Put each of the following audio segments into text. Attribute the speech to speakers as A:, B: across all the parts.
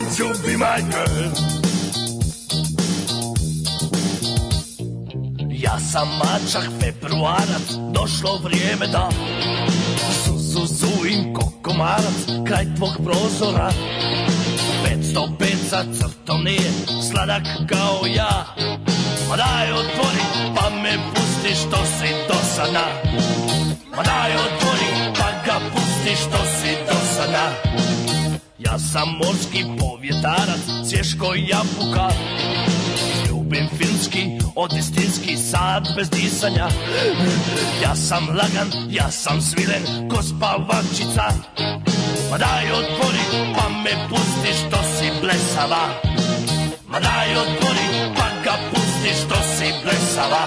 A: won't you be my girl? Ja sam mačak februarac, došlo vrijeme da Suzuzuim kokomarac, kraj tvog prozora 505 za crtom nije sladak kao ja Ma daj otvori, pa me pusti što si dosana Ma daj otvori, pa ga pusti što si dosana Ja sam morski povjetarac, cješko jabuka Ljubim finski, odistinski sad bez disanja Ja sam lagan, ja sam svilen, ko spavačica Ma daj otvori, pa me pusti što si blesava Ma daj otvori, pa ga pusti što si blesava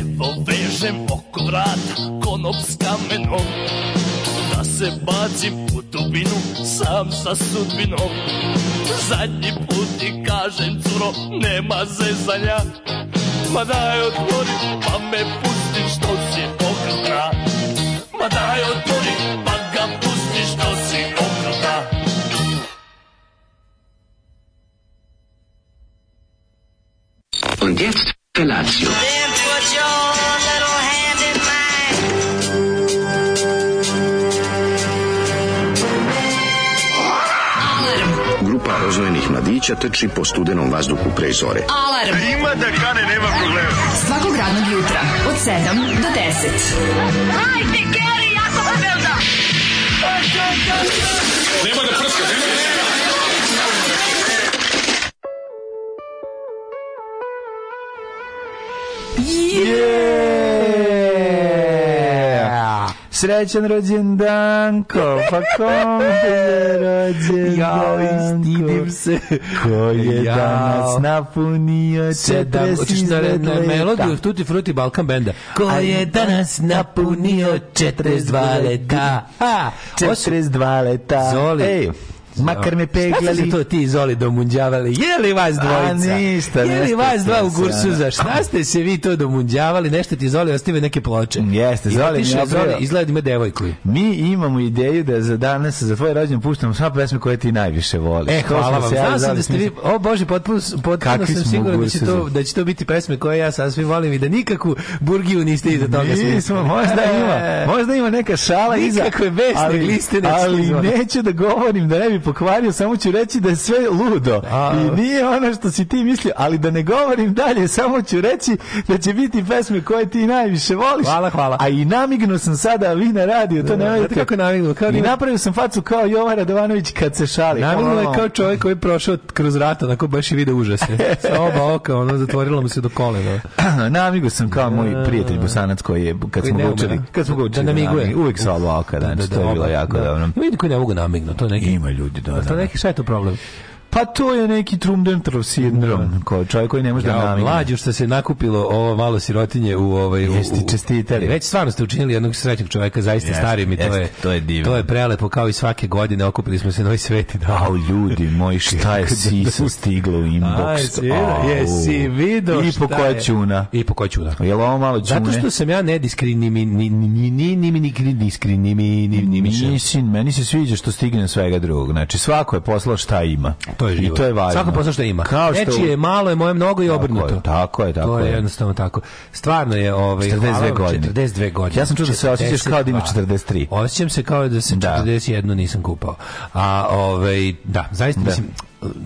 A: Evo vežem oko vrata konop s kamenom Da se bacim u dubinu sam sa sudbinom Zadnji put ti kažem curo nema zezanja Ma daj otvori pa me pusti što si okrutna Ma daj otvori pa ga pusti što si okrutna
B: Und jetzt Felatio.
C: Then put your little hand in mine.
D: Grupa rozvojenih mladića trči po studenom vazduhu pre zore.
E: Alarm svakog radnog jutra od 7 do 10. Hajde, Geri, jako se velda!
F: Yeah! Srećan rođendanko, pa kom je rođendanko?
G: Jao, stidim se.
F: Ko je
G: Jao.
F: danas napunio 40
G: Sedam, hoćeš da re- na
F: leta?
G: melodiju Tutti Frutti Balkan Benda. Ko
F: A
G: je danas napunio 42 leta? A, osim-
F: 42 leta.
G: Zoli.
F: Ej, makar me
G: Šta ste
F: peglali.
G: se to ti Zoli domunđavali? Je li vas dvojica?
F: A, ništa,
G: Je li
F: nešto
G: vas dva
F: sam
G: u
F: se,
G: gursu
F: ono.
G: za šta ste se vi to domunđavali? Nešto ti Zoli ostavio neke ploče.
F: Mm, Jeste,
G: I
F: Zoli mi
G: otišao
F: je
G: Zoli,
F: obrio.
G: izgleda da ima devojku.
F: Mi imamo ideju da za danas, za tvoj rođen puštamo sva pesme koje ti najviše voliš.
G: E,
F: To
G: hvala
F: smo
G: vam.
F: se ja i
G: Znao sam
F: Zoli
G: da ste vi,
F: smislili.
G: o Bože, potpuno, s- potpuno
F: Kakvi
G: Ono sam
F: smo
G: siguran da će,
F: gursi
G: to,
F: za-
G: da će to biti pesme koje ja sasvim volim i da nikakvu burgiju niste iza toga E,
F: Mi smo, možda ima, možda ima neka šala iza.
G: Nikakve besne
F: ali-
G: gliste neće
F: Ali
G: izvana.
F: neću da govorim, da ne bi pokvario, samo ću reći da je sve ludo.
G: A.
F: I nije ono što si ti mislio, ali da ne govorim dalje, samo ću reći da će biti pesme koje ti najviše voliš.
G: Hvala, hvala.
F: A i namignuo sam sada, a vi na radiju, to ne
G: Znate kako je namignuo? Kao da
F: I
G: ima-
F: napravio sam facu kao Jovan Radovanović kad se šali.
G: Namignuo je
F: Ono-
G: kao čovjek koji je prošao kroz rat, onako baš i vide užase. Sa oba oka, ono, zatvorilo mu se do kolena.
F: Namigo sam kao moj prijatelj Bosanac koji je kad
G: Koji
F: smo
G: ne
F: ga
G: ume,
F: učili,
G: da.
F: kad smo ga
G: Da
F: učili.
G: namiguje.
F: namigu, Uvek sa oba oka, da, znači, to je
G: oba,
F: bilo jako
G: da.
F: dobro.
G: Ima ljudi koji ne mogu namignu, to je neki...
F: Ima ljudi, da,
G: A
F: da,
G: To je neki, šta je to problem?
F: Pa to je neki Trumdentrov sindrom, ko čovjek koji ne može da
G: Ja,
F: namigne.
G: mlađu što se nakupilo ovo malo sirotinje u ovaj u-
F: Jeste,
G: u-
F: čestitali.
G: Već stvarno ste učinili jednog srećnog čovjeka zaista
F: Jeste,
G: starim i to
F: jeste,
G: je
F: to je divno.
G: To je prelepo kao i svake godine okupili smo se na ovaj sveti dan.
F: Au ljudi moji, šta je sisa stiglo u
G: Aj,
F: inbox?
G: svira,
F: Au.
G: jesi video
F: I po
G: šta
F: koja
G: je?
F: čuna?
G: I po koja ćuna?
F: Jel ovo malo čune?
G: Zato što sam ja ne diskrinimi ni ni ni ni ni ni ni diskrimi- ni ni ni ni
F: Mislim, meni se sviđa što stigne svega drugog. Znači, svako je poslao šta ima.
G: To je
F: I
G: živo.
F: to je važno.
G: Svako posla što ima.
F: Kao što...
G: Nečije je malo, je moje mnogo i
F: Tako
G: obrnuto.
F: je, tako je, tako
G: to je.
F: je.
G: jednostavno tako. Stvarno je ovaj
F: 42
G: hvala vam,
F: godine.
G: 42 godine. pa,
F: Ja sam čuo da se osjećaš kao da imaš 43.
G: Osjećam se kao da se
F: Da.
G: 41 nisam kupao. A ovaj da, zaista mislim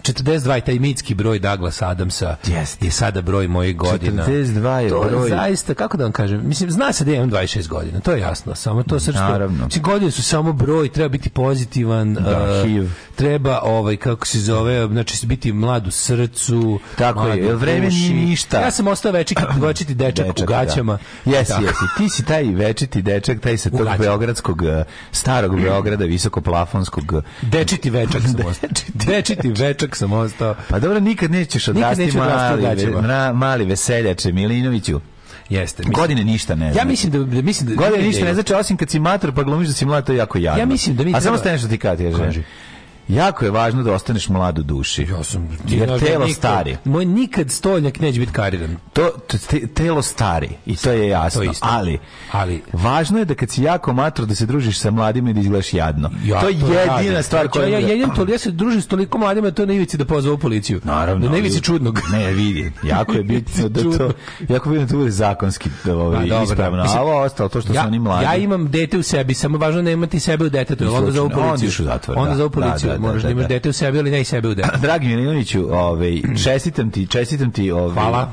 G: 42 je taj mitski broj Douglas Adamsa
F: Jeste.
G: je sada broj mojih godina.
F: 42 je
G: to
F: broj.
G: Je zaista, kako da vam kažem, mislim, zna se da ja imam 26 godina, to je jasno, samo to srstvo.
F: Naravno.
G: Mislim, godine su samo broj, treba biti pozitivan,
F: Da,
G: eh,
F: HIV.
G: treba ovaj kako se zove, znači biti mlad u srcu.
F: Tako
G: mlad
F: je,
G: u
F: vreme
G: duši.
F: nije ništa.
G: Ja sam ostao večiti, večiti dečak, E,
F: da.
G: u gaćama.
F: Jesi,
G: Tako.
F: jesi. Ti si taj večiti dečak, taj sa tog
G: gaćama.
F: beogradskog, eh, starog Beograda, visokoplafonskog. e.
G: Dečiti večak sam ostao. Dečiti večak sam ostao.
F: Pa dobro, nikad nećeš
G: Nikad
F: odrasti
G: neću odrasti
F: mali,
G: u
F: ve-
G: gaćama.
F: mra- mali veseljače Milinoviću.
G: Jeste. mislim.
F: Godine ništa ne
G: Ja
F: znači.
G: mislim da, da mislim da
F: Godine ništa ne znači, osim kad si mator, pa glumiš da si mlad, to je jako jadno.
G: Ja mislim da mi
F: A samo
G: treba-
F: stane što ti kaže.
G: Kaži.
F: Jako je važno da ostaneš mlad u duši.
G: Ja sam
F: Jer
G: znaš da
F: telo
G: nikad-
F: stari.
G: Moj nikad stoljak neće biti kariran.
F: To, to- te- telo stari i to je jasno,
G: To je isto.
F: ali
G: Ali-
F: važno je da kad si jako mator da se družiš sa mladima i da izgledaš jadno.
G: Ja,
F: to je jedina
G: radim.
F: stvar
G: Znači,
F: koja
G: ja, ja,
F: je
G: jedem to, ja se družim s toliko mladima, da to je na ivici da pozovu policiju.
F: Pa, Naravno,
G: Na ivici
F: ali-
G: čudnog.
F: Ne, vidi, jako je bitno da to
G: Čudno.
F: jako je bitno da to bude zakonski da ovaj,
G: Pa, dobro.
F: ispravno.
G: Mislim,
F: a ovo ostalo to što su oni mladi.
G: ja imam dete u sebi, samo je važno ne imati sebe u detetu, jer onda
F: Slučajno,
G: zovu policiju.
F: onda ideš u zatvor,
G: Onda
F: da.
G: zovu policiju,
F: Da, da,
G: moraš
F: da,
G: da, imaš
F: da.
G: dete u sebi, ali ne i sebe u detetu.
F: Dragi Milinoviću, ovaj čestitam ti, čestitam ti, ovaj
G: Hvala.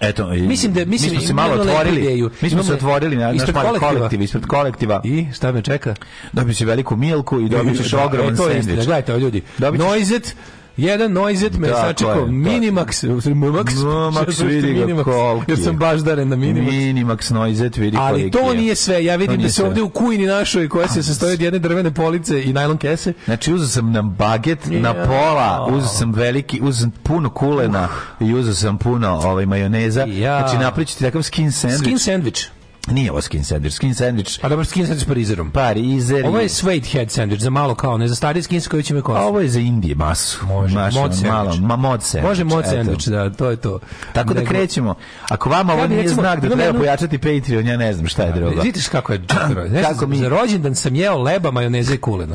F: Eto, i-
G: Mislim da- mislim,
F: mi smo se malo
G: imamo lepu
F: otvorili.
G: ideju.
F: Mi smo se
G: Imamo-
F: otvorili na naš
G: ispred
F: mali
G: kolektiva.
F: kolektiv, ispred kolektiva.
G: I šta me čeka?
F: Dobit ćeš veliku milku i dobit ćeš
G: Da,
F: ogroman
G: e, to je istina.
F: sendvič.
G: Gledajte, ovo ljudi.
F: Dobit ćeš-
G: Noizet, jedan noizet me je
F: Tako je,
G: sačekao,
F: da.
G: Minimax, Mmax,
F: Mmax,
G: što je
F: vidi ga
G: Minimax,
F: koliki
G: jer
F: je.
G: sam baš daren na Minimax.
F: Minimax Noizet, vidi
G: Ali
F: koliki
G: to
F: je.
G: nije sve, ja
F: To
G: vidim
F: nije
G: da se
F: sve.
G: ovdje u kujni našoj koja se sastoji od jedne drvene police i najlon kese.
F: Znači, uzeo sam nam baget na pola, uzeo sam veliki, uzeo sam puno kulena i uzeo sam puno ovaj, majoneza.
G: Ja.
F: Znači, napriču ti takav skin sandvič.
G: Skin sandwich.
F: Nije ovo skin sandvič, skin sandvič
G: A Pa dobro, skin sandwich s parizerom.
F: Pa, parizer.
G: Ovo je suede head sandwich, za malo kao, ne za stari skin s koji će me
F: A
G: kosti.
F: ovo je za Indije masu.
G: Može,
F: Maš,
G: mod
F: ono,
G: sandvič.
F: malo, ma mod sandvič.
G: Može mod
F: eto.
G: sandwich, da, to je to.
F: Tako da
G: Nego-
F: krećemo. Ako vama ovo
G: Ja bih,
F: nije
G: recimo,
F: znak da
G: imam
F: treba
G: jednu-
F: pojačati Patreon, ja ne znam šta je drugo.
G: Vidiš kako je džetro. Znaš,
F: Kako mi-
G: Za rođendan sam jeo leba, majoneze i kulena.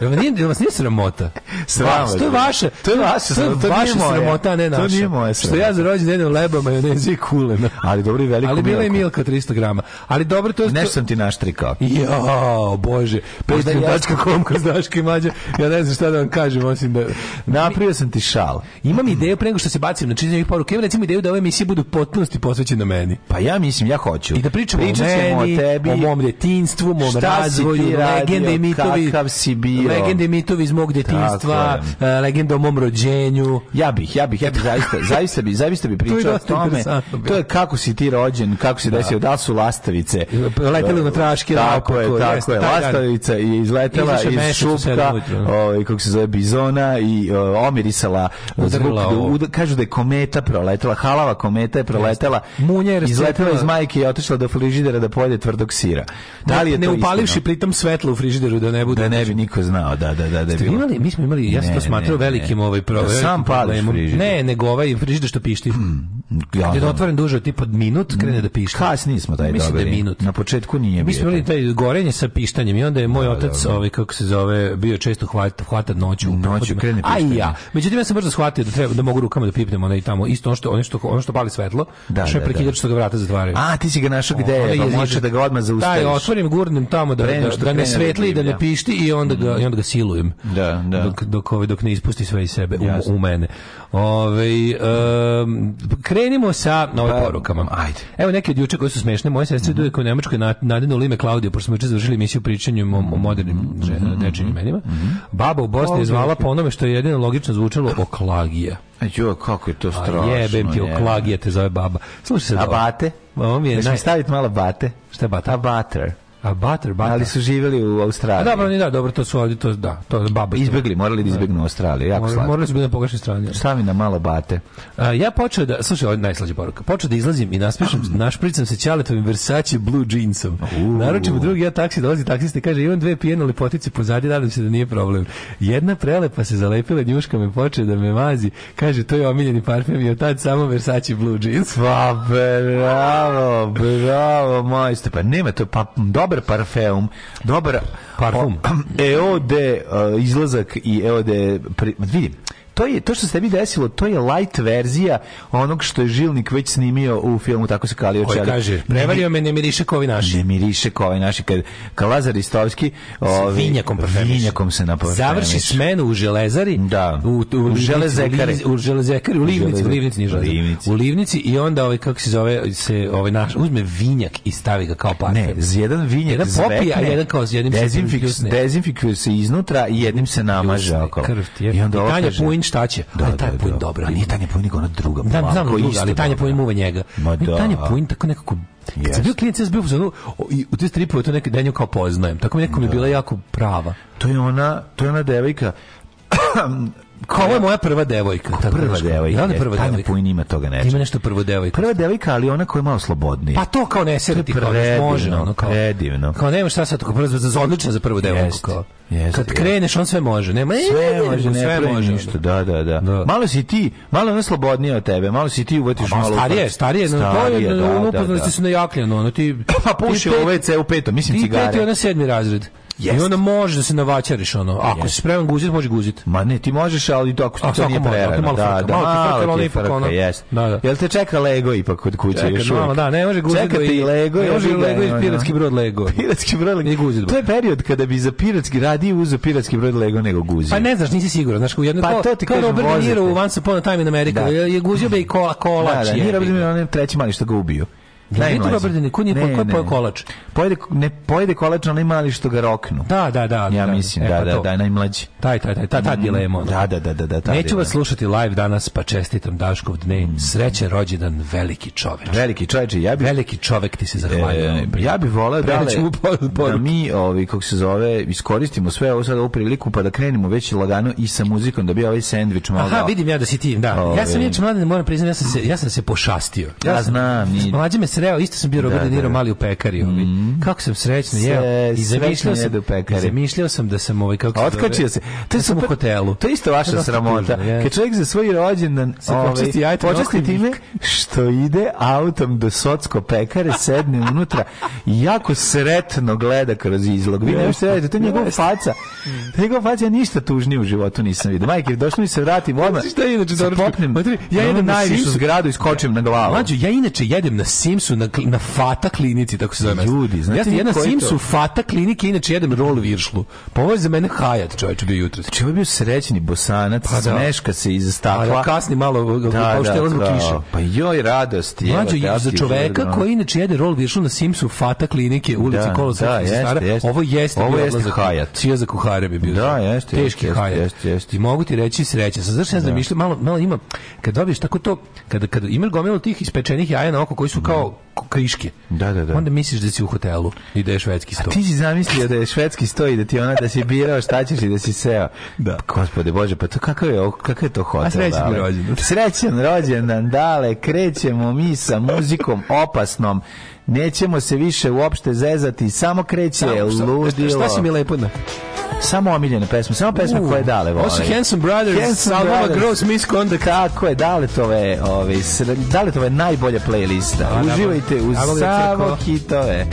G: Jel vam nije, jel vas nije sramota?
F: Sram
G: Vas,
F: vas
G: to je
F: je.
G: vaša,
F: To je vaša
G: to je
F: sramota, to nije
G: vaša
F: moja.
G: sramota, a ne
F: To
G: naša.
F: nije moja
G: Što ja
F: sramota.
G: za rođendan jedem leba, majoneze i kulena.
F: Ali dobro i veliko
G: Ali bila je
F: milko.
G: Milka 300 grama. Ali dobro, to je...
F: Nešto sam ti naštrikao.
G: Jo, bože,
F: Možda ja-
G: patreon.com kroz Daško i Mađa, ja ne znam šta da vam kažem, osim da...
F: Napravio sam ti šal.
G: Imam ideju pre nego što se bacim na čitanje ovih poruka, imam recimo ideju da ove emisije budu u potpunosti posvećene meni.
F: Pa ja mislim, ja hoću.
G: I da pričamo
F: Pričat ćemo
G: o meni,
F: o tebi,
G: o mom djetinstvu, mom
F: Šta si
G: razvoju,
F: ti radio,
G: legende i mitovi,
F: kakav si bio.
G: legende i mitovi iz mog djetinstva,
F: Tako
G: e, legende o mom rođenju.
F: Ja bih, ja bih, ja bih zaista, zaista bi, zaista bi
G: To je
F: pričao o
G: dosta
F: tome.
G: interesantno bilo.
F: To je kako si ti rođen, kako si desio, da li su lastavice.
G: Letele na traške,
F: Tako
G: naopako,
F: je, tako
G: jeste,
F: je.
G: taj dan.
F: Lastavica je izletela
G: Izašao
F: iz
G: mesec u
F: šupka,
G: sedam ujutru.
F: ovaj, kako se zove, bizona i o, omirisala zvuk.
G: Udrla ovo.
F: ud- Kažu da je kometa proletela, halava kometa je proletela,
G: Munja je
F: izletela
G: rascepila-
F: iz majke i otišla do frižidera da pojede tvrdog sira. Da li je
G: ne
F: to
G: upalivši
F: istina?
G: pritom svetlo u frižideru da ne bude
F: Da ne bi niko znao, da, da, da, da je
G: Ste vi
F: bilo.
G: imali, mi smo imali, ja sam
F: Ne,
G: to smatrao
F: ne,
G: velikim
F: ne.
G: ovaj pro,
F: Da
G: velikim
F: sam pališ
G: problemom.
F: frižider. Hmm.
G: Ne, nego ovaj frižider što pišti.
F: Ja
G: Kad je
F: znam.
G: otvoren duže od tipa minut, krene da pišti.
F: Kasnije smo taj
G: Mislim da je
F: dobili.
G: minut.
F: Na početku nije
G: Mi smo
F: bio.
G: imali taj gorenje sa pištanjem i onda je moj otac, ovaj, kako se zove, bio često hvata, hvata noću. u
F: Noću
G: prohodima.
F: krene
G: A i
F: pištanje.
G: ja. Međutim, ja sam brzo shvatio da, treba, da mogu rukama da pipnem onaj tamo. Isto ono što, ono što, ono što pali svetlo,
F: Da,
G: što je
F: da,
G: prekidač
F: da.
G: što ga vrata zatvaraju.
F: A, ti si ga našao gde
G: Onaj
F: je, pa
G: jezičak.
F: možeš da ga odmah zaustaviš.
G: Taj, otvorim, gurnem tamo da,
F: Pre nego
G: da,
F: što
G: da
F: krene
G: ne
F: da
G: svetli, da
F: divlja.
G: ne pišti i onda ga, i onda ga silujem.
F: Da, da.
G: Dok, dok, ovaj- dok ne ispusti sve iz sebe u,
F: Jasno.
G: u mene. Ovaj, em, krenimo sa novim
F: Pa,
G: porukama.
F: ajde.
G: Evo neke od juče koje su smešne. Moje sestre mm -hmm. u Nemačkoj na- nadenula ime Klaudija, pošto smo juče završili emisiju pričanju o, o modernim
F: Mhm,
G: že- dečijim imenima. Baba u Bosni je zvala po onome što je jedino logično zvučalo Oklagija.
F: Aj, E, jo, kako je to
G: A
F: strašno.
G: Jebem ti,
F: jebe.
G: Oklagija te zove baba. Slušaj se
F: A bate?
G: Ovo mi je
F: Ješ mi
G: naj-
F: staviti malo bate?
G: Šta je bata?
F: A butter.
G: A butter, butter.
F: Ali su živjeli u
G: A
F: Australiji.
G: dobro, oni da, dobro, to su ovdje, to, da, to je baba.
F: Izbegli, morali da izbegnu Australiju, jako
G: Mor-
F: slatko.
G: Morali su biti na pogrešne strane.
F: Stavi na malo bate.
G: A, ja počeo da, slušaj, ovo je najslađa poruka, počeo da izlazim i naspišem, našpricam se ćaletovim Versace blue jeansom. Naručim drugi ja taksi, dolazi taksista i kaže, imam dve pijene lepotice pozadi, nadam se da nije problem. Jedna prelepa se zalepila, njuška me počeo da me mazi, kaže, to je omiljeni parfem i od tad samo Versace blue jeans.
F: Pa bravo, bravo, majster. Pa nema to, pa dobar parfum, dobar...
G: Parfum.
F: O, EOD uh, izlazak i EOD... Pri, vidim, to, je, to što se tebi desilo, to je light verzija onog što je Žilnik već snimio u filmu Tako se kalio
G: Koji
F: čelik.
G: kaže, prevario me, ne miriše kao ovi naši.
F: Ne miriše kao ovaj naši, kad, kad Lazar Istovski...
G: S vinjakom parfemiš.
F: Vinjakom se naparfemiš.
G: Završi smenu u železari.
F: Da.
G: U, u,
F: U
G: u
F: železekari.
G: železekari. U železekari, u livnici, u
F: železe-
G: livnici, nije železari.
F: Livnici.
G: U livnici i onda ovaj, kako se zove, se ovaj naš, uzme vinjak i stavi ga kao parfem.
F: Ne, z jedan vinjak
G: Jedan popije,
F: zvekne,
G: a jedan kao s jednim se
F: dezinfik-
G: pljusne.
F: dezinfikuje se iznutra i jednim se namaže
G: Pljusne,
F: okolo.
G: krv ti je. I
F: ovo
G: Tanja
F: kaže-
G: Pujin šta će?
F: Da,
G: Ali Tanja
F: da,
G: Pujin
F: da.
G: dobra,
F: A Nije Tanja Pujin, nego ona druga.
G: Da, znam
F: ovako
G: da druga,
F: isto
G: ali Tanja
F: dobra.
G: Pojin muva njega.
F: Ma
G: Ne,
F: da.
G: Tanja Pojin tako nekako... Kad
F: Jeste.
G: sam bio klijent, ja sam bio u zonu, i u te stripove to nekad denju kao poznajem. Tako mi nekako mi je bila jako prava.
F: To je ona, to je ona devojka
G: Kao ovo je moja prva devojka. tako
F: prva
G: nešto.
F: devojka.
G: Ja onda prva
F: Tanja
G: devojka.
F: Pujin ima toga nečega.
G: Ima nešto prvo devojka.
F: Prva devojka, ali ona koja je malo slobodnija.
G: Pa to kao ne
F: To
G: sere
F: je
G: ti kao
F: predivno,
G: može ono kao.
F: predivno.
G: Kao nema šta sad, kao prvo za za odlično za prvu devojku
F: Jeste,
G: kao.
F: jeste,
G: Kad
F: jeste.
G: kreneš on sve može. Nema e,
F: sve
G: ne,
F: može, ne
G: sve
F: pravi
G: može.
F: ništa. Da, da, da,
G: Da.
F: Malo si ti, malo je ona slobodnija od tebe, malo si ti uvetiš
G: Ma,
F: malo... u
G: starije,
F: prst.
G: starije, no, to
F: Starije,
G: je,
F: da,
G: ono,
F: da, da.
G: upoznali ste se na jakljanu, ono, ti...
F: Pa puši
G: ti
F: u
G: pet-
F: WC u petom, mislim
G: Ti peti,
F: cigare.
G: ona sedmi razred.
F: Jest.
G: I onda može da se navaćariš, ono. Ako
F: Jest.
G: si spreman guzit, može guzit.
F: Ma ne, ti možeš, ali to ako
G: A,
F: ti to
G: svako
F: nije
G: može, ako je
F: prerano.
G: malo
F: Da,
G: frka,
F: da,
G: malo ti frka,
F: malo
G: malo
F: ti je
G: ipak
F: frka,
G: ono.
F: jest.
G: Da, da.
F: Jel te čeka Lego ipak kod kuće
G: Čekaj,
F: još
G: mama,
F: uvijek?
G: da, ne može guzit.
F: Čeka
G: do
F: te i Lego.
G: Ne može
F: jebi ga,
G: Lego i
F: ono.
G: piratski brod Lego.
F: Piratski brod
G: I guzit
F: Lego.
G: brod.
F: To je period kada bi za piratski radije uzeo piratski brod Lego nego guzio.
G: Pa ne znaš, nisi siguran, znaš, kao u jednoj
F: Pa
G: kao-
F: to ti
G: kao
F: kažem,
G: Robert De
F: vozite.
G: Niro u Once Upon a Time in America,
F: Da.
G: je je guzio bi i kola,
F: Da,
G: kolač.
F: da, nije
G: jebi
F: Robert
G: ga.
F: De Niro, on je treći mali što ga ubio.
G: Nije to
F: Najmlađi.
G: Robert De Niro, ko nije po-
F: Ne,
G: ko je
F: ne,
G: pojeo
F: ne.
G: kolač?
F: Pojede, ne, pojede kolač onaj mali što ga roknu.
G: Da, da, da.
F: Ja
G: da,
F: mislim,
G: E,
F: da,
G: pa
F: da,
G: to.
F: da, najmlađi.
G: Taj, taj, taj, ta, ta dilema. ono.
F: Da, da, da, da, da. ta
G: Neću
F: dilema. Mm.
G: vas slušati live danas, pa čestitam Daškov dne. Sreće rođendan, veliki čoveč.
F: Veliki čovječe, ja bih
G: Veliki čovek ti se
F: E,
G: zahvaljuje.
F: ja bih voleo da,
G: Predat ću mu por-
F: da
G: poruku.
F: mi, ovi, kako se zove, iskoristimo sve ovo sad ovu priliku pa da krenemo već lagano i sa muzikom da bi ovaj sandvič malo...
G: Aha, vidim ja da si ti, da.
F: Ove.
G: Ja sam inače mladen, moram priznati, ja sam se, ja sam se pošastio.
F: Ja
G: sam-
F: znam, i-
G: Mlađe me sreo, isto sam bio Robert
F: Da, Mhm.
G: De Niro
F: da.
G: mali u pekari. ovi. Kako sam srećno
F: Se-
G: jeo. I
F: srećno
G: zamišljao sam,
F: jedu u pekari.
G: i zamišljao sam da sam ovaj, kako
F: A
G: se
F: Otkačio
G: zove,
F: Pa se.
G: To
F: je
G: sam u
F: super-
G: hotelu.
F: To je isto vaša
G: To je dosta
F: sramota.
G: tužno, je.
F: Kad čovjek za svoj rođendan
G: Se
F: ovaj,
G: počasti jajeta na
F: počasti
G: osnovni
F: time što ide autom do socko pekare, sedne unutra i jako sretno gleda kroz izlog. Vi ne možete da radite, to je njegov faca. To je njegov faca, ja ništa tužnije u životu nisam vidio. Majke, došlo mi se vratim odmah.
G: Znaš šta je inače
F: se
G: doručak?
F: popnem Ono
G: Matri, ja
F: na onu
G: jedem na
F: najvišu
G: Simsu.
F: zgradu i skočim na glavu.
G: Mlađo, ja inače jedem na Simsu, na, kli- na Fata klinici, tako se zove. mesto.
F: Ljudi, znate
G: ja sam
F: vi
G: jedem na
F: koji to-
G: Simsu, Fata klinike, inače jedem rol viršlu. Pa ovo je za mene hajat, čovječe, bio jutro.
F: Če je bio srećni bosanac,
G: Pa da.
F: smeška se iza stakla.
G: Ali kasni malo, pa ušte razmo
F: kao,
G: kiše.
F: Pa joj, radost je.
G: Mlađo, ja, za
F: ono-
G: čoveka koji inače jede rol viršu na Simsu Fata klinike, ulici
F: Da,
G: da, Kolosa,
F: da, jeste, jeste.
G: ovo jeste
F: Ovo
G: bio
F: jeste
G: odlazak.
F: hajat.
G: Sijazak u Hare bi bio.
F: Da, jeste,
G: Teški
F: jeste,
G: hajat.
F: jeste, jeste.
G: I mogu ti reći sreća. Sad zašto ja zamišljam, malo, malo ima, kad dobiješ tako to, kada, kada imaš gomilu tih ispečenih jaja na oko koji su kao ko- kriške,
F: Da, da, da.
G: onda misliš da si u hotelu i da je švedski sto.
F: Ti si zamislio da je švedski stoji, da ti ona da si birao šta ćeš i da si seo. Da. Gospode Bože, pa to kakav je, ovo- kakav je to hotel?
G: A srećan
F: dale?
G: rođendan.
F: Srećan rođendan, dale, krećemo mi sa muzikom opasnom. Nećemo se više uopšte zezati, samo kreće
G: Samo- šta-
F: ludilo.
G: Šta si mi lepo na?
F: Samo omiljene pesme, samo pesme koje dale vole.
G: Ovo su Handsome Brothers,
F: Handsome
G: Handsome Albama
F: Brothers.
G: Gross Misconduct.
F: Kako je, daletove, ove, sre- daletove najbolja playlista.
G: A, da,
F: Uživajte uz
G: da, da,
F: samo
G: crkva.
F: hitove.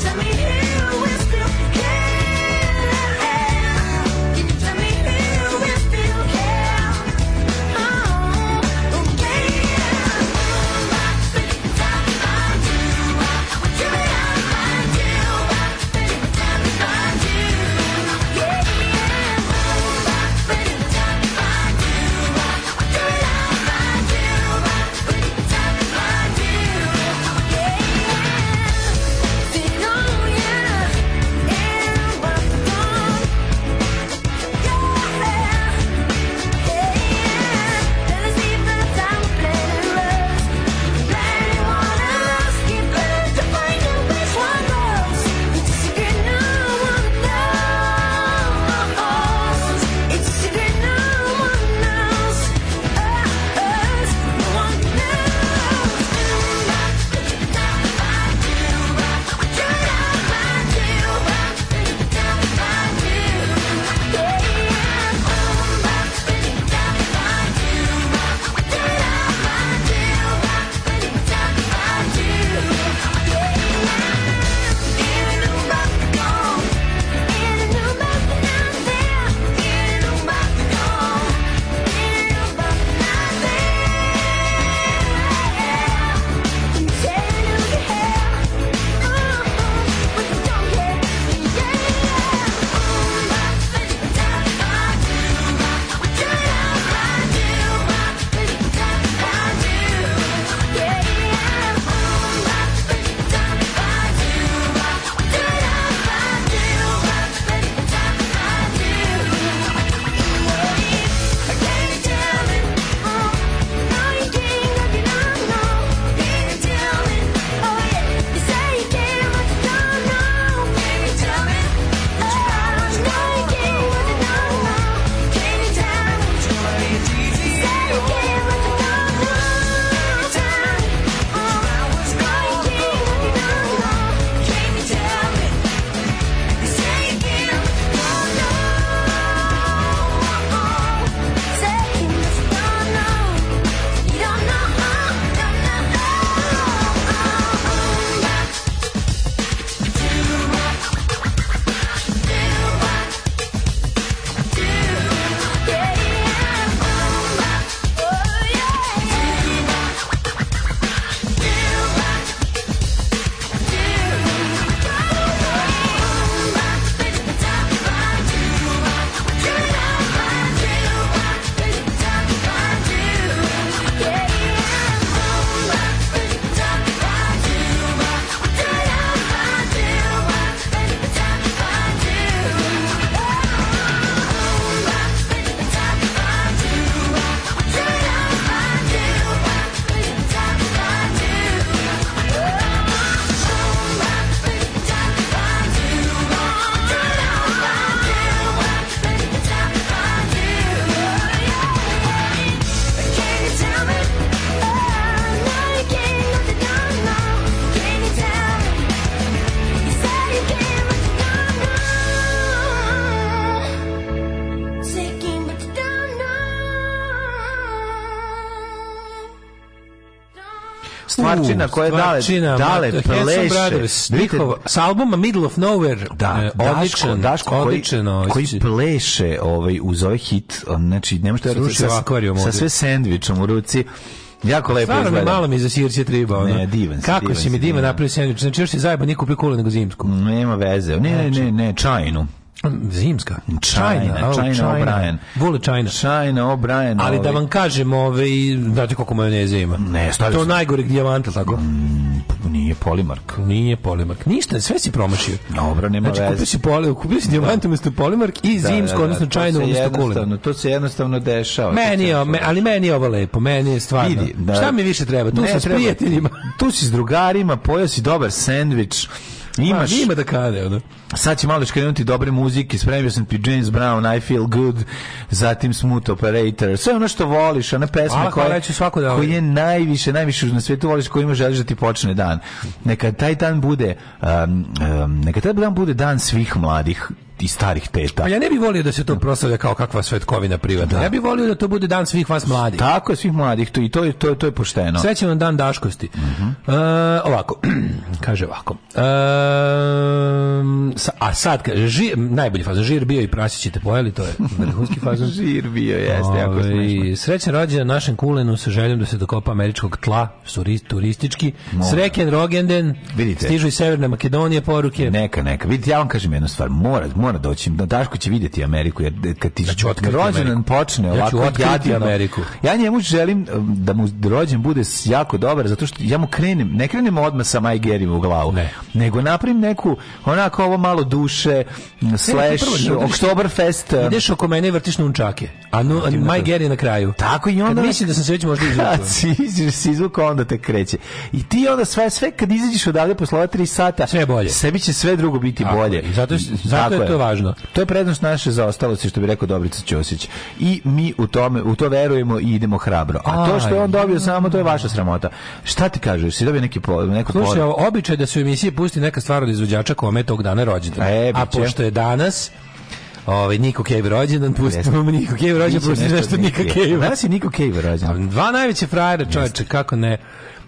H: Tell me who is still
F: stvarčina koja je dale,
G: Stvarčina,
F: dale
G: Mata- Handsome
F: pleše.
G: Brothers,
F: Vidite,
G: njihov- s albuma Middle of Nowhere.
F: Da,
G: E,
F: Daško,
G: odličan,
F: Daško koji,
G: odličan, ovaj,
F: koji
G: si-
F: pleše ovaj, uz ovaj hit, on, znači nema što da
G: Srušio
F: sa-
G: akvarijum
F: sa
G: ovdje.
F: sve sendvičom u ruci. Jako lepo
G: Stvarno mi
F: izgleda.
G: malo mi za sirće triba. Ono.
F: Ne, divan si,
G: Kako
F: divan
G: si
F: si,
G: mi divan
F: divan.
G: napravio sandvič? Znači još si zajeba nije kupio kule nego zimsku.
F: Nema veze. Ne, ne,
G: Znači-
F: ne, ne, čajnu.
G: Zimska?
F: Čajna,
G: au,
F: Čajna O'Brien.
G: Vole čajna.
F: Čajna, ovaj, O'Brien.
G: Ali da vam kažem, ovaj, znate koliko majoneze ima?
F: Ne, stavio
G: To
F: sam-
G: najgoreg dijamanta, tako?
F: ovaj, Nije polimark.
G: Nije polimark. Ništa, sve si promašio.
F: Dobro, nema
G: Znači, kupio
F: veze.
G: si, poli, kupio si dijamant umesto polimark i
F: Da,
G: zimsku,
F: da, da,
G: odnosno
F: to
G: čajnu
F: se
G: umesto kule.
F: jednostavno- To se jednostavno dešava.
G: Meni je,
F: Pa, To se-
G: me, ali meni je ovo lepo, meni je stvarno.
F: Vidi, da-
G: Šta mi više treba? Tu
F: Ne
G: sam s
F: treba.
G: prijateljima.
F: Tu si s drugarima, pojao si dobar sendvič, imaš,
G: Ma, Ima da kade, ono.
F: sad će malo krenuti dobre muzike, spremio sam ti James Brown, I Feel Good, zatim Smooth Operator, sve ono što voliš, ona pesma
G: Hvala,
F: koja,
G: hvala, ja ću svaku da
F: koju
G: volim.
F: je najviše, najviše na svijetu voliš, koju ima želiš da ti počne dan. Neka taj dan bude, um, um, neka taj dan bude dan svih mladih i starih teta.
G: Pa ja ne bih volio da se to proslavlja kao kakva svetkovina privatna. Ja bih volio da to bude dan svih vas mladih.
F: Tako je svih mladih, to, i to, je- to, je- to je pošteno.
G: Srećan vam dan daškosti.
F: Mhm.
G: E, ovako, kaže ovako. E, sa- a sad, kaže, žir, najbolji fazon, žir bio i prasić ćete pojeli, to je vrhunski fazon.
F: Žir bio, jeste, jako
G: Ovaj,
F: smešno.
G: srećan rođendan našem kulenu sa željom da se dokopa američkog tla, suri- turistički. Srećan rogenden,
F: Vidite.
G: stižu iz Severne Makedonije poruke.
F: Neka, neka. Vidite, ja vam kažem jednu stvar. Mora, mora doći. Da Daško će vidjeti Ameriku. Jer kad ti ja
G: ću otkriti
F: rođendan
G: Ameriku.
F: počne
G: Ja ću
F: ovako
G: otkriti
F: jadno-
G: Ameriku.
F: Ja njemu želim um, da mu rođen bude s- jako dobar, zato što ja mu krenem, ne krenem odmah sa Maj Gerim u glavu,
G: Ne.
F: nego napravim neku, onako ovo malo duše, um, slash,
G: E, prvo ne odeš-
F: Oktoberfest. um,
G: Ideš oko mene i vrtiš nunčake. A no, Maj Geri na kraju.
F: Tako i onda...
G: Kad mislim da sam se već možda izvukao.
F: Kad si izađeš s izvuka, onda te kreće. I ti onda sve, sve kad izađeš odavde posle ova tri sata,
G: Sve je bolje.
F: sebi će sve drugo biti
G: Tako
F: bolje.
G: je. I zato- zato
F: Tako
G: je to važno.
F: To je prednost naše zaostalosti, što bi rekao Dobrica Ćosić. I mi u, tome, u to verujemo i idemo hrabro. A to što je on dobio samo, to je vaša sramota. Šta ti kažeš? Si dobio neki po, neku
G: Slušaj,
F: poruku?
G: ovo, običaj da se u emisiji pusti neka stvar od izvođača kome je tog dana rođendan.
F: E,
G: A
F: biće.
G: pošto je danas Ovaj Niko Cave rođendan, pustimo mu Niko Cave rođendan,
F: Biće
G: pustimo nešto
F: od
G: Niko
F: Nike.
G: Cave.
F: Danas je Niko Cave rođen.
G: Dva najveće frajera, čoveče, kako ne.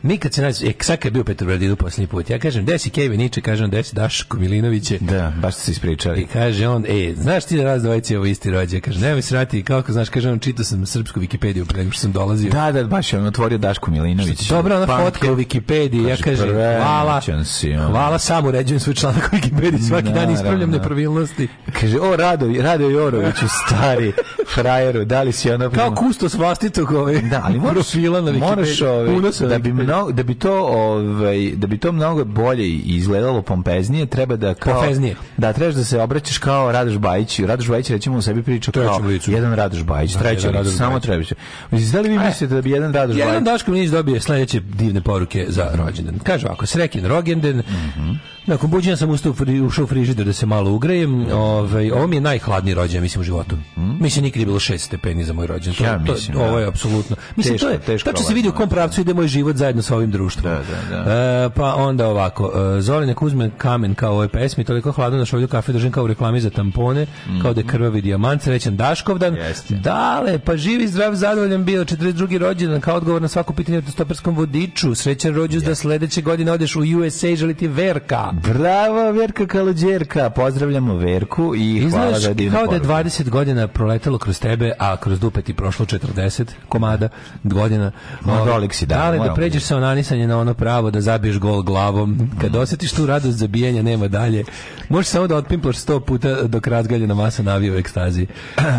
G: Nikad se nađe, e, sad kad je bio Petrobradinu posljednji put, ja kažem, gde si Kevin Niče, kažem, gde si Daško Milinoviće,
F: Da, baš ste se
G: I
F: ispričali.
G: kaže on, e, znaš ti da nas dvojice ovo isti rođe? Kaže, nemoj srati, kako znaš, kaže on, čitao sam srpsku Wikipediju pre nego što sam dolazio.
F: Da, da, baš je on otvorio Daško Milinović.
G: Dobra ona
F: Punk
G: fotka u Wikipediji, ja
F: Kaže,
G: kažem, hvala,
F: premoćan si, ono."
G: hvala, sam uređujem svoj članak u Wikipediji, svaki dan
F: Naravno.
G: ispravljam nepravilnosti.
F: Kaže, o, Rado, Rado Joroviću, stari frajeru, da li si ono...
G: Kao kustos Pa vlastitog ovaj,
F: Da, ali moraš,
G: profila na Wikipediji.
F: moraš ovaj,
G: unosa na
F: da, bi
G: Wikipediji.
F: mno, da bi to ovaj, da bi to mnogo bolje i izgledalo pompeznije, treba da kao
G: Pompeznije.
F: da trebaš da se obraćaš kao Radoš Bajić, Radoš Bajić recimo u sebi priča kao
G: Trećem licu.
F: jedan Radoš Bajić,
G: Da,
F: treći
G: jedan
F: lice,
G: Radoš
F: samo
G: Bajić. E,
F: treći. Mislim, da li vi mislite da bi jedan Radoš
G: Jedan
F: Bajić
G: Daško Minić dobije sledeće divne poruke za rođendan. Kaže ovako, srekin rođendan.
F: Mhm.
G: Nakon buđenja sam ustao u fri- ušao u frižider da se malo ugrejem. Ovaj, ovo mi je najhladniji rođendan, mislim, u životu. Mislim, nikad je bilo šest stepeni za moj rođendan. To-
F: Mhm. Ja
G: to,
F: mislim,
G: ovo
F: da.
G: je apsolutno. Mislim,
F: Teško,
G: to je,
F: teško
G: tačno se vidi u kom pravcu ide moj život zajedno sa ovim društvom.
F: Da, da,
G: E, pa onda ovako, e, Zorine Kuzme kamen kao u ovoj pesmi, toliko hladno da šolju kafe držim kao u reklami za tampone, kao da je krvavi dijamant, srećan Daškovdan.
F: Mhm. Jeste.
G: Dale, pa živi, zdrav, zadovoljan bio, 42. rođendan, kao odgovor na svako pitanje o stoperskom vodiču, srećan rođus da sledeće godine odeš u USA i želi ti Verka.
F: Bravo, Verka Kaludjerka, pozdravljamo Verku i hvala
G: Izgledaš
F: za divnu
G: kao da je
F: poruku.
G: 20 godina proletelo kroz tebe, a kroz dupe ti prošlo 40 komada godina.
F: Ma,
G: Ovaj,
F: rolik si, da,
G: Dale, da
F: moramo
G: pređeš sa onanisanje na ono pravo, da zabiješ gol glavom. Kad
F: Mhm.
G: osjetiš tu radost zabijanja, nema dalje. Možeš samo da otpimplaš 100 puta dok razgaljena masa navija u ekstazi.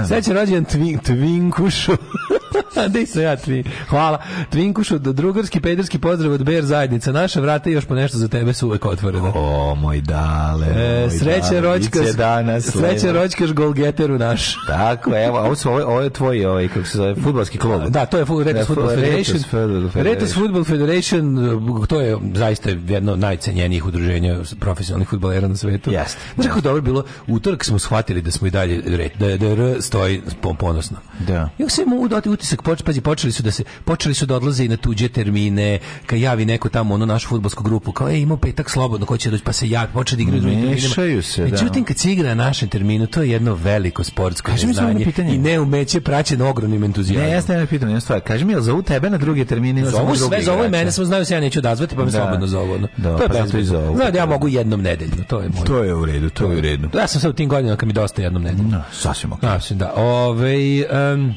G: Srećan rođen tvin, Tvinkušu. Gde sam ja Tvin? Hvala. Tvinkušu, drugarski, pederski pozdrav od BR zajednica. Naša vrata i još po nešto za tebe su uvek otvorena.
F: O, moj dale,
G: E,
F: moj dale,
G: sreće ročkaš,
F: bit će danas,
G: sreće
F: lepo.
G: ročkaš golgeteru naš.
F: Tako, evo, ovo, su, ovo, ovo je tvoj, ovaj, kako se zove, futbalski klub.
G: Da, to je fu-
F: Da,
G: Retus Football
F: fu-
G: Federation.
F: Retus Football Federation.
G: Retus Football Federation, uh, to je zaista jedno od najcenjenijih udruženja profesionalnih futbolera na svetu.
F: Jeste.
G: Znaš kako dobro bilo, utorak smo shvatili da smo i dalje red, da, da R stoji po- ponosno.
F: Da.
G: Ja se mogu dati utisak utisak poč, pazi, počeli su da se počeli su da odlaze i na tuđe termine, kad javi neko tamo ono našu fudbalsku grupu, kao ej, imao petak slobodno, ko će doći, pa se javi, počeli da igraju u drugim terminima.
F: Mešaju se, da.
G: Međutim, kad se igra na našem terminu, to je jedno veliko sportsko
F: Kaži mi samo jedno
G: neznanje
F: pitanje.
G: i neumeće praćeno ogromnim entuzijazmom.
F: Ne, ja stvarno pitam jednu stvar. Kaži mi, jel zovu tebe na druge termine? ili samo
G: Zovu
F: druge
G: sve, zovu i
F: igrače?
G: mene, samo znaju se ja neću odazvati, pa me
F: Da.
G: slobodno zovu. ono.
F: Da,
G: to je
F: pa zato
G: bezbedno.
F: i zovu.
G: Znaju da ja mogu jednom nedeljno, to je moj.
F: To je u redu, to je u redu.
G: Ja sam sad u tim godinama kad mi dosta jednom nedeljno.
F: Da, sasvim ok.
G: Znači, da. Ove, em,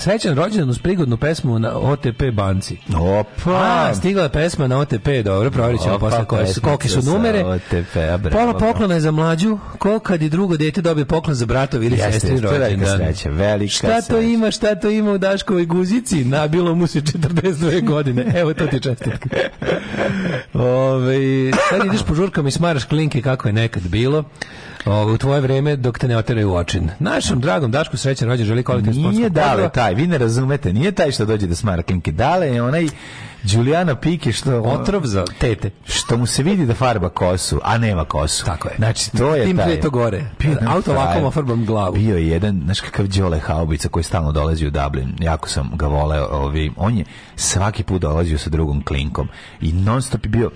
G: srećan rođendan uz prigodnu pesmu na OTP banci.
F: Opa!
G: A, stigla je pesma na OTP, dobro, provjerit ćemo
F: Opa,
G: posle koje su, kolike su
F: pesmica pa sa
G: numere.
F: OTP, a bravo,
G: Pola
F: bravo.
G: poklona je za mlađu, ko kad i drugo dete dobije poklon za bratovi ili
F: Jeste,
G: sestri
F: jeste, to je velika
G: rođendan.
F: sreća, velika
G: šta to
F: sreća.
G: ima, šta to ima u Daškovoj guzici? Nabilo mu se 42 godine. Evo to ti čestitka. Ove, sad ideš po žurkama i smaraš klinke kako je nekad bilo. Ove, u tvoje vreme dok te ne oteraju u očin. Našem dragom Dašku srećan rođen želi kvalitet
F: Nije dale taj, vi ne razumete, nije taj što dođe da smara klinke. Dale je onaj Đulijana Pike što...
G: Otrov za tete.
F: Što mu se vidi da farba kosu, a nema kosu.
G: Tako je.
F: Znači, to je
G: Tim
F: taj.
G: pre to gore.
F: Bio jedan
G: Auto
F: frajer.
G: ovako ofarbam glavu.
F: Bio je jedan, znaš kakav Đole Haubica koji stalno dolazi u Dublin. Jako sam ga voleo. Ovi. On je svaki put dolazio sa drugom klinkom. I non stop je bio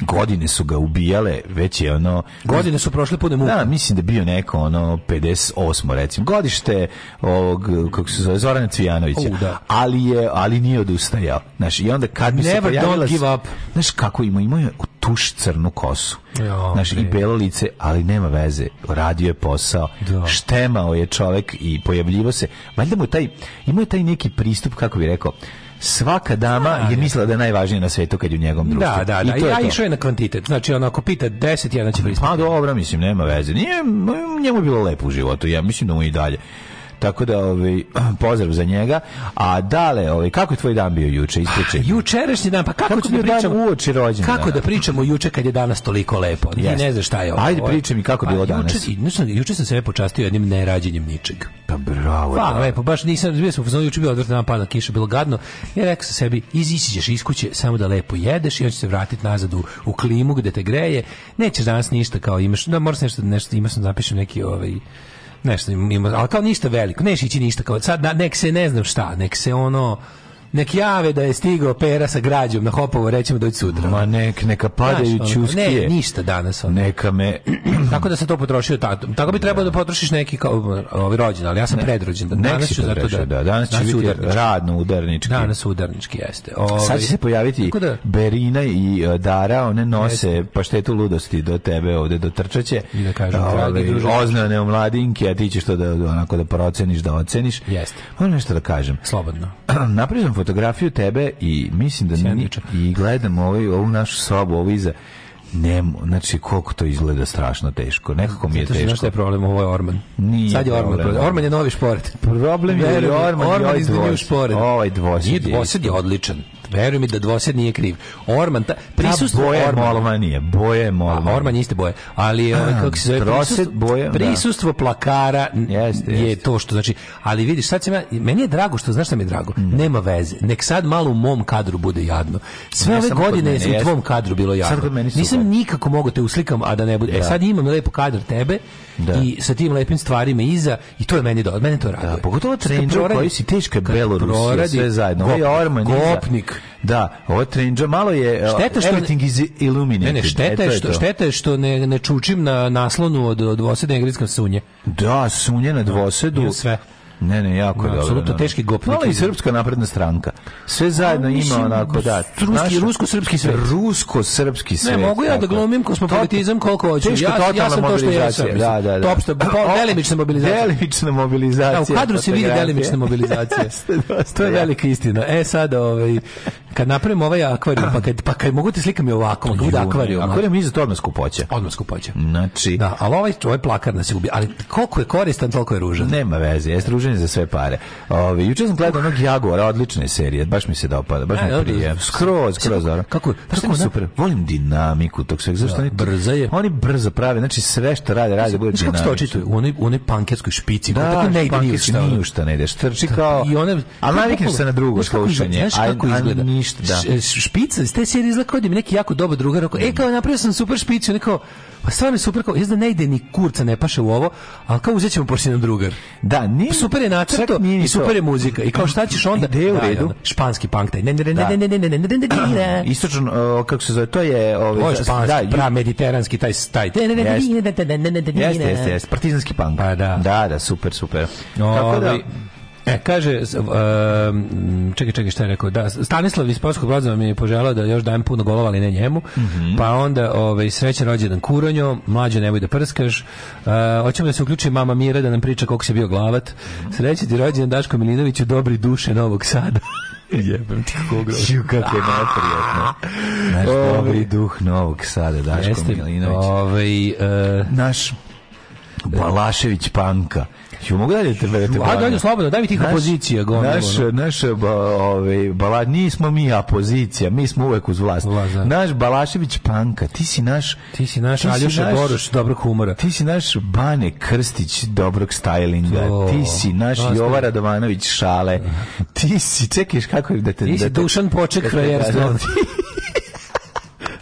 F: godine su ga ubijale, već je ono...
G: Godine su prošle pune muke.
F: Da, mislim da je bio neko ono 58 recimo godište ovog kako se zove Zorana Cvijanovića.
G: U, da.
F: Ali je ali nije odustajao. Znaš, i onda kad mi se
G: Never
F: pojavila
G: don't give up.
F: Znaš kako ima, imao je tuš crnu kosu.
G: Jo,
F: znaš, i
G: bre.
F: belo lice, ali nema veze. Radio je posao.
G: Da.
F: Štemao je čovek i pojavljivo se. Valjda mu je taj, imao je taj neki pristup, kako bi rekao, svaka dama je mislila da je najvažnija na svetu kad je u njegovom društvu.
G: Da, da,
F: I
G: da.
F: to je
G: Ja
F: to.
G: išao je na kvantitet. Znači, ono, ako pita 10, jedan će pristati.
F: Pa dobro, mislim, nema veze. Nije, njemu je bilo lepo u životu, ja mislim da mu je i dalje. Tako da, ovaj, pozdrav za njega. A dale, ovaj, kako je tvoj dan bio juče? Ispričaj.
G: Jučerašnji dan, pa kako,
F: Kako
G: ću da
F: bi dan
G: pričam
F: uoči rođendana?
G: Kako da pričamo juče kad je danas toliko lepo? Ti
F: Jeste.
G: ne znaš šta je ovo.
F: Ajde,
G: Ovo je-
F: pričaj mi kako je bilo danas.
G: Juče, i, znaš šta, juče sam sebe počastio jednim nerađenjem ničeg.
F: Pa bravo.
G: Pa,
F: dale.
G: lepo, baš nisam, bio sam u fazonu, juče je bilo odvrtna napadna kiša, bilo gadno. Ja rekao sam sebi, izići ćeš iz kuće, samo da lepo jedeš i onda ćeš se vratiti nazad u, u klimu gde te greje. Nećeš danas ništa kao imaš, da moraš nešto, nešto imaš, napišem neki ovaj, nešto ima, ali kao ništa veliko, neš ići ništa kao, sad da, nek se ne znam šta, nek se ono, nek jave da je stigao pera sa građom na hopovo, rećemo doći sutra.
F: Ma nek, neka padaju
G: Znaš, ono,
F: čuskije.
G: Ne, ništa danas. Ono.
F: Neka me...
G: Tako da se to potrošio tato. Tako bi trebalo da potrošiš neki kao ovaj rođen, ali ja sam predrođen.
F: Nek si
G: ću zato
F: potrešio, da. Danas će biti
G: udarnički.
F: radno udarnički.
G: Danas udarnički jeste. Ovaj,
F: Sad će se pojaviti
G: Tako da-
F: Berina i uh, Dara, one nose paštetu ludosti do tebe ovde, do trčaće.
G: I da kažu, dragi druže-
F: Oznane omladinke, a ti ćeš to da, onako da proceniš, da oceniš.
G: Jeste.
F: Moram nešto da kažem.
G: Slobodno.
F: Napravio sam fotografiju tebe i mislim da ni,
G: Sjajniče.
F: i gledam ovaj, ovu našu sobu, ovu iza. Ne, znači koliko to izgleda strašno teško. Nekako mi je
G: To je
F: teško.
G: što je problem, ovo je Orman.
F: Nije
G: Sad je Orman.
F: problem.
G: problem. Orman je novi šporet.
F: Problem je
G: Verujem,
F: Orman i ovaj
G: is the new
F: dvosed.
G: šporet.
F: Ovaj dvosed
G: Nije
F: je
G: dvosed je odličan. Veruj mi da dvosed nije kriv. Orman, ta, prisustvo
F: boje je
G: Ormana-
F: molvanije, boje je
G: A,
F: molvanije.
G: Orman je iste boje, ali je ovaj, kako se zove,
F: trosed boje, da.
G: prisustvo plakara n-
F: Jeste,
G: je
F: jeste.
G: to što znači, ali vidiš, sad sam ja, meni je drago što, znaš šta mi je drago,
F: Mm.
G: nema veze, nek sad malo u mom kadru bude jadno. Sve
F: Ne
G: ove
F: samo kod
G: godine
F: mene,
G: je u
F: jeste.
G: tvom kadru bilo jadno.
F: Sad kod meni su
G: Nisam
F: kod-
G: nikako mogu te uslikam, a da ne bude. E, sad imam lepo kadar tebe
F: Da.
G: i sa tim lepim stvarima iza i to je meni do, mene to raduje.
F: Da, pogotovo
G: Sad kad
F: trendža u
G: proradi-
F: kojoj si teška je
G: kad
F: Belorusija,
G: proradi-
F: sve zajedno. Ovo je Orman. iza.
G: Gopnik.
F: Da, ovo je trendža, malo je uh,
G: Šteta što-
F: everything is illuminated.
G: Ne, ne,
F: E, to
G: šteta je
F: to.
G: što, šteta je što ne, ne čučim na naslonu od, od vosedne engleske sunje.
F: Da, sunje na dvosedu.
G: Imam sve.
F: Ne, ne, jako je
G: Ima
F: dobro.
G: apsolutno
F: da.
G: teški gopnik. Pa,
F: Malo i srpska napredna stranka. Sve zajedno ima onako, da.
G: ruski-
F: naša-
G: rusko-srpski svet.
F: Rusko-srpski
G: Ne,
F: svet.
G: mogu ja da
F: tako.
G: glumim kosmopolitizam koliko hoću.
F: Teško
G: Ja, ja
F: totalna
G: sam to što jesam.
F: mobilizacija. Da, da, da.
G: To opšta, po, delimična mobilizacija.
F: Delimična mobilizacija.
G: Da, u kadru se vidi
F: fotografije.
G: delimična mobilizacija.
F: Jeste, dosta
G: to je
F: jako.
G: velika istina. E sad, ovaj, kad napravim ovaj akvarijum, pa kad, pa kad mogu te slikam i ovako, kad bude akvarijum,
F: Akvarijum iza to odmah skupoća.
G: odmah skupoće.
F: Znači,
G: Da, ali ovaj, ovaj plakar nas je ubija. Ali koliko je koristan, toliko je ružan.
F: Nema veze, je druženje za sve pare. Ove, juče sam gledao onog Jaguara, odlična je serija, baš mi se dopada, baš
G: E,
F: mi
G: dobro.
F: prije. Skroz, skroz dobro.
G: kako-
F: Znaš šta
G: kako
F: mi je
G: ona-
F: super? Volim dinamiku tog svega, zašto oni...
G: brza je.
F: Oni brzo prave, znači sve što rade, rade, bude
G: Znaš kako se to
F: dinamično.
G: očituje? U onoj, u onoj pankerskoj špici.
F: Da,
G: Da, tako ne ide ni u
F: špankerski
G: šta. ono.
F: ni u šta ne ideš. Trči kao...
G: I one,
F: a navikneš se na drugo
G: Znaš kako izgleda-
F: slušanje.
G: Znaš kako
F: a- a
G: izgleda?
F: Ništa, da.
G: Š- Špica iz te serije izgleda kao da mi neki jako dobar drugar rekao, e kao napravio sam super špicu, neko pa stvarno je super, kao, jaz da ne ide ni kurca, ne paše u ovo, ali kao uzet ćemo pošto je nam drugar.
F: Da, nije...
G: Super je nacrto
F: čak nije ni
G: i super je
F: to.
G: muzika. I kao šta ćeš onda?
F: Ide u
G: Da, i
F: redu.
G: onda Španski punk taj. Ne, ne, ne,
F: Da.
G: ne, ne, ne, ne, ne, ne, ne, ne, ne.
F: Istočan, o, kako se zove, to je... Ovaj,
G: Ovo je
F: za-
G: španski,
F: da,
G: pra mediteranski taj taj. Ne, ne, ne, ne,
F: Jeste.
G: ne, ne, ne, ne, ne, ne, ne.
F: Jeste, jeste, jeste. Partizanski punk.
G: Pa da.
F: Da, da, super, super. Tako da,
G: Ovaj, E, kaže, s- um, čekaj, čekaj, šta je rekao, da, Stanislav iz Polskog Brozova mi je poželao da još dajem puno golova, ali ne njemu,
F: Mhm.
G: pa onda, ovaj, srećan rođendan Kuronjo, mlađo nemoj da prskaš, uh, hoćemo da se uključi mama Mira da nam priča koliko si bio glavat, srećan ti rođendan Daško Milinoviću, dobri duše Novog Sada. Jebem ti kogo.
F: Ju, kako je neprijatno. Naš dobri duh Novog Sada, Daško
G: Jeste,
F: Milinović.
G: ovaj, e,
F: Naš Balašević panka. Ju, mogu dalje te vedete?
G: a dalje slobodno, daj mi tih
F: Naš-
G: opozicija, gomilu,
F: Naš,
G: ono.
F: naš ba, ovaj, bala, nismo mi opozicija, mi smo uvek uz vlast.
G: Vlast, da.
F: Naš Balašević Panka, ti si naš...
G: Ti si naš Aljoša
F: naš-
G: Boruš, dobrog humora.
F: Ti si naš Bane Krstić dobrog stylinga,
G: To.
F: ti si naš
G: Dosta.
F: Jova Radovanović šale, ti si, čekaš kako je da te...
G: Ti si
F: da te-
G: Dušan Poček frajerstva.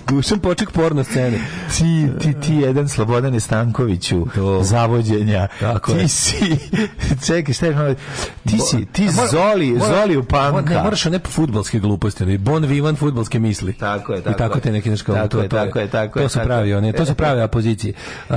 G: Dušan Poček porno scene.
F: ti, ti, ti jedan Slobodane Stankoviću zavođenja.
G: Tako
F: ti
G: je.
F: si, čekaj, šta je malo- ti si, ti
G: Mora-
F: Zoli,
G: mora-
F: Zoli u panka.
G: Ne, moraš one futbalske gluposti, ne, bon vivan futbalske misli.
F: Tako je,
G: I
F: tako
G: tako
F: je.
G: te neki nešto
F: Tako
G: to,
F: je,
G: to
F: tako je, tako je,
G: To su
F: tako
G: pravi
F: je. E,
G: one, to su prave opozicije. Uh,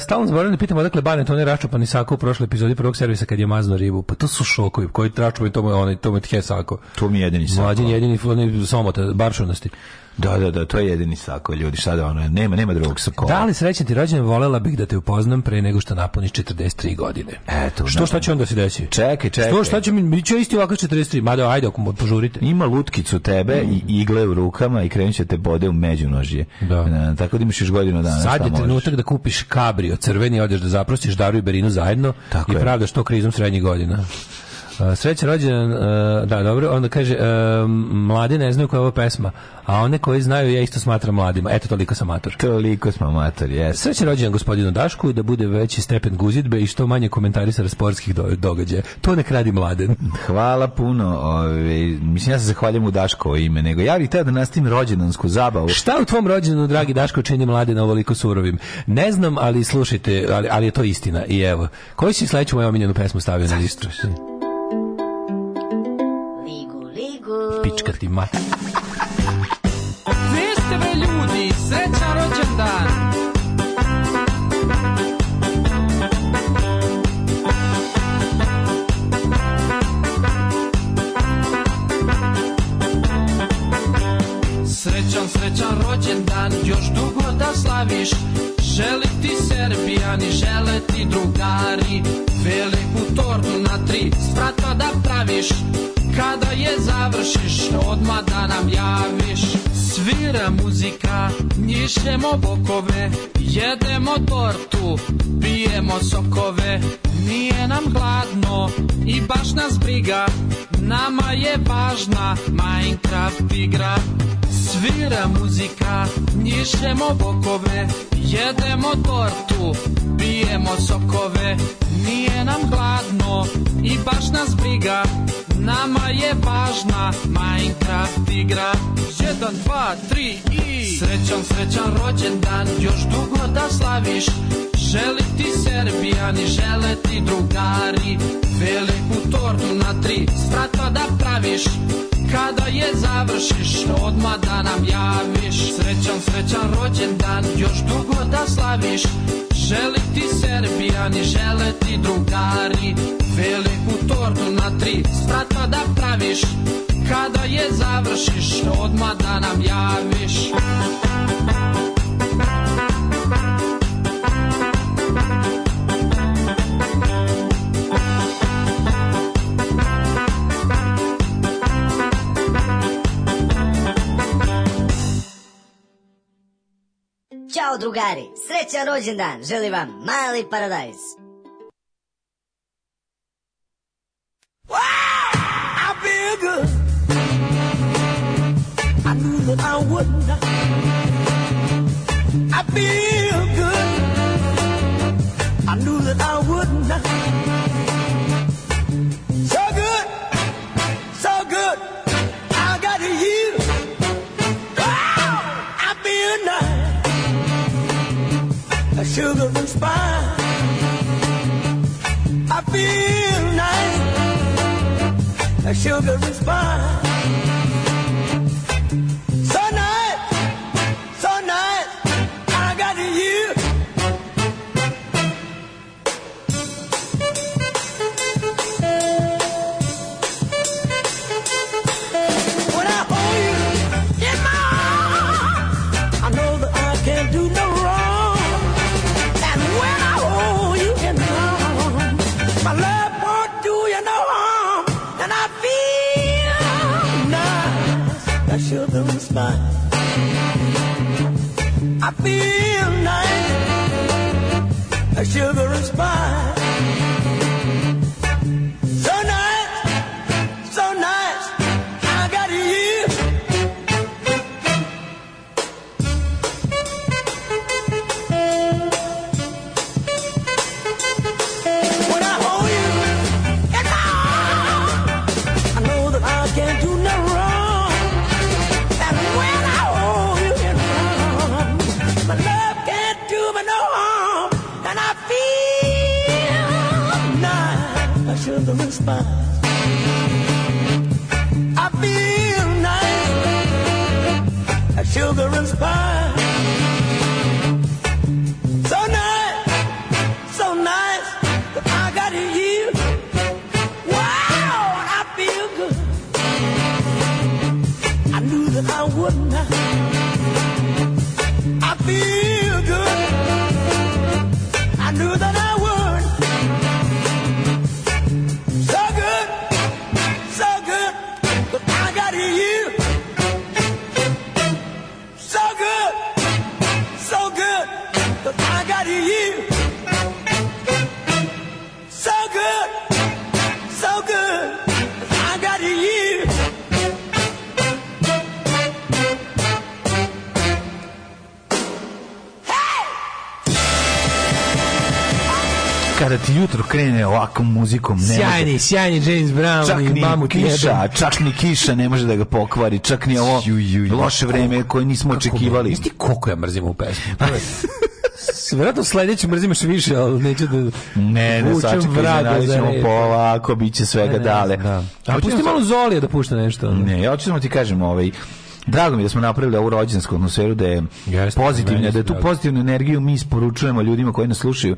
G: stalno zaboravljam da pitamo odakle Banet, on je račupan i sako u prošloj epizodi prvog servisa kad je mazno ribu. Pa to su šokovi, koji račupan i to mu je onaj, to mu je tje sako.
F: To mi je jedini sako.
G: Mlađen je jedini onaj somota, baršunosti.
F: Da, da, da, to je jedini sako, ljudi, šta da ono, nema, nema drugog sakola.
G: Da li srećan ti rođen, volela bih da te upoznam pre nego što napuniš 43 godine.
F: Eto,
G: Što,
F: na-
G: šta će onda se desiti?
F: Čekaj, čekaj.
G: Što, šta će mi, mi će isti ovako 43, mada ajde, ako mu požurite.
F: Ima lutkicu tebe i igle u rukama i krenut će te bode u međunožje.
G: Da.
F: E, tako da imaš još godinu dana.
G: Sad
F: šta
G: je
F: možeš.
G: trenutak da kupiš kabrio, crveni, odeš da zaprostiš Daru i Berinu zajedno
F: Tako
G: i
F: je.
G: pravdaš to krizom srednjih godina. Uh, Sreća rođen, da dobro, onda kaže, uh, mladi ne znaju koja je ova pesma, a one koji znaju ja isto smatram mladima. Eto, toliko sam mator.
F: Toliko smo amatori, jes.
G: Srećan rođendan gospodinu Dašku i da bude veći stepen guzidbe i što manje komentarisara sportskih do- događaja. To nek radi mladen.
F: Hvala puno. Ove, mislim, ja se zahvaljujem u Daškovo ime, nego ja bih teo da nastavim rođendansku zabavu.
G: Šta u tvom rođendanu, dragi Daško, čini mladena ovoliko surovim? Ne znam, ali slušajte, ali, ali je to istina. I evo, koji si sledeću moju omiljenu pesmu stavio na listu?
I: Ligu, ligu.
G: Pička ti mat.
J: Gde ste bre ljudi, srećan rođendan Srećan, srećan rođendan, još dugo da slaviš Želi ti Serbijani, žele ti drugari Veliku tortu na tri sprata da praviš Kada je završiš, odmah da nam javiš Svira muzika, njišemo bokove Jedemo tortu, pijemo sokove Nije nam gladno i baš nas briga Nama je važna Minecraft igra Svira muzika, njišemo bokove, jedemo tortu, pijemo sokove. Nije nam gladno i baš nas briga, nama je važna Minecraft igra. Jedan, dva, tri i... Srećan, srećan rođendan, još dugo da slaviš. Želi ti Serbijani, žele ti drugari, veliku tortu na tri strata da praviš. Kada je završiš, odmah da nam javiš Srećan, srećan rođendan, još dugo da slaviš Želi ti Serbijani, žele ti drugari Veliku tortu na tri strata da praviš Kada je završiš, odmah da nam javiš
I: Ćao drugari, srećan rođendan, želim vam mali paradajz.
K: I feel good. I knew that I would not. I feel good. I knew that I would not. So good, so good. I got you.
L: Oh,
K: Wow, I feel nice.
L: a sugar and spice. I feel nice, a sugar and spice. So nice, so nice, I got you. When I hold you in my arms, I know that I can't do no wrong. And when I hold you in my arms, my love won't do you no harm. And I feel nice, that sugar and spice. I feel nice, that sugar and spice. So nice, so nice, I got you. When I hold you in my arms, I know that I can't do no wrong. And when I hold you in my arms, my love can't do me no harm. And I feel nice, I should have response. I feel nice, a sugar and spice. So nice, so nice, that I got you. Wow, I feel good. I knew that I would not. I feel good. I knew that I would. So good, so good, that I got you. So good, so good, that I got you. So good, so good, I got you.
F: Kada ti jutro krene ovakvom muzikom, ne
G: Sjajni, sjajni James Brown
F: Čak
G: i
F: ni
G: mamu ti
F: kiša,
G: jebem.
F: čak ni kiša ne može da ga pokvari, čak ni ovo
G: Ju, ju, ju.
F: loše vreme koje nismo očekivali.
G: Znaš ti koliko ja mrzim ovu pesmu? To je- Pa, S- Vjerojatno sledeću mrzim još više, ali neću da...
F: Ne, ne,
G: vučem
F: sačekaj,
G: vraga
F: iznenadit
G: za
F: ćemo
G: reč.
F: polako, bit će svega
G: Ne, ne,
F: dale.
G: Da. A
F: Hoćemo
G: pusti
F: sa-
G: malo Zolija da pušta nešto. ono.
F: Ne, ja hoću samo ti kažem, ovaj, drago mi je da smo napravili ovu rođensku atmosferu, da je
G: Jeste, meni
F: pozitivna, da je tu
G: drago.
F: pozitivnu energiju mi isporučujemo ljudima koji nas slušaju.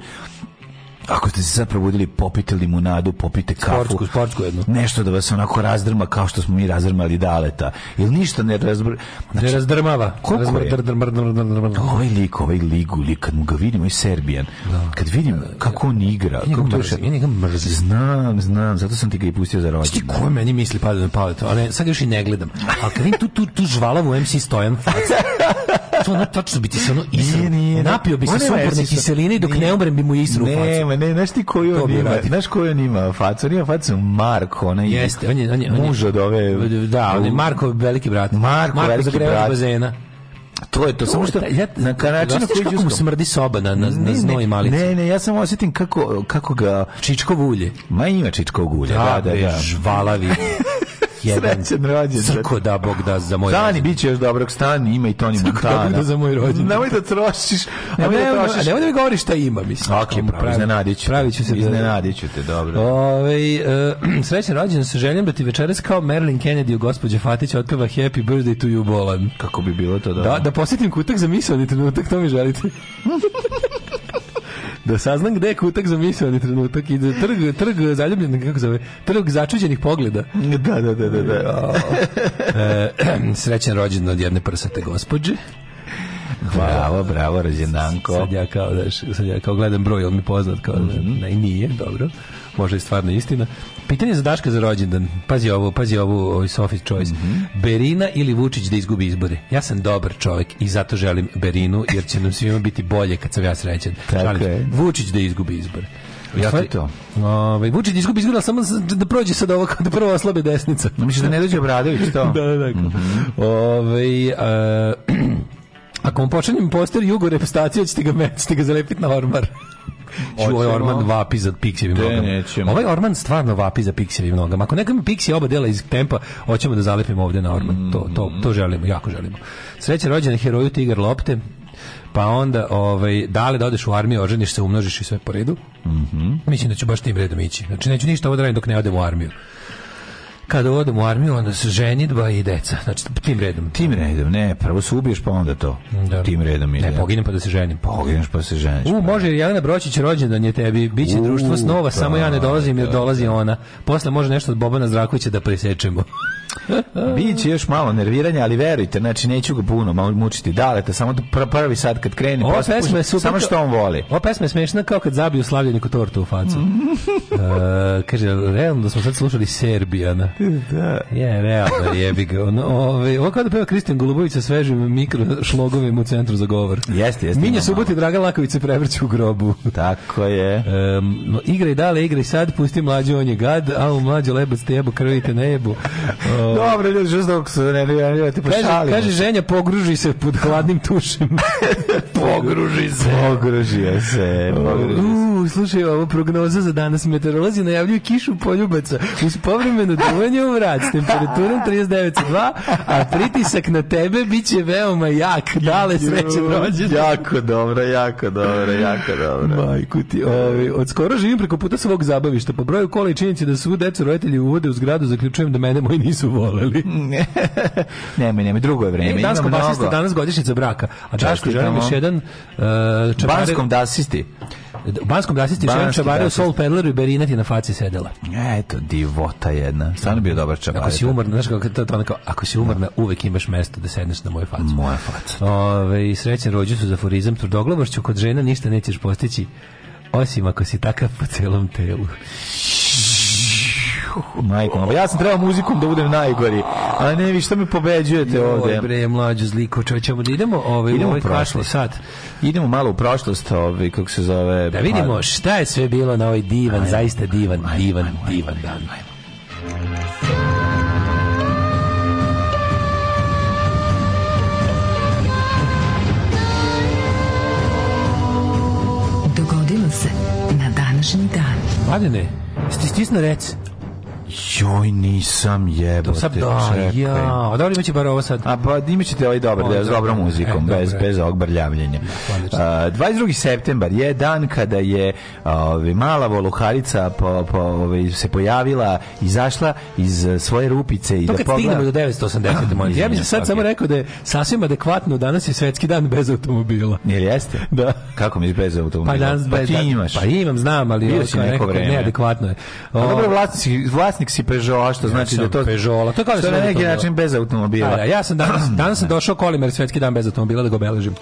F: Ako ste se sad probudili, popite limunadu, popite kafu.
G: Sportsku, sportsku jednu.
F: Nešto da vas onako razdrma kao što smo mi razdrmali daleta. Ili ništa ne razdrma.
G: Ne razdrmava.
F: Znači, Koliko
G: Razmr-
F: je?
G: dr- dr- mr- dr- dr- dr- dr-
F: Ovaj lik, ovaj ligu, lik, kad mu ga vidimo, i Serbijan, kad vidim kako on igra,
G: njega
F: kako to
G: mrzim,
F: još-
G: ja njega mrzim.
F: Znam, znam, zato sam ti ga i pustio za
G: Ti
F: rođendan.
G: koje meni misli pada na palet, ali sad još i ne gledam. A kad vidim tu, tu, tu žvalavu MC Stojan facu, to ono tačno bi ti se ono
F: Nije,
G: isru.
F: nije, ne.
G: Napio bi se
F: On nema
G: sumporne
F: MC Stojan.
G: kiseline i dok ne
F: Nije.
G: umrem bi mu isru u facu.
F: Ne, ne, znaš ti koji
G: To
F: on
G: bi
F: ima,
G: radio.
F: znaš koji on ima facu, on ima facu Marko, onaj
G: Jeste, on je, on je, on je
F: muž od ove,
G: Da, on je Marko veliki brat.
F: Marko, veliki
G: zagrevač
F: brat.
G: bazena.
F: to je to, samo što,
G: ja,
F: na kanačinu
G: Osjetiš
F: koji
G: kako mu smrdi soba na, na, na znoj i malici.
F: Ne, ne, ja samo osjetim kako, kako ga,
G: Čičkovo ulje.
F: ma ima čičkog ulja, da, da,
G: bre,
F: da.
G: Žvalavi.
F: Srećan rođendan.
G: Crko da Bog da za moj
F: Stani, bit će još dobrog stani, ima i Toni Montana.
G: da za moj rođendan.
F: Nemoj da trošiš,
G: Ne,
F: nemoj
G: ne,
F: da
G: ne,
F: trošiš.
G: nemoj da mi govoriš šta ima, mislim.
F: Ok,
G: Ono,
F: pravo, iznenadit ću. te.
G: Pravit ću se. da-
F: Iznenadit ću te, dobro.
G: Ovaj e, srećan rođendan sa željom da ti večeras kao Marilyn Kennedy u gospođe Fatić otpeva Happy Birthday to you Bolan.
F: Kako bi bilo to
G: Da, da posjetim kutak za misaoni trenutak, to mi želite. da saznam gde je kutak za misaoni trenutak i da trg, trg zaljubljenih, kako zove, trg začuđenih pogleda.
F: Da, da, da, da, da.
G: E, srećan rođendan od jedne prsate gospođe.
F: Bravo, bravo, rođendanko.
G: Sad ja kao, znaš, sad ja kao gledam broj, on mi poznat, kao,
F: Mhm.
G: ne, nije, dobro. Možda je stvarno istina. Pitanje za Daška za rođendan. Pazi ovo, pazi ovu, ovaj Sophie's choice.
F: Mhm.
G: Berina ili Vučić da izgubi izbore? Ja sam dobar čovjek i zato želim Berinu, jer će nam svima biti bolje kad sam ja srećan.
F: Tako
G: Šalim se.
F: je.
G: Vučić da izgubi izbore. Ja
F: to je to.
G: Ovaj Vučić da izgubi izbore, ali samo da prođe sad ovo, da prvo oslabe desnica
F: Misliš da ne dođe Obradović, to?
G: da, da, da. Ovaj, e, ako vam počinjem poster jugo repstacije, ćete ga, me- ćete ga zalepiti na ormar. Čuo je
F: Hoćemo.
G: Orman vapi za piksijevim
F: Te
G: nogama.
F: nećemo.
G: Ovaj Orman stvarno vapi za piksijevim nogama. Ako neko ima piksije oba dela iz tempa, hoćemo da zalepimo ovde na Orman. To, to, to želimo, jako želimo. Sreće rođene heroju Tigar Lopte. pa onda ovaj, dale da odeš u armiju, oženiš se, umnožiš i sve po redu. Mislim da ću baš tim redom ići. Znači, neću ništa ovo da radim dok ne odem u armiju. Kada odem u armiju, onda se ženitba i deca. Znači, tim redom.
F: Tim redom, ne, prvo se ubiješ pa onda to.
G: Da.
F: Tim redom ide.
G: Ne, poginem pa da se ženim.
F: Pogineš pa se ženiš.
G: U, može Jelena Bročić rođendan je tebi, bit će
F: U,
G: društvo snova,
F: da,
G: samo ja ne dolazim jer
F: da,
G: dolazi ona. Posle može nešto od Bobana Zdravkovića da presečemo.
F: Biće još malo nerviranja, ali verujte, znači neću ga puno malo mučiti. Daleta, samo do- pr- prvi sad kad krene,
G: Ova
F: posle
G: pesma je super.
F: samo
G: kao-
F: što on voli.
G: Ova pesma je smešna kao kad zabiju slavljeniku tortu u facu. E, kaže, realno da smo sad slušali Serbijana. Da. Je, realno, jebi ga. Ono, ove, ovo kao da peva Kristijan Golubović sa svežim mikro šlogovima u centru za govor.
F: Jeste, jeste,
G: Minja
F: ima
G: Subot i Dragan Laković se prevrću u grobu.
F: Tako je.
G: Um, no, igra i dale, igra i sad, pusti mlađe, on je gad, a u mlađe lebac te jebu, krvite ne jebu. O,
F: Dobro, ljudi, što dok se ne nervirate, pa
G: kaže,
F: šalimo.
G: kaže, ženja, pogruži se pod hladnim tušem.
F: pogruži se. Pogružio se, pogružio se.
G: Uuu, slušaj, ovo prognoza za danas. Meteorolozi najavljuju kišu poljubaca uz povremeno duvanje u vrat s temperaturom 39,2, a pritisak na tebe bit će veoma jak. Dale, srećen rođen.
F: Jako dobro, jako dobro, jako dobro.
G: Majku ti, ovi, od skoro živim preko puta svog zabavišta. Po broju kola i činjenici da svu decu roditelji uvode u zgradu, zaključujem da mene moji nisu voleli.
F: Nemoj, nemoj, drugo je vreme.
G: E, Dansko
F: Ima mnogo.
G: basista danas godišnjica braka. A Daško
F: Čestitamo.
G: želim još jedan... Uh, čabare-
F: Banskom dasisti.
G: U Banskom dasisti još jedan
F: Banski
G: čabare u
F: dasist.
G: Soul Peddleru i Berinati na faci sedela.
F: Eto, divota jedna. Stvarno je bio dobar čabar.
G: Ako si umorna, znaš kako to, to ono kao, ako si umorna, uvek imaš mesto da sedneš na moju facu.
F: Moja faca.
G: Ove, i srećen rođu su za forizam, tvrdoglavošću kod žena ništa nećeš postići, osim ako si takav po celom telu.
F: Majko, moja, ja sam trebao muzikom da budem najgori. A ne, vi što mi pobeđujete
G: Oj,
F: ovde?
G: Ovaj bre, mlađo zliko, ćemo da idemo ovaj,
F: Idemo u
G: u ovaj
F: prošlost.
G: kašli sad.
F: Idemo malo u prošlost, ovaj, kako se zove. Pa,
G: Da vidimo šta je sve bilo na ovaj divan, zaista divan, divan, divan dan.
E: Dogodilo se na današnji dan.
G: Mladene, sti stisno rec.
F: Joj, nisam jebote.
G: Sad, da,
F: čekaj.
G: ja, a dobro imaće bar ovo sad.
F: A pa imat ćete ovaj dobar
G: Ovo je
F: deo s dobrom
G: dobro.
F: muzikom,
G: E,
F: bez,
G: dobro je.
F: bez ovog brljavljenja.
G: odlično.
F: A, 22. septembar je dan kada je ovaj, mala voluharica po, po, ovaj, se pojavila, izašla iz eh, svoje rupice i
G: To
F: da
G: kad stignemo do
F: pogleda...
G: 980. molim. Ja bih
F: Izvinjam
G: sad
F: se,
G: samo
F: ok.
G: rekao da je sasvim adekvatno danas je svetski dan bez automobila.
F: Jel jeste?
G: Da.
F: Kako mi je bez automobila?
G: Pa danas
F: pa
G: bez-
F: ti
G: da-
F: imaš.
G: Pa imam, znam, ali
F: Bio
G: ovo
F: si
G: kao
F: neko
G: nekako
F: vreme.
G: neadekvatno je.
F: A
G: O,
F: dobro, vlasnik, si- vlasnik si Peugeota, što znači da
G: sam
F: je to...
G: Peugeola, to je kao da
F: što je
G: sam
F: na neki
G: automobila.
F: način bez automobila.
G: da, da, ja sam danas, danas sam došao kolimar svetski dan bez automobila da ga obeležim.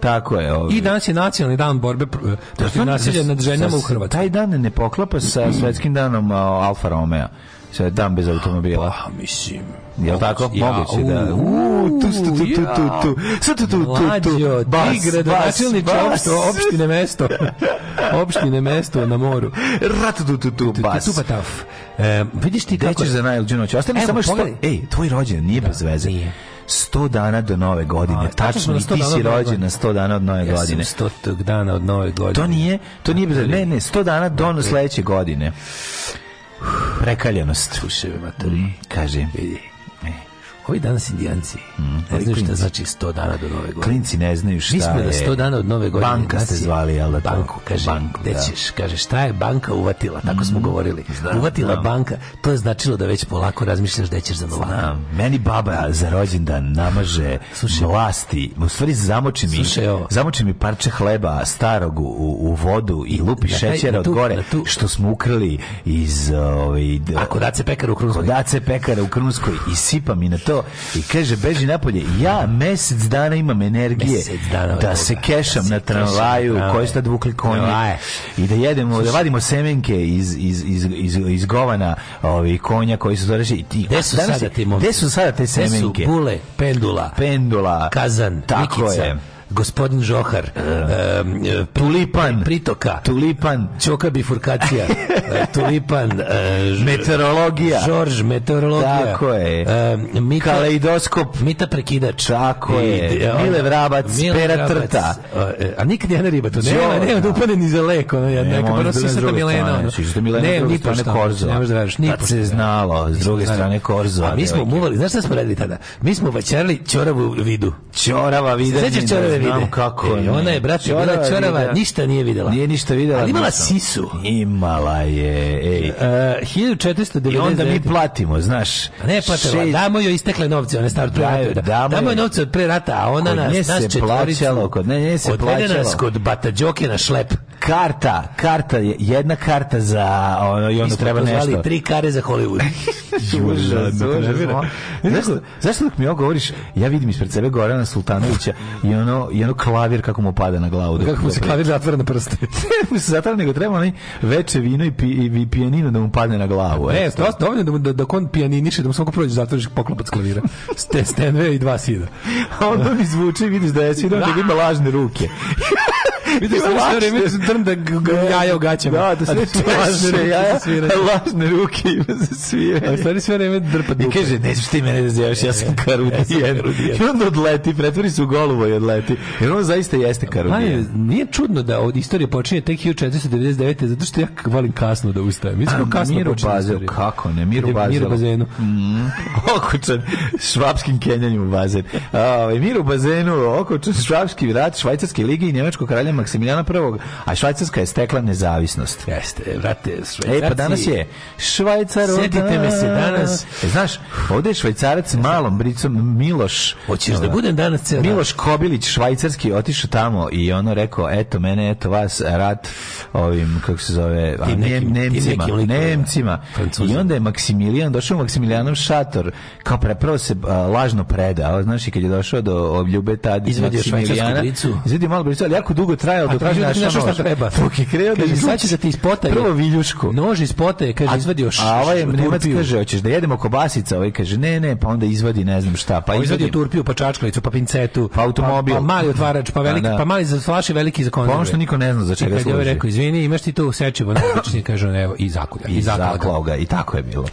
F: Tako je. Ovaj.
G: I danas je nacionalni dan borbe pr- protiv nasilja nad ženama u Hrvatskoj.
F: Taj dan ne poklapa sa svetskim danom a, Alfa Romeo. Sve dan bez automobila.
G: Pa, mislim...
F: Jel tako?
G: Ja,
F: Moguće da.
G: u,
F: U, tu, tu, tu, tu, tu, tu. Sad tu, tu, tu, tu.
G: Mlađo,
F: Bas,
G: ti gradonačelniče
F: bas,
G: opšto-
F: bas.
G: opštine mesto. opštine mesto na moru.
F: Rat, tu, tu, tu, bas.
G: Tu pa taf. E, vidiš ti
F: Gde
G: kako...
F: ćeš za Nile Đunović? Ostane
G: Evo,
F: samo što...
G: pogledaj.
F: Ej, tvoj rođen nije bez veze.
G: nije.
F: 100 dana do nove godine.
G: A, tačno smo
F: Tačno,
G: na
F: i
G: 100
F: ti
G: dana
F: si
G: od nove
F: rođen
G: godine.
F: na 100 dana od nove
G: Ja sam
F: godine.
G: stotog dana od nove godine.
F: To nije, to nije bez veze. Ne, ne, 100 dana do sledeće godine. Prekaljenost.
G: Puševe materi.
F: Mm, Kaže. E.
G: Ovi danas indijanci. ne
F: ovi
G: znaju šta
F: klinci.
G: znači 100 dana do nove godine.
F: Mm, Klinci ne znaju šta
G: Mi smo
F: je.
G: da 100 dana od nove godine.
F: Banka ste
G: nacije-
F: zvali, jel da to?
G: Banku, kaže,
F: Banku,
G: gde
F: da. Mm,
G: ćeš? Kaže, šta je banka uvatila? Tako smo govorili. uvatila banka, to je značilo da već polako razmišljaš gde ćeš za novaka.
F: A, meni baba za rođendan namaže
G: Slušaj.
F: vlasti, u stvari zamoči mi,
G: Slušaj ovo.
F: zamoči mi parče hleba starog u, u vodu i lupi
G: Na taj-
F: šećera
G: na tu-
F: od gore,
G: na tu-
F: što smo ukrali iz ovaj, d-
G: Ako da se pekar u Krunskoj.
F: kodace pekara u Krunskoj i sipa mi na to i kaže beži napolje, ja mesec dana imam energije
G: Mesec dana od
F: da
G: toga.
F: se
G: Da
F: kešam
G: se
F: na
G: kešam
F: tramvaju
G: na tramvaju.
F: koji ste dvukli konji
G: Tramvaje.
F: i da jedemo, da vadimo semenke iz, iz, iz, iz, iz govana ovih konja koji su zareši i ti
G: Gde su
F: Danas
G: sada
F: je-
G: ti momci?
F: Gde su sada te
G: Gde su
F: semenke?
G: bule, pendula,
F: Pendula.
G: kazan,
F: Tako
G: Mikica,
F: je.
G: gospodin Žohar, em, e, pri-
F: Tulipan.
G: pritoka,
F: Tulipan.
G: Ćoka bifurkacija, e, tulipan, e, ž-
F: Meteorologija.
G: Žorž, meteorologija.
F: Tako je.
G: E, Mika,
F: Kaleidoskop.
G: Mita prekidač.
F: Tako je.
G: e, ono-
F: Mile Vrabac, Pera Trta.
G: E, A nikad jedna riba tu nema,
F: Đole,
G: nema da
F: da.
G: upade ni za lek. Ono, jedna,
F: Ne,
G: neka,
F: može
G: prvo
F: da bude s
G: sisata
F: druge
G: Milena.
F: strane.
G: Ono.
F: Sisata Milena,
G: Ne,
F: s druge
G: ni
F: strane
G: pošto,
F: Korzova.
G: Ne možeš da veriš, ni
F: Tad
G: pošto.
F: se znalo, s
G: Ni
F: druge
G: pošto.
F: strane Korzova,
G: A mi smo
F: devojke.
G: muvali, znaš šta smo radili tada? Mi smo vaćarili ćoravu vidu.
F: Ćorava vidanje.
G: Sećaš ćorave vide.
F: Znam kako
G: E,
F: ne.
G: ona je, brate,
F: Ćorava
G: bila čorava,
F: videla.
G: ništa nije videla.
F: Nije ništa videla.
G: Ali imala
F: nisam.
G: sisu.
F: Imala je, ej.
G: Uh, 1499.
F: I onda mi platimo, znaš.
G: A Ne platila,
F: Šest-
G: damo joj istekle novce, one stare pre
F: Daj,
G: rata.
F: damo
G: Damo,
F: joj-
G: joj novce od pre rata, a ona
F: Kod
G: nas,
F: nje
G: nas
F: se
G: četvoricu
F: plaćalo, kod nje- nje se
G: odvede nas
F: plaćalo.
G: kod Batađoke na šlep.
F: Karta, karta, je- jedna karta za ono, i
G: Mi
F: onda
G: smo
F: treba
G: to zvali
F: nešto.
G: tri kare za Hollywood.
F: Užas,
G: Užas,
F: užas.
G: nervira.
F: Zašto, zašto dok mi ovo govoriš, ja vidim ispred sebe Gorana Sultanovića i ono, i ono klavir kako mu pada na glavu. dok-
G: Kako mu se
F: dok-
G: klavir zatvara na prste.
F: Ne mu se zatvara, nego treba onaj veče vino i, pi, i pijanino da mu padne na glavu. eto.
G: Ne, to E, dovoljno da mu- da dok on pijaniniše, da mu svako prođe zatvoriš poklopac klavira. Ste stenve i dva sida.
F: A onda mi zvuči i vidiš da je sinoć da ima lažne ruke.
G: Vidiš sve
F: Lažne-
G: vreme drn da g- g- jaja u gaćama.
F: Da, da
G: A
F: sve
G: to lažne ruke
F: jaja,
G: za sviranje.
F: a lažne ruke ima za
G: A u
F: sviranje.
G: stvari sve vreme drpa
F: I
G: dupe.
F: kaže, ne znaš ti mene da zjavaš, E, ja sam karudijen.
G: karudijan.
F: I onda odleti, pretvori se u golubo i odleti. Jer on zaista jeste
G: Manje,
F: karudijen.
G: Pa nije čudno da od istorija počinje tek 1499. zato što ja k- volim kasno da ustajem. Mi smo kasno
F: Miro
G: počeli
F: Bazel,
G: istoriju.
F: kako ne, Miro
G: Idem-
F: Bazel.
G: Miro bazenu.
F: Okučan švapskim kenjanjem u bazen. Ovaj mir u bazenu, okučan švapski rat švajcarske lige i njemačkog kralja Maksimilijana I, a švajcarska je stekla nezavisnost.
G: Jeste, vrate,
F: E, pa danas je Švajcaro.
G: Sjetite me se danas.
F: E, znaš, ovdje je švajcarac malom bricom Miloš. ovaj,
G: Hoćeš da budem danas ceo dan?
F: Miloš Kobilić, švajcarski, otišao tamo i ono rekao, eto mene, eto vas, rat ovim, kako se zove, a,
G: Tim
F: Nem-
G: nekim- tim
F: Nemcima,
G: nekim likovima.
F: Nemcima. I
G: Francuzima.
F: onda je Maksimilijan, došao Maksimilijanov šator, kao pre, prvo se a, lažno predao, znaš, i kad je došao do Ljube Tadić,
G: Izvadio
F: Maksimilijana,
G: švajcarsku bricu.
F: izvadio malu bricu, ali jako dugo trajao dok
G: tražio
F: nije
G: da ti
F: našao
G: našao šta
F: nož.
G: treba.
F: Dok je krenuo da
G: Kaže, sad
F: izvuče
G: će da ti ispota, je.
F: Prvo viljušku.
G: Nož iz pota je, kaže, izvadio š-
F: A ovaj
G: š-
F: Nemac
G: turpiju.
F: kaže, hoćeš da jedemo kobasica, ovaj kaže, ne, ne, pa onda izvadi ne znam šta, pa
G: Pa izvadio
F: izvadi
G: turpiju, pa čačkalicu, pa pincetu,
F: Pa automobil.
G: pa, pa mali otvarač, pa veliki,
F: Pa da.
G: pa mali za flaše, veliki za konzerve.
F: Pa ono što niko ne zna za
G: I
F: čega
G: kad je ovaj
F: služi.
G: rekao, izvini, imaš ti to sečivo, najobičnije kaže, on, evo, i zakulja.
F: I
G: zaklao ga.
F: zaklao ga, i tako je bilo.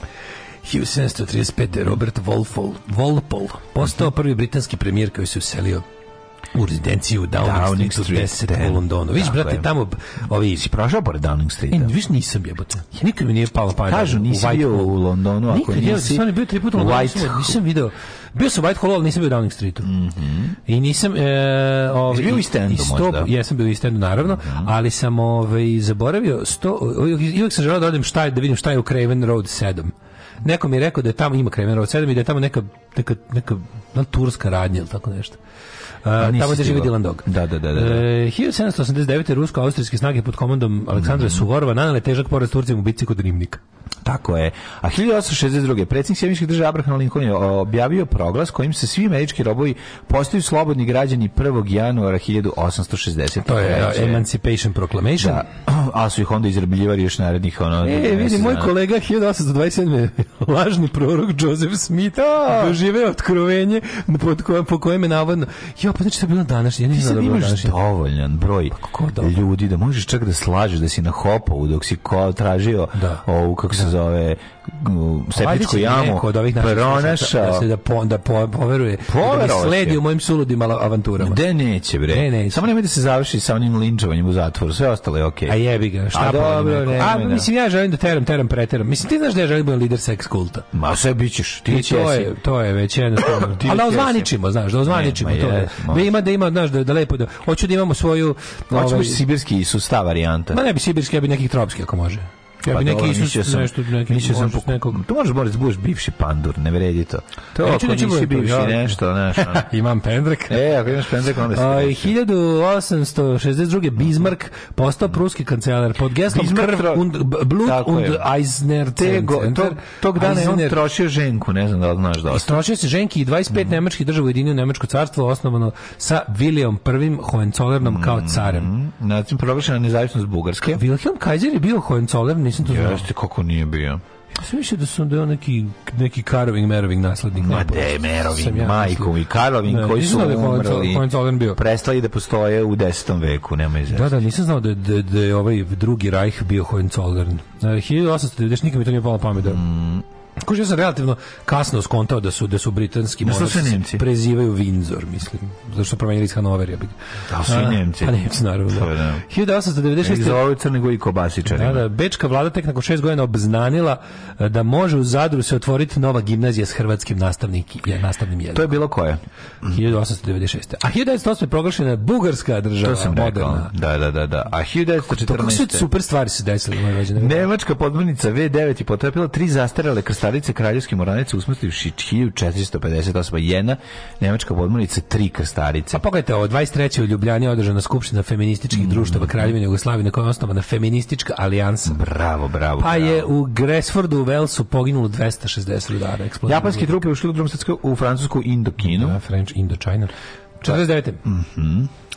G: 1735. Robert Walpole, Walpole
F: Mhm.
G: postao prvi britanski premijer koji se uselio u rezidenciju u Downing,
F: Downing
G: Streetu
F: Street,
G: 10
F: da.
G: u Londonu. Viš,
F: Tako
G: brate,
F: je.
G: tamo b- ovi...
F: Si prošao pored Downing
G: E,
F: Streeta?
G: viš nisam jebote. Nikad mi nije palo pamet.
F: Kažu,
G: u
F: nisi
G: Whitehall.
F: bio u Londonu, ako
G: Nikad, ja
F: nisi,
G: sam bio tri puta u
F: u
G: Londonu,
F: Whitehall.
G: nisam, nisam video. Bio sam u Whitehallu, ali nisam bio u Downing Streetu. I nisam... E,
F: Mhm. Jesi
G: ovaj,
F: bio u
G: i-
F: East Endu
G: i sto-
F: možda? Mhm.
G: Jesam bio u East Endu, naravno, ali sam ovaj, zaboravio... Sto, uvijek- uvijek sam želeo da odem šta je, da vidim šta je u Craven Road 7. Neko mi je rekao da je tamo ima Craven Road 7 i da je tamo neka, neka, neka na turska radnja ili tako nešto. E, A,
F: nisi
G: tamo gde živi
F: stigao.
G: Dylan Dog.
F: Da, da, da, da, da.
G: E, 1789. rusko-austrijske snage pod komandom
F: Mhm.
G: Aleksandra Suvorova nanale težak poraz Turcijom u bitci kod Rimnika.
F: Tako je. A 1862. predsjednik Sjemičkih država Abraham Lincoln je objavio proglas kojim se svi američki robovi postaju slobodni građani 1. januara 1860.
G: To je a, Emancipation Proclamation.
F: Da, a su ih onda izrabljivali još narednih ono...
G: E, vidi,
F: mjesec
G: moj
F: dana.
G: kolega 1827. lažni prorok Joseph Smith doživeo otkrovenje pod kojem, po kojem je navodno... Jo, pa znači to je bilo današnje, ja
F: Ti
G: nisam
F: sad
G: znao da je bilo
F: imaš
G: današnje.
F: dovoljan broj
G: kako Pa dovoljan?
F: ljudi da možeš čak da slažeš da si na hopovu dok si ko tražio
G: Da.
F: ovu, kako se zove, u,
G: Valjda
F: septičku
G: će
F: jamu,
G: neko od ovih naših slušalaca Da
F: pronašao.
G: se da, po, da po, poveruje. Da
F: Poverovao
G: mi sledi
F: će.
G: u mojim suludim ala- avanturama.
F: Gde neće, bre?
G: Gde neće?
F: Samo nemoj da se završi sa onim linčovanjem u zatvoru, sve ostalo je okej.
G: A jebi ga, šta
F: A
G: pa
F: dobro,
G: volim neko.
F: nemoj,
G: A
F: da.
G: mislim ja želim da teram, teram, preteram. Mislim ti znaš da ja želim da budem lider seks kulta.
F: Ma sve bit ćeš, ti
G: I
F: već
G: to je,
F: jesi.
G: to je već jednostavno.
F: Ti
G: Ali da
F: već jesi.
G: ozvaničimo, znaš, da ozvaničimo
F: Ne, ma
G: to.
F: jes,
G: da
F: može.
G: ima, da ima, znaš, da, da lepo da... Hoću da imamo svoju...
F: Hoćemo
G: ovaj,
F: sibirski Isus, ta varijanta.
G: Ma ne bi sibirski, ja bi neki tropski ako može. Ja bi
F: Pa
G: neki
F: dobro,
G: Isus
F: mislio sam-
G: nešto, neki
F: mislio sam
G: možda
F: poku-
G: nekog...
F: Tu možeš moraš da budeš bivši pandur, ne vredi to. To
G: Neću,
F: ako nisi
G: neću budem to,
F: bivši
G: ja.
F: nešto, znaš. ono.
G: Imam pendrek. ovaj,
F: E, ako imaš pendrek, onda si
G: A,
F: loš.
G: 1862. Bismarck postao pruski kancelar pod geslom
F: Bismarck
G: krv
F: tro-
G: und b- blut
F: Tako
G: und
F: je.
G: Eisner
F: Te go, tog, tog dana je on
G: Eisner-
F: trošio ženku, ne znam da li znaš dosta.
G: Istrošio se ženki i 25
F: Mhm.
G: nemačkih država ujedinio Nemačko carstvo osnovano sa Vilijom I Hohenzollernom
F: Mhm.
G: kao carem.
F: Znači, proglašena nezavisnost Bugarske.
G: Wilhelm Kaiser je bio Hohenzollern, nisam to znao.
F: Jeste, kako nije bio.
G: Ja sam mislio da su da je on neki, neki karoving, meroving naslednik.
F: Ma
G: Ne, pa
F: de,
G: sam
F: Merovin,
G: ja
F: Majkovi,
G: mislio.
F: Karlovin,
G: Ne,
F: koji
G: nisam
F: su
G: znao da je Hohenzoll-
F: umrli.
G: Hohenzollern bio.
F: Prestali da postoje u 10. veku, nema izvesti.
G: Da, da, nisam znao da, da, da
F: Mhm.
G: je ovaj drugi rajh bio Hohenzollern. E, 1890, nikad mi to nije palo na pamet da... Kuži, ja sam relativno kasno skontao da su, da su britanski
F: Na što
G: monarsi
F: sve Nemci?
G: prezivaju Windsor, mislim. Zašto su promenili iz Hanover, ja bih.
F: Da, su i
G: A,
F: Nemci.
G: Pa Nemci, naravno. Da.
F: To je, da.
G: 1896.
F: Egzovi crne i kobasičari.
G: Da, da, bečka vlada tek nakon šest godina obznanila e, da može u Zadru se otvoriti nova gimnazija s hrvatskim nastavnik, je, nastavnim
F: To
G: jezikom.
F: je bilo koje?
G: 1896. A 1908. je proglašena bugarska država,
F: To sam rekao.
G: moderna.
F: Da, da, da, da. A
G: To kako su
F: 1914.
G: super stvari se desile, moje rođene.
F: Nemačka podmornica V9 je potrapila tri zastarele krstarice kraljevske moranice usmrtivši 1450 osoba. Jedna nemačka podmornica, tri krstarice.
G: A Pa pogledajte, ovo, 23. u Ljubljani je održana skupština feminističkih
F: Mm.
G: društava Kraljevine Jugoslavije na kojoj je osnovana feministička alijansa.
F: Bravo, bravo.
G: Pa je
F: bravo.
G: u Gresfordu u Velsu poginulo 260 rudara. eksplodiralo.
F: Japanske trupe ušli u drugom svetskom u francusku Indokinu.
G: Da, French Indochina. 49.
F: Mhm.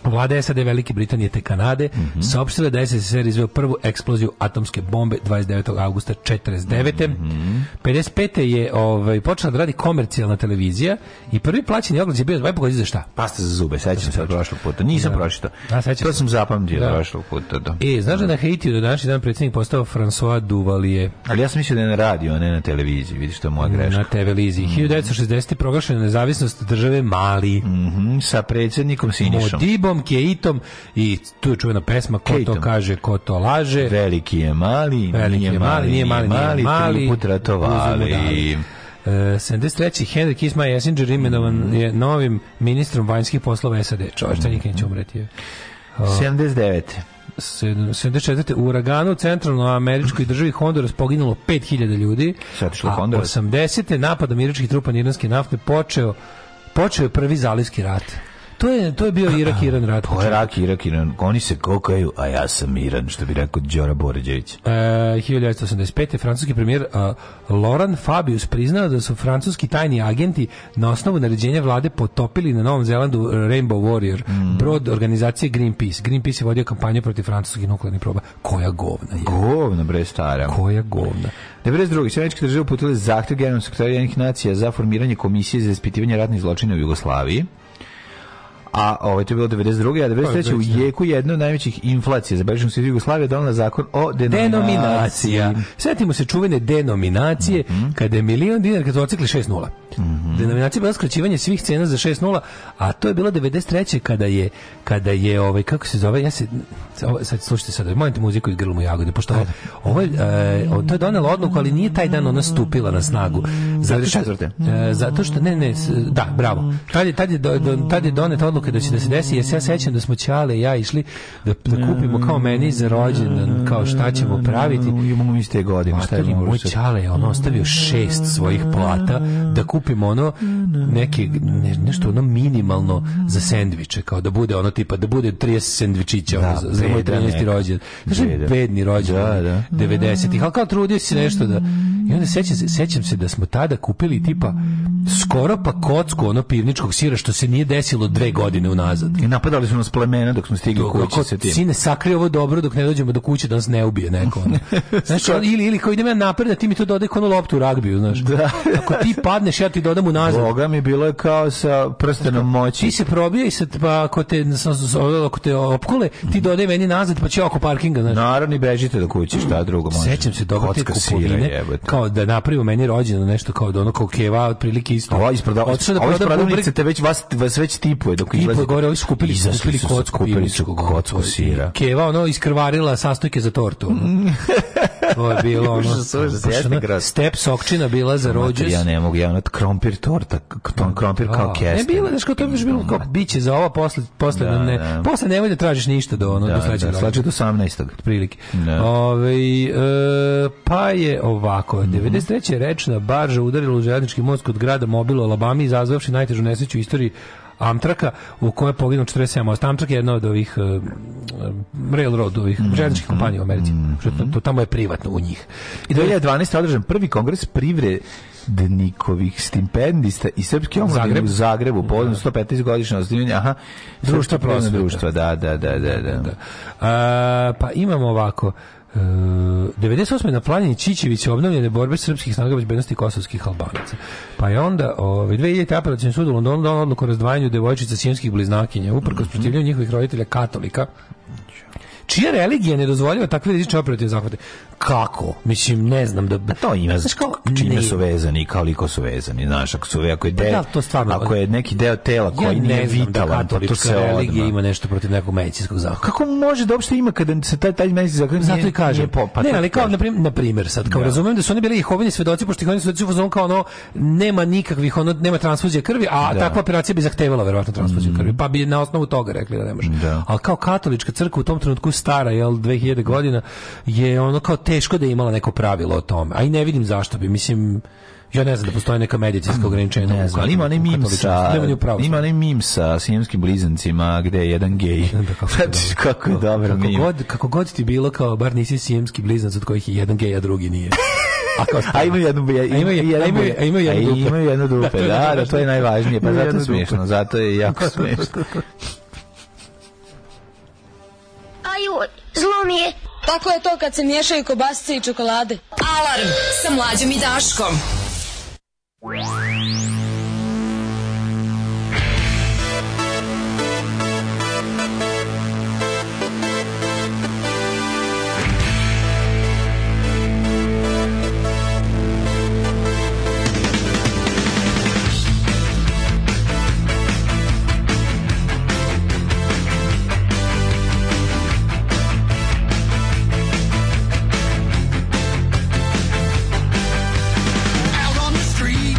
G: Vlada SAD Velike Britanije te Kanade saopštila je da je SSR izveo prvu eksploziju atomske bombe 29. augusta 49.
F: Mhm.
G: 55. je ovaj, počela da radi komercijalna televizija i prvi plaćeni ogled je bio, vaj pogodi za šta?
F: Pasta za zube, sećam se od prošlog puta. Nisam pročitao.
G: Da, sećam
F: To
G: se.
F: sam zapamtio
G: Da.
F: prošlog puta. Da.
G: E, znaš da je na Haitiju do današnji dan predsjednik postao François Duvalier
F: Ali ja sam mislio da je na radiju, a ne na televiziji. Vidiš, to je moja Pa, greška.
G: na TV Lizi. 1960. proglašena nezavisnost države Mali.
F: Mhm, sa predsjednikom Sinišom.
G: Modibom, Keitom i tu je čuvena pesma Ko to
F: Keitom.
G: kaže, ko to laže.
F: Veliki je mali,
G: Veliki
F: nije, mali, nije mali,
G: Pa nije mali,
F: tri put
G: uzmu
F: ratovali.
G: dali. E, 73. Henry Kissinger Jessinger imenovan
F: Mm.
G: je novim ministrom vanjskih poslova SAD. Čovjek, taj nikad neće umreti. je.
F: 79.
G: Sedam- 74. U uraganu u centralno američkoj državi Honduras poginulo 5000 ljudi.
F: Sad otišlo u
G: a
F: Honduras.
G: 80. napad američkih trupa na iranske nafte počeo, počeo je prvi zalivski rat. To je, to je bio Irak-Iran rat.
F: To je Irak, Irak, Iran. Oni se kokaju, a ja sam Iran, što bi rekao Đora Boređević.
G: E, 1985. je francuski premijer a, Laurent Fabius priznao da su francuski tajni agenti na osnovu naređenja vlade potopili na Novom Zelandu Rainbow Warrior, brod organizacije Greenpeace. Greenpeace je vodio kampanju protiv francuskih nuklearnih proba. Koja govna je?
F: Govno, bre, stara.
G: Koja govna.
F: 92. Sjemeničke države uputile zahtjev generalnog sekretara jednih nacija za formiranje komisije za ispitivanje ratnih zločina u Jugoslaviji. A ovaj to je bilo 92. a
G: Pa,
F: 93. u jeku jedno od najvećih inflacija za Bežišnu svijetu Jugoslavije donela zakon o denominaciji.
G: Denominacija. Sjetimo se čuvene denominacije kada je milion dinara kad su ocikli 6 nula. Denominacija je bila skraćivanje svih cena za 6 nula, a to je bilo 93. kada je, kada je ovaj, kako se zove, ja se, ovo- sad slušajte sad, molim te muziku iz Grlom jagode, pošto ovo, ovo je, e, ovo- to je donelo odluku, ali nije taj dan ona stupila na snagu. Zato što,
F: 94..
G: e, zato što ne, ne, s- da, bravo. Tad je, tad je, do- do- tad je doneta odluka da će da se desi, jer se ja sećam da smo Ćale i ja išli da, da kupimo kao meni za rođendan, kao šta ćemo praviti.
F: Imamo iste godine, šta je
G: Materi, moj
F: moguće?
G: Ćale je ono ostavio šest svojih plata da kupimo ono neke, ne- nešto ono minimalno za sendviče, kao da bude ono tipa, da bude 30 sendvičića ono,
F: Da,
G: za, za moj
F: beda
G: 13.
F: neka.
G: rođen. Znaš,
F: Beda.
G: bedni rođen,
F: Da, da.
G: 90-ih, ali kao trudio si nešto da... I onda sećam se, sećam se da smo tada kupili tipa skoro pa kocku ono pivničkog sira što se nije desilo dve godine unazad.
F: I napadali su nas plemena dok smo stigli u kući
G: Ako
F: sa tim.
G: Sine, sakri ovo dobro dok ne dođemo do kuće da nas ne ubije neko. ono. Znaš, on- ili, ili kao idem ja napred, a ti mi to dodaj konu loptu u ragbiju, znaš. Ako ti padneš, ja ti dodam u nazad.
F: Boga mi bilo je kao sa prstenom moći.
G: Ti se probija i sad, pa ako te, sa- sa- ako te opkole,
F: Mhm.
G: ti dodaj meni nazad, pa ću ja oko parkinga, znaš.
F: Naravno i bežite do kuće, šta drugo može.
G: Sećam se dobro te
F: Kocka sira,
G: kupovine,
F: jebote.
G: kao da napravimo meni rođeno nešto kao da ono kao keva, otprilike isto.
F: Ova iz prodav-
G: Otišao da
F: ova iz
G: proda
F: prodavnice
G: bubreg-
F: te već vas, vas već tipuje dok
G: I
F: izlazi.
G: pa gore ovi su kupili, su kupili kocku
F: kupili su
G: pivničkog, ono,
F: kocku
G: koji-
F: sira.
G: Keva ono iskrvarila sastojke za tortu. ono. to je bilo ono.
F: Užas, užas,
G: pošto
F: jeste
G: ono,
F: grozno.
G: Step sokčina bila za rođus.
F: Ja ne mogu, ja ono krompir torta, k- tom krompir kao kesten.
G: Ne bilo, znaš, kao to je još bilo kao biće za ovo posle posle
F: Da,
G: da, ne.
F: da.
G: Posle nemoj da tražiš ništa do ono
F: Da,
G: do
F: da,
G: sledećeg rođendana.
F: slače do 18.
G: prilike.
F: Da.
G: Ovaj, e, pa je ovako, 93. rečna barža udarila u željeznički most kod grada Mobilo, Alabama, izazvavši najtežu nesreću u istoriji Amtraka, u kojoj je poginulo 47 osoba. Amtrak je jedna od ovih e, e, railroad, ovih željezničkih kompanija u Americi. To, to tamo je privatno u njih.
F: I 2012. održan prvi kongres privrednikovih stipendista i srpske omladine
G: Zagreb.
F: u Zagrebu povodom 115 godišnje osnivanja aha društva prosveta
G: prosveta.
F: društva da da da da da
G: Da. A, pa imamo ovako. E, 98. na planini Čičević obnovljene borbe srpskih snaga bezbednosti kosovskih albanaca. Pa je onda ove, 2000. apelacijni sud u Londonu donao
F: Mhm.
G: odluku o razdvajanju devojčica sijemskih bliznakinja, uprkos protivljenju njihovih roditelja katolika, čija religija ne dozvoljava takve rizične operativne zahvate. Kako? Mislim, ne znam da...
F: Pa To ima
G: Znaš kao,
F: čime
G: ne.
F: su vezani i koliko su vezani. Znaš, ako, su, ako, je,
G: Pa
F: deo,
G: da, to stvarno-
F: ako je neki deo tela koji
G: ja
F: nije
G: ne znam da
F: vitalan, pa to
G: katolička
F: se
G: religija
F: odmah.
G: ima nešto protiv nekog medicinskog zahvata.
F: Kako može da uopšte ima kada se taj, taj medicinski zakon
G: Zato
F: nije-
G: i kažem.
F: nije po- pa
G: ne,
F: to
G: ali kao
F: kažem.
G: na primjer, na primjer sad, kao razumijem da su oni bili i hovini svedoci, pošto ih oni svedoci u fazonu kao ono nema nikakvih, ono nema transfuzije krvi, a takva operacija bi zahtevala verovatno transfuziju krvi, pa bi na osnovu toga rekli da ne može.
F: Mm. Da.
G: Ali kao katolička crkva u tom trenutku stara, jel 2000 godina je ono kao teško da je imala neko pravilo o tome. A i ne vidim zašto bi, mislim Ja ne znam da postoje neka medicinska ograničenja.
F: Ne
G: u
F: znam, ali ima onaj
G: katoličkom-
F: mim sa,
G: Nema ni u pravoslavlju.
F: ima onaj mim sa sijemskim blizancima gde je jedan gej. Znači, kako je dobro
G: kako
F: mim.
G: god, kako god ti bilo kao bar nisi sijemski blizanac od kojih je jedan gej, a drugi nije. A kao
F: A imaju jednu a
G: A imaju-
F: imaju
G: a
F: jednu
G: imaju- a imaju jednu dupe.
F: imaju jednu dupe,
G: Da, to
F: da, da,
G: je najvažnije.
F: to je najvažnije, pa
G: Imaju
F: zato je
G: jednu dupe.
F: smiješno, zato je jako smiješno.
M: Aju, zlo mi je.
N: Tako je to kad se miješaju kobasice i čokolade.
E: Alarm sa mlađom i Daškom.
H: out on the streets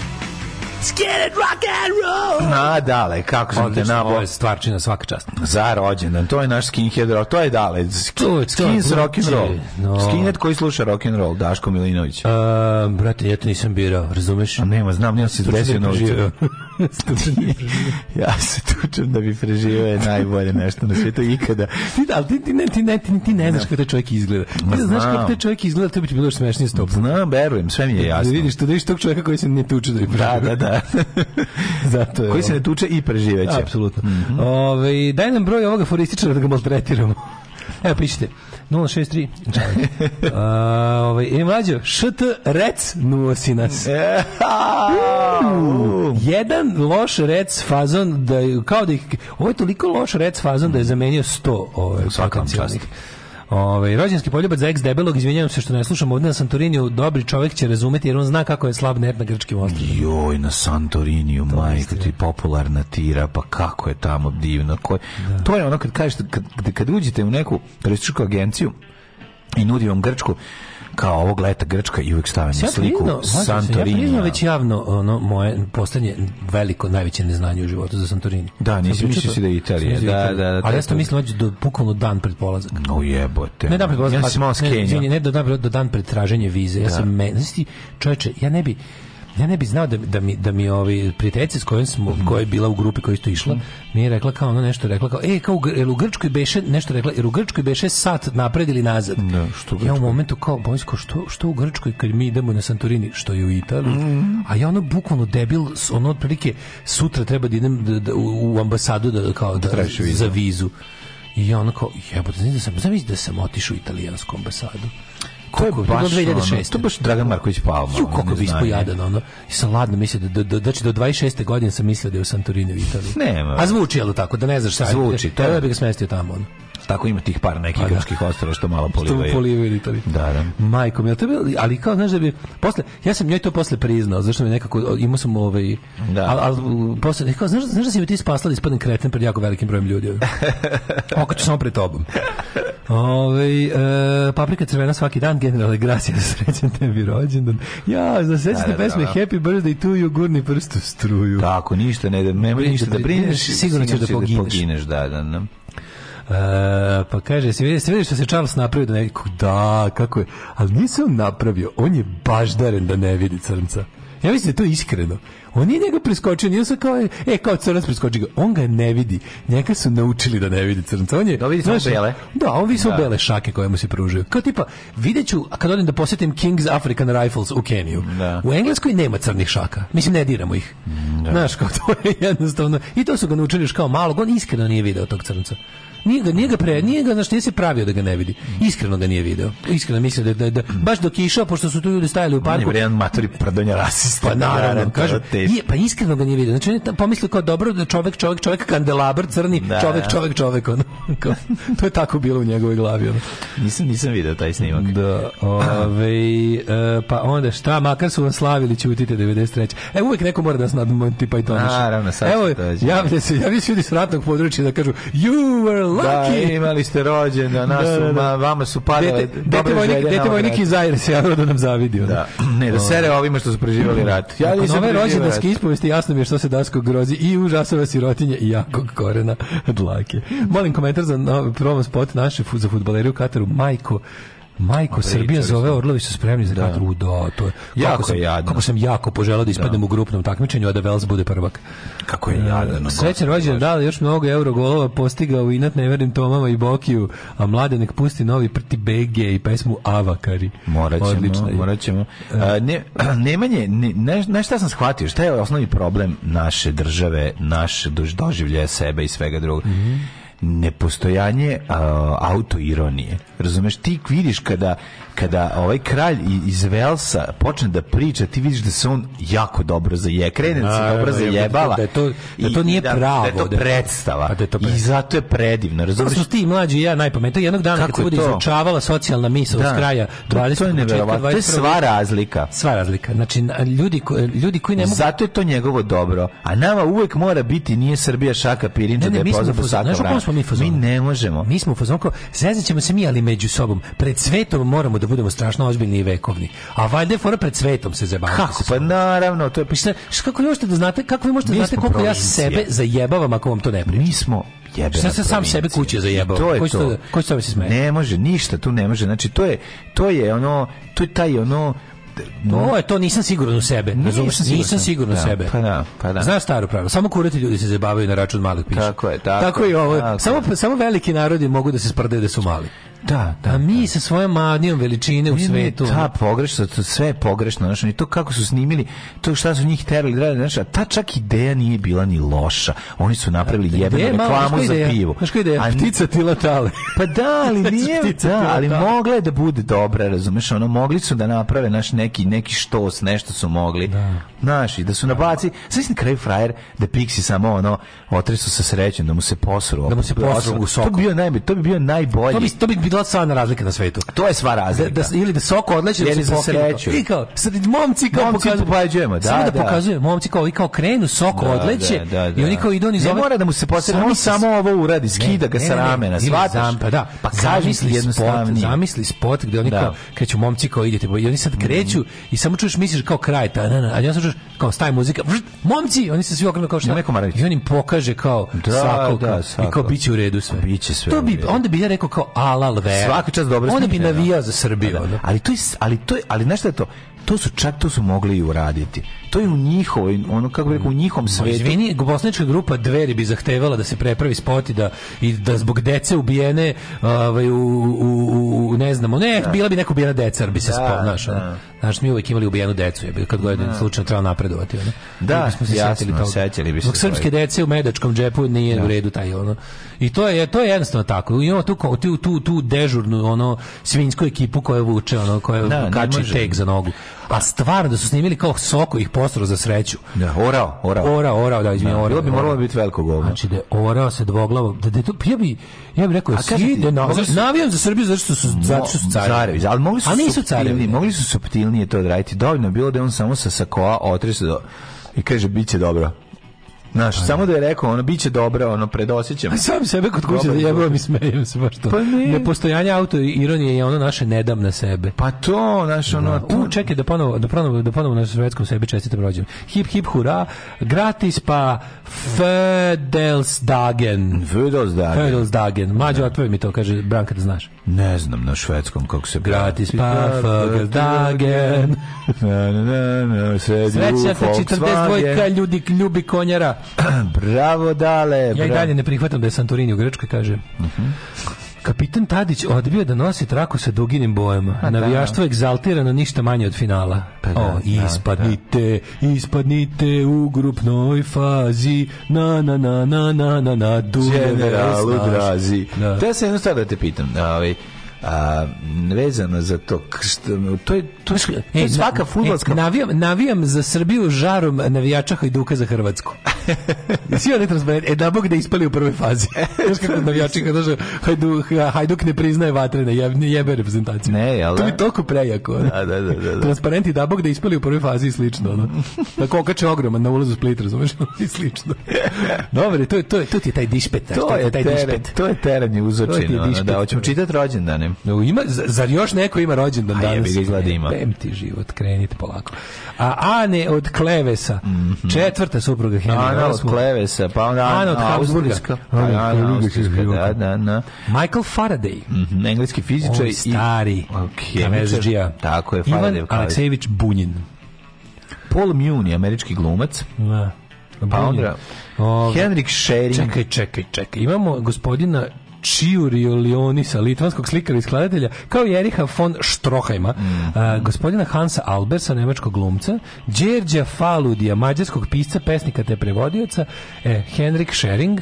O: feeling rock and roll.
F: Na, dale, kako sam te
G: Odlično, ovo
F: nabo.
G: je stvarčina svaka čast. E,
F: Za rođendan, to je naš skinhead rock, to je dale,
G: To je- to je
F: skins rock and roll.
G: no.
F: Skinhead koji sluša rock and roll, Daško Milinović.
G: A, brate, ja to nisam birao, razumeš?
F: A nema, znam, nema se
G: Stručni
F: desio novcu.
G: preživeo.
F: ja se tučem da bi preživio je najbolje nešto na svijetu ikada.
G: Ti, ali ti, ti, ne, ti, ne, ti, ti ne znaš kako taj čovjek izgleda. Ti da znaš
F: Znam.
G: kako taj čovjek izgleda, to bi ti bilo smešnije stop.
F: Znam, verujem, sve mi je
G: Da
F: jasno.
G: vidiš, to, da vidiš tog čovjeka koji se ne tuče da bi
F: Da, da, da.
G: Zato je
F: koji se ne tuče i preživeće.
G: e,
F: Mm.
G: Apsolutno. Ove, daj nam broj ovoga forističara da ga maltretiramo. Evo, pišite. 063. A, ovaj, e, mlađo, št rec nuosi nas.
F: E, a, u.
G: Jedan loš rec fazon da je, kao da ih, ovo je toliko loš rec fazon da je zamenio 100 ovaj,
F: Svaka vam
G: potencijalnih. Ovaj rođenski poljubac za ex debelog, izvinjavam se što ne slušam ovdje na Santoriniju, dobri čovjek će razumeti jer on zna kako je slab net na grčkim ostrvima.
F: Joj, na Santoriniju, majko ti popularna tira, pa kako je tamo divno. Ko, To je ono kad kažeš, kad, kad, kad uđete u neku turističku agenciju i nudi vam Grčku, kao ovog leta Grčka i uvijek stavim na
G: Ja
F: sliku
G: priznao, slažem se, Ja
F: Santorinija.
G: priznao već javno ono moje posljednje veliko najveće neznanje u životu za Santorini.
F: Da,
G: Sam
F: nisi,
G: pričao
F: mislio
G: to-
F: si da je Italija,
G: sam mislio
F: da,
G: Italija.
F: da, da,
G: Ali ja
F: to-
G: sam mislio da do bukvalno dan pred polazak.
F: O jebote.
G: Ne dan pred polazak.
F: ja
G: ali-
F: sam malo
G: ne,
F: skenjao.
G: izvini, ne do dan pred- do dan pred traženje vize. Ja sam me, znaš ti, čoveče, ja ne bi Ja ne bi znao da, da mi da mi ovi prijateljice s kojom smo koja je bila u grupi koja je isto išla, mi je rekla kao ono nešto rekla kao ej kao u Gr- jel u Grčkoj beše nešto rekla, jer u Grčkoj beše sat napred ili nazad.
F: Da, što u
G: ja u momentu kao bojsko što što u Grčkoj kad mi idemo na Santorini, što je u Italiji. A ja ono bukvalno debil s- ono otprilike sutra treba da idem da, da, u u ambasadu da kao da,
F: tražiš vizu.
G: za vizu. I ja ono kao, jebote, znaš da sam, zamisli da sam otišao u italijansku ambasadu.
F: To je
G: Kako, bilo
F: baš,
G: 2006.
F: ono, to je baš Dragan Marković Palma.
G: Ju,
F: ono,
G: kako bi
F: neznanje.
G: ispojadan, ono. I sam ladno mislio, da, da, da, znači do 26. godine sam mislio da je u Santorini u Italiji.
F: Nema.
G: A zvuči, jel tako, da ne znaš šta. je.
F: Zvuči, to je.
G: Trebao bi ga smestio tamo, ono.
F: Tako ima tih par nekih
G: Pa da.
F: grčkih ostrava što malo
G: To mu
F: polivaju.
G: polivaju u Italiji.
F: Da, da.
G: Majkom, jel to bilo, ali kao, znaš da bi, posle, ja sam njoj to posle priznao, zašto mi nekako, imao sam ovaj,
F: Da.
G: al, al, posle, e, kao, znaš, znaš da si mi ti spasla da ispadnem kreten pred jako velikim brojem ljudi, oko ću samo pred tobom. Ove, e, paprika crvena svaki dan, generale, gracija, srećan tebi rođendan. Ja, znaš,
F: Da,
G: sećate
F: da,
G: pesme
F: da, da.
G: Happy Birthday to you, gurni prst u struju.
F: Tako, ništa ne da, nema
G: Ništa
F: ništa da
G: da
F: brineš,
G: brineš, sigurno ćeš da pogineš.
F: da, da, da.
G: E, pa kaže, si vidiš, vidiš što se Charles napravio da ne vidi? Da, kako je. Ali nije se on napravio, on je baždaren da ne vidi crnca. Ja mislim da je to iskreno. On nije njega preskočio, nije se kao, e, kao crnac preskoči ga. On ga ne vidi. Njega su naučili da ne vidi crnca. On je,
F: Da vidi samo
G: znaš,
F: bele.
G: Da, on vidi samo
F: Da.
G: bele šake koje mu se pružaju. Kao tipa, vidjet ću, a kad odem da posjetim King's African Rifles u Keniju.
F: Da.
G: U Engleskoj nema crnih šaka. Mislim, ne diramo ih. Znaš, kao to je jednostavno. I to su ga naučili još kao malog. On iskreno nije video tog crnca. Nije ga, nije ga pre, nije ga, znaš, nije se pravio da ga ne vidi. Iskreno ga nije video. Iskreno mislim da, da, da baš dok je išao, pošto su tu ljudi stajali u
F: On je
G: parku,
F: bre jedan matori prdonja rasista.
G: pa
F: Da, da,
G: naravno,
F: to
G: kažem,
F: je
G: je, pa iskreno ga nije vidio. Znači on je tam pomislio kao dobro da čovek, čovek, čovek, kandelabr crni,
F: Da.
G: čovek, čovek, čovek. Ono. Kao, to je tako bilo u njegovoj glavi. Ono.
F: Nisam, nisam video taj snimak.
G: Da, ovaj, e, pa onda šta, makar su vam slavili, ćutite 93. E, uvek neko mora da nas nadmonti pa i to
F: Naravno, sad će
G: Evo,
F: doći.
G: javlja se, javlja se ljudi s ratnog područja da kažu, you were
F: Da,
G: lucky!
F: imali ste rođendan, nas
G: Da,
F: su,
G: da, da.
F: ma- vama su padale
G: Dete, dete,
F: dobre želje
G: vojnik,
F: na
G: dete
F: ovaj
G: vojnik
F: rat.
G: iz Aire se javio da nam zavidi. ono.
F: Da, ne, da sere ovima što su preživali rat. Ja
G: Nakon
F: nisam
G: ove
F: preživio
G: rođendanske
F: rat.
G: ispovesti jasno mi je što se Dasko grozi i užasava sirotinje i jakog korena dlake. Molim komentar za novi promo spot naše fu- za fudbalere u Kataru. Majko, Majko, Srbija
F: pričali
G: zove, Orlovi su spremni za Katar. U, da, to je.
F: Jako
G: kako sam,
F: je jadno.
G: Kako sam jako poželao da ispadnem u grupnom takmičenju, a da Vels bude prvak.
F: Kako je jadano.
G: Srećan rođen, da li još mnogo eurogolova postigao inat nevernim Tomama i Bokiju, a mlade nek pusti novi prti BG i pesmu Avakari.
F: Morat
G: Odlična
F: ćemo,
G: je.
F: morat ćemo. A, ne, nemanje, ne, ne, znaš šta sam shvatio, šta je osnovni problem naše države, naš dož- doživljaja sebe i svega drugog?
G: Mhm.
F: nepostojanje a, autoironije. Razumeš, ti vidiš kada, kada ovaj kralj i- iz Velsa počne da priča, ti vidiš da se on jako dobro zaje, krene da se
G: Naravno,
F: dobro
G: jebote,
F: zajebala.
G: da je to- da
F: I-
G: to
F: i
G: nije
F: da- Da je
G: pravo,
F: to
G: da je-
F: predstava.
G: A da je to
F: I
G: predstava.
F: zato je predivno.
G: To
F: Razumeš,
G: su ti mlađi i ja najpametniji. Jednog dana
F: Kako
G: kad se
F: je
G: bude
F: to?
G: izučavala socijalna misao s kraja
F: To-
G: 20.
F: to je neverovatno. To je sva razlika.
G: sva razlika. Znači, na- ljudi, ko, ljudi koji ne mogu...
F: Zato je to njegovo dobro. A nama uvek mora biti nije Srbija šaka pirinča da
G: Ne, ne,
F: je
G: mi smo,
F: pozdrav po
G: upozo-
F: sat
G: znaš o kom smo smo mi fazon.
F: Mi ne možemo.
G: Mi smo u fazonu kao, zezat ćemo se mi, ali među sobom. Pred svetom moramo da budemo strašno ozbiljni i vekovni. A valjda je fora pred svetom se zabaviti.
F: Kako? Pa naravno, to je...
G: Pa šta, šta- kako vi možete da znate, kako vi možete da
F: Mi
G: znate
F: smo
G: koliko ja
F: provincija.
G: sebe zajebavam ako vam to ne pričam?
F: Mi smo jebena
G: Šta se sam sebe
F: provincija.
G: kuće zajebavam?
F: To je
G: Ko će
F: to.
G: to- ko će tome se smejati?
F: Ne može, ništa tu ne može. Znači, to je, to je ono, to je taj ono...
G: To je to, nisam siguran u sebe. Razumeš,
F: Nisam siguran.
G: nisam siguran u
F: Da,
G: sebe.
F: pa da, pa da.
G: Znaš staro pravilo, samo kurati ljudi se zabavaju na račun malih piša.
F: Tako je, tako
G: i
F: je,
G: ovo.
F: tako
G: samo, samo veliki narodi mogu da se sprdaju da su mali.
F: Da, da.
G: A mi sa svojom manijom veličine u
F: Ne, ne,
G: svetu. ono.
F: Ta pogrešno, to sve je pogrešno, znaš, i to kako su snimili, to šta su njih terali, da rade, znaš, a ta čak ideja nije bila ni loša. Oni su napravili jebenu
G: Ideja, malo,
F: reklamu
G: znaš
F: za
G: koja ideja?
F: pivo.
G: Znaš koja ideja?
F: A
G: Ptica tila tale.
F: Pa da, ali nije,
G: Ptica
F: da,
G: pila,
F: ali
G: da.
F: mogla je da bude dobra, razumeš, ono, mogli su da naprave naš neki, neki štos, nešto su mogli, znaš, i da su nabaci, znaš na kraju frajer, da Pixi samo, ono, otresu sa srećem, da mu se posru,
G: Da mu se posru u soku.
F: to bi bio, najbolji, to bi bio najbolji,
G: To bi, to bi bila stvarna razlika na svetu.
F: to je sva
G: Da,
F: razlika.
G: da, ili da soko odleće
F: Jer
G: da
F: je
G: se
F: za
G: pokine.
F: sreću.
G: I kao, sad momci kao
F: Momci pobađujemo, da,
G: samo da,
F: da.
G: pokazuje, momci kao, i kao krenu, soko
F: Da,
G: odleće
F: da, da, da.
G: i oni kao idu, oni
F: Ne
G: zove.
F: mora da mu se posere, on
G: Zamisli-
F: samo ovo uradi, skida ga
G: ne,
F: sa
G: ne, ne,
F: ramena,
G: ili
F: shvataš?
G: zam- Pa da,
F: Pa
G: pa
F: kažem ti
G: zamisli spot,
F: jednostavnije.
G: zamisli spot gde oni
F: Da.
G: kao kreću momci kao idete, i oni sad kreću i samo čuješ misliš kao kraj, ta, na, na, a ja sam čuješ kao staje muzika, vršt, momci, oni se svi okrenu kao šta,
F: Nemoj Komarević.
G: i on im pokaže kao
F: Da,
G: svako,
F: da,
G: kao, i kao
F: svako.
G: biće u redu sve.
F: Biće sve
G: To
F: u
G: bi,
F: redu.
G: onda bi ja rekao kao alal vera.
F: Svaka čast dobro
G: Onda bi
F: snimljeno.
G: navijao za Srbiju.
F: Pa Da, da.
G: ono.
F: Ali to je, s- ali to je, ali znaš šta je to? To su čak to su mogli i uraditi. To je u njihovoj, ono kako bih rekao, u njihovom
G: Pa
F: svetu.
G: Izvini, bosnička grupa Dveri bi zahtevala da se prepravi spot i da, i da zbog dece ubijene ovaj, u, u, u- u- ne znamo, ne, bila bi neka ubijena deca, jer bi se spot, znaš, ono. Znaš, mi uvijek imali ubijenu decu, je, kad god je slučajno treba napredovati. Ono.
F: Da,
G: Mi bismo se
F: jasno,
G: setili toga.
F: sećali bi se
G: Zbog srpske
F: toga.
G: dece u medačkom džepu nije u redu taj ono. I to je to je jednostavno tako. Imamo tu ko- tu tu, tu dežurnu ono svinjsku ekipu koja vuče ono koja
F: Da, ne
G: kači
F: može.
G: tek za nogu. A stvarno da su snimili kao soko ih posro za sreću.
F: Da, orao, orao.
G: Orao, orao, da, izvini, orao.
F: Bilo bi
G: orao.
F: moralo biti veliko govno.
G: Znači da je orao se dvoglavo, da, da je to, ja bi, ja bi rekao,
F: kažem
G: svi
F: ti,
G: da na,
F: mogli su-
G: navijam za Srbiju zato što su, zato što su carevi.
F: carevi, ali mogli su
G: A nisu
F: suptilnije,
G: carevi.
F: mogli su suptilnije to odraditi. Dovoljno je bilo da je on samo sa sakoa otrese do, i kaže biće dobro. Znaš,
G: Pa
F: samo da je rekao, ono, biće dobro, ono, predosećam.
G: Sam sebe kod kuće da
F: Dobar izgovor.
G: jebam i smijem se baš to.
F: Pa ne.
G: Nepostojanje auto ironije je ono naše nedam na sebe.
F: Pa to, znaš, ono,
G: U, čekaj da ponovo da ponovo da ponovo na švedskom sebi čestitam rođendan. Hip hip hura, gratis pa Fedelsdagen.
F: Vödels da.
G: Fedelsdagen. Mađo, otvori mi to, kaže Branka da znaš.
F: Ne znam na švedskom kako se
G: Gratis pa Fedelsdagen.
F: Na, na, na, na, sedi u
G: Sreća te 42
F: Volkswagen.
G: ljudi ljubi konjara.
F: Bravo, dale.
G: Ja i
F: bravo.
G: dalje ne prihvatam da je Santorini u Grčkoj, kaže. Kapitan Tadić odbio da nosi traku sa duginim bojama. Navijaštvo egzaltirano ništa manje od finala.
F: Pa da,
G: o,
F: da,
G: ispadnite, ispadnite u grupnoj fazi. Na, na, na, na, na, na, na, Dunave
F: generalu
G: snaž.
F: drazi.
G: Da.
F: Da. Ja sam jednu stvar da te pitam. Ovaj, a, vezano za to, k- što, to je, to je, to
G: E,
F: je svaka
G: na-
F: fudbalska
G: e, navijam, navijam za Srbiju žarom navijača Hajduka za Hrvatsku. Svi oni transparent. E, da bog da ispali u prvoj fazi.
F: E,
G: Znaš kako navijači kad dođe Hajduk, Hajduk ne priznaje vatrene, jeb, ne jebe reprezentaciju.
F: Ne, jel
G: To mi
F: da?
G: je toliko prejako. ono.
F: Da, da, da, da, da.
G: Transparenti da bog da ispali u prvoj fazi i slično. Ono. Da kokače ogroman na ulazu u Split, razumeš? I slično. Dobre, to, je, to, je, to ti je taj dišpet. znaš,
F: To je,
G: taj
F: teren,
G: dišpet.
F: to je teren je
G: To ti je
F: uzočen. Ono,
G: dišpet.
F: da, hoćemo čitati rođendane.
G: No, ima, z- zar još neko ima rođendan
F: A
G: danas?
F: jebi ga, izgleda ima.
G: Jebem ti život, krenite polako. A Ane od Klevesa, četvrta supruga Henry
F: Ana Mhm. od Klevesa, pa onda
G: Ana od Habsburga.
F: Austrijska.
G: Ana od
F: Ana
G: Habsburga,
F: Austrijska, da,
G: kako.
F: da, da.
G: Michael Faraday,
F: Mhm, Engleski fizičar
G: on
F: i
G: stari
F: Kemezđija.
G: Kemezđija.
F: Tako je, Faraday
G: Ivan
F: Aleksej.
G: Aleksejević Bunjin.
F: Paul Muni, američki glumac.
G: Da.
F: Pa onda
G: Ove,
F: Henrik Schering.
G: Čekaj, čekaj, čekaj. Imamo gospodina Čiurio Lionisa, litvanskog slikara i skladatelja, kao i Eriha von Stroheima,
F: Mhm.
G: a, gospodina Hansa Albersa, nemačkog glumca, Đerđa Faludija, mađarskog pisca, pesnika te prevodioca, e, Henrik Schering,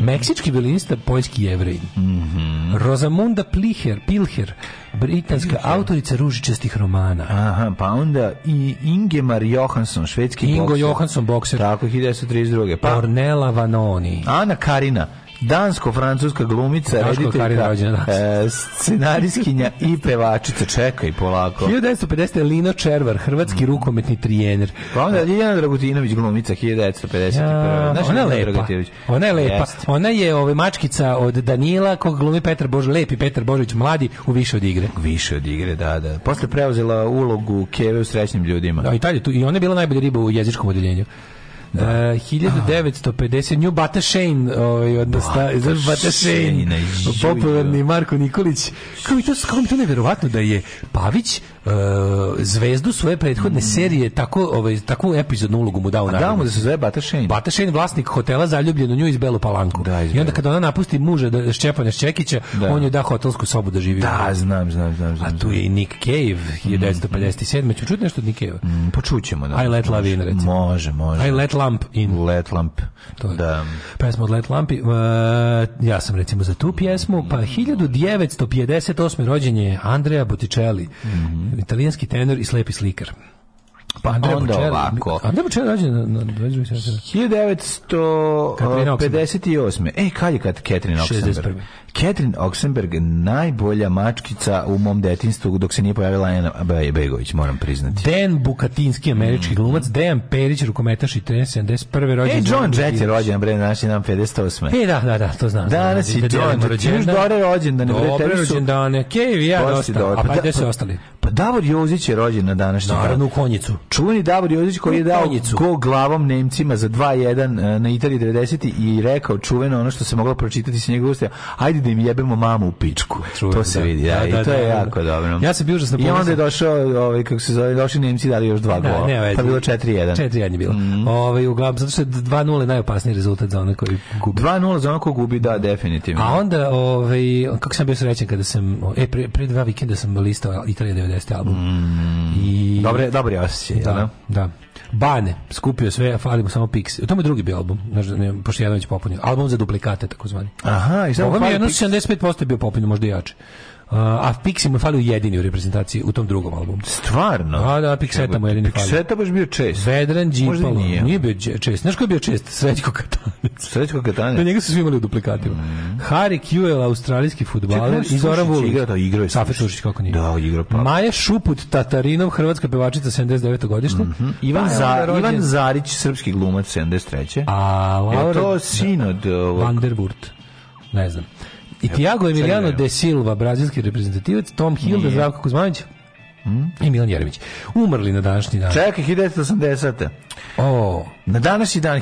G: Meksički violinista, poljski jevrejin.
F: Mhm.
G: Rosamunda Pliher, Pilher, britanska autorica ružičastih romana.
F: Aha, pa onda i Ingemar Johansson, švedski
G: Ingo
F: bokser.
G: Johansson, bokser.
F: Tako, 1932. Pa
G: Ornella Vanoni.
F: Ana Karina, Dansko-francuska glumica,
G: Daško Karin
F: rediteljka,
G: rođena danas.
F: e, scenariskinja i pevačica. Čekaj polako.
G: 1950. Lino Červar, hrvatski rukometni trijener.
F: Pa onda Ljiljana Dragutinović glumica 1951.
G: Ja,
F: Znaš
G: ona je
F: Ljiljanu
G: lepa.
F: Dragutinović?
G: Ona je lepa.
F: Jeste.
G: Ona je ovaj mačkica od Danila kog glumi Petar Božović, lepi Petar Božović mladi u više od igre.
F: Više od igre, da, da. Posle preuzela ulogu Keve u srećnim ljudima.
G: Da, i tad je tu i ona je bila najbolja riba u jezičkom odeljenju. E, Da. 1950 Nju Bata Shane ovaj od sta znaš Bata Shane
F: Shane, jujo.
G: popularni Marko Nikolić kako je to kako mi je to neverovatno da je Pavić eh, zvezdu svoje prethodne serije tako ovaj takvu epizodnu ulogu mu dao
F: A da mu da se zove Bata Šenj.
G: Bata Šejn, vlasnik hotela zaljubljen u nju iz Belu Palanku.
F: Da, iz
G: I onda
F: Belu.
G: kada ona napusti muža da Šćepana Šćekića,
F: Da.
G: on joj da hotelsku sobu da živi.
F: Da, znam, znam, znam. znam.
G: A tu je i Nick Cave, 1957. Ću čuti nešto od Nick Cave-a?
F: Mm, Počućemo. Da,
G: I Let Love In, recimo.
F: Može, može.
G: I Let Lamp In.
F: Let Lamp.
G: To je
F: Da.
G: pesma od Let Lampi. Uh, ja sam recimo za tu pjesmu. Pa 1958. rođen je Andrea Botticelli, italijanski tenor i slepi slikar. Pa Andrea
F: onda
G: Bocelli-
F: ovako.
G: Andrea Bocelli rođen na, na, na, 22.
F: 1958. Ej, E, kad je kad Catherine Oxenberg?
G: 61..
F: Catherine Oxenberg najbolja mačkica u mom detinstvu dok se nije pojavila Ena Be- Begović, moram priznati.
G: Dan Bukatinski, američki glumac, Dejan Perić, rukometaš i trener, 71. rođen.
F: Ej, E, John
G: Zoran
F: Jett je
G: Đinđić.
F: rođen, bre, naš je nam 58.
G: E, da, da, da, to znam.
F: Danas
G: znam,
F: je
G: da
F: John
G: delimo
F: Đorđe. Još
G: rođendane.
F: dobre rođendane, bre,
G: Dobre
F: tebi su-
G: rođendane. Kev i ja
F: Dosti
G: dosta. A pa gde su
F: da-
G: ostali?
F: Pa Davor Jozić je rođen na današnji dan.
G: Naravno u konjicu.
F: Čuveni Davor Jozić koji je
G: U
F: dao
G: konjicu.
F: go glavom Nemcima za 2-1 e, na Italiji 90 i rekao čuveno ono što se moglo pročitati s njegovog usta, ajde da im jebemo mamu u pičku.
G: Čuveno,
F: to se
G: da.
F: vidi, da,
G: Da,
F: i
G: da,
F: to
G: da,
F: je
G: da.
F: jako dobro.
G: Ja sam bio užasno
F: I onda je
G: ponosan.
F: došao, ovaj, kako se zove, došli Nemci i dali još dva gola.
G: veze.
F: pa bilo 4-1.
G: 4-1 je bilo. Ovaj, uglavnom, zato što je 2-0 je najopasniji rezultat za one koji gubi.
F: 2-0 za ono ko gubi, da, definitivno.
G: A onda, ovaj, kako sam bio srećan kada sam, o, e, pre, pre dva vikenda sam listao Italija 90. album. I,
F: Dobre, dobri osjećaj, jel da?
G: da, da. Bane, skupio sve, a fali mu samo Pix. To mu je drugi bio album, znaš, ne, pošto je Janović popunio. Album za duplikate, takozvani.
F: Aha, i samo
G: Ovo mi ono je
F: fali
G: jedno
F: Pix.
G: 75% je bio popunjen, možda i jače. A, a Pixi mu je falio jedini u reprezentaciji u tom drugom albumu.
F: Stvarno?
G: A, da, Pixeta mu jedini falio.
F: Pikseta baš bio čest.
G: Vedran
F: Možda i
G: Đipalo.
F: nije.
G: Nije bio đe- čest. Znaš ko je bio čest? Srećko Katanec.
F: Srećko
G: Da
F: Katanje.
G: njega su svi imali u duplikatima. Harry Kewell, australijski
F: Mm. Čekaj,
G: futbaler i Zoran
F: Sušić
G: Vulić.
F: igra, da, igrao je
G: Safe
F: Sušić.
G: Sušić, kako nije.
F: Da, igrao je, pa.
G: Maja Šuput, Tatarinov, hrvatska pevačica 79. godište.
F: Ivan,
G: Pa je onda
F: Mhm. Za,
G: rođen-
F: Ivan Zarić, srpski glumac, 73.
G: A
F: Je
G: Laura
F: to sin od e, ovog...
G: Vanderwurt. Ne znam. I Tiago Emiliano
F: čekaj.
G: de Silva, brazilski reprezentativac, Tom Hilda, Zdravko Kuzmanović
F: Hm?
G: i Milan Jeremić. Umrli na današnji dan.
F: Čekaj, 1980.
G: O,
F: Na današnji dan,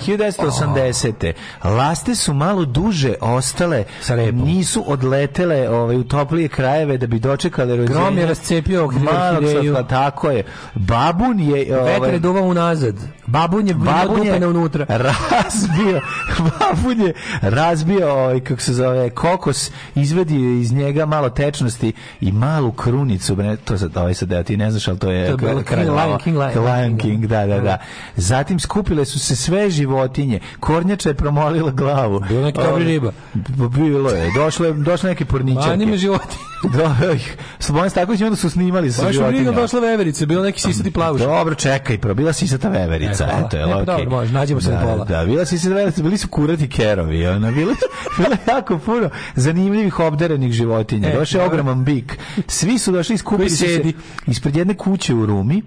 F: 1980. Laste su malo duže ostale,
G: Sa repom.
F: nisu odletele ovaj, u toplije krajeve da bi dočekale rođenje.
G: Grom je rascepio
F: Malog
G: orhideju.
F: slatla, tako je. Babun je... Ovaj,
G: Vetar je duvao unazad. Babun je
F: Babun je
G: dupena unutra.
F: razbio, babun je razbio, ovaj, kako se zove, kokos, izvadio je iz njega malo tečnosti i malu krunicu, bre, to sad, ovaj sad, evo, ti ne znaš, ali to je...
G: To je bilo
F: kraj-
G: King,
F: kraj-
G: Lion King, Lion-
F: Lion King, da, da, da. Zatim skupile su se sve životinje, kornjača je promolila glavu.
G: Bilo neki
F: Ovaj,
G: dobri riba.
F: b- Bilo je, došle, došle neke porničarke.
G: Manje me životi.
F: Do, ih, Slobodan Stanković i onda su snimali sa
G: Baš je briga
F: životinjama.
G: došla veverica, bilo neki sisati plavuš.
F: Dobro, čekaj, pro, bila si sata
G: E,
F: veverica,
G: hvala.
F: eto, je
G: E, pa
F: okej.
G: dobro, može, nađemo se
F: da,
G: na pola.
F: Da, bila si sata veverica, bili su kurati kerovi, ona, bilo, bilo je jako puno zanimljivih obdarenih životinja.
G: E,
F: Došao je
G: dobro.
F: ogroman bik. Svi su došli iskupili
G: Koji
F: su se
G: sedi.
F: ispred jedne kuće u Rumi,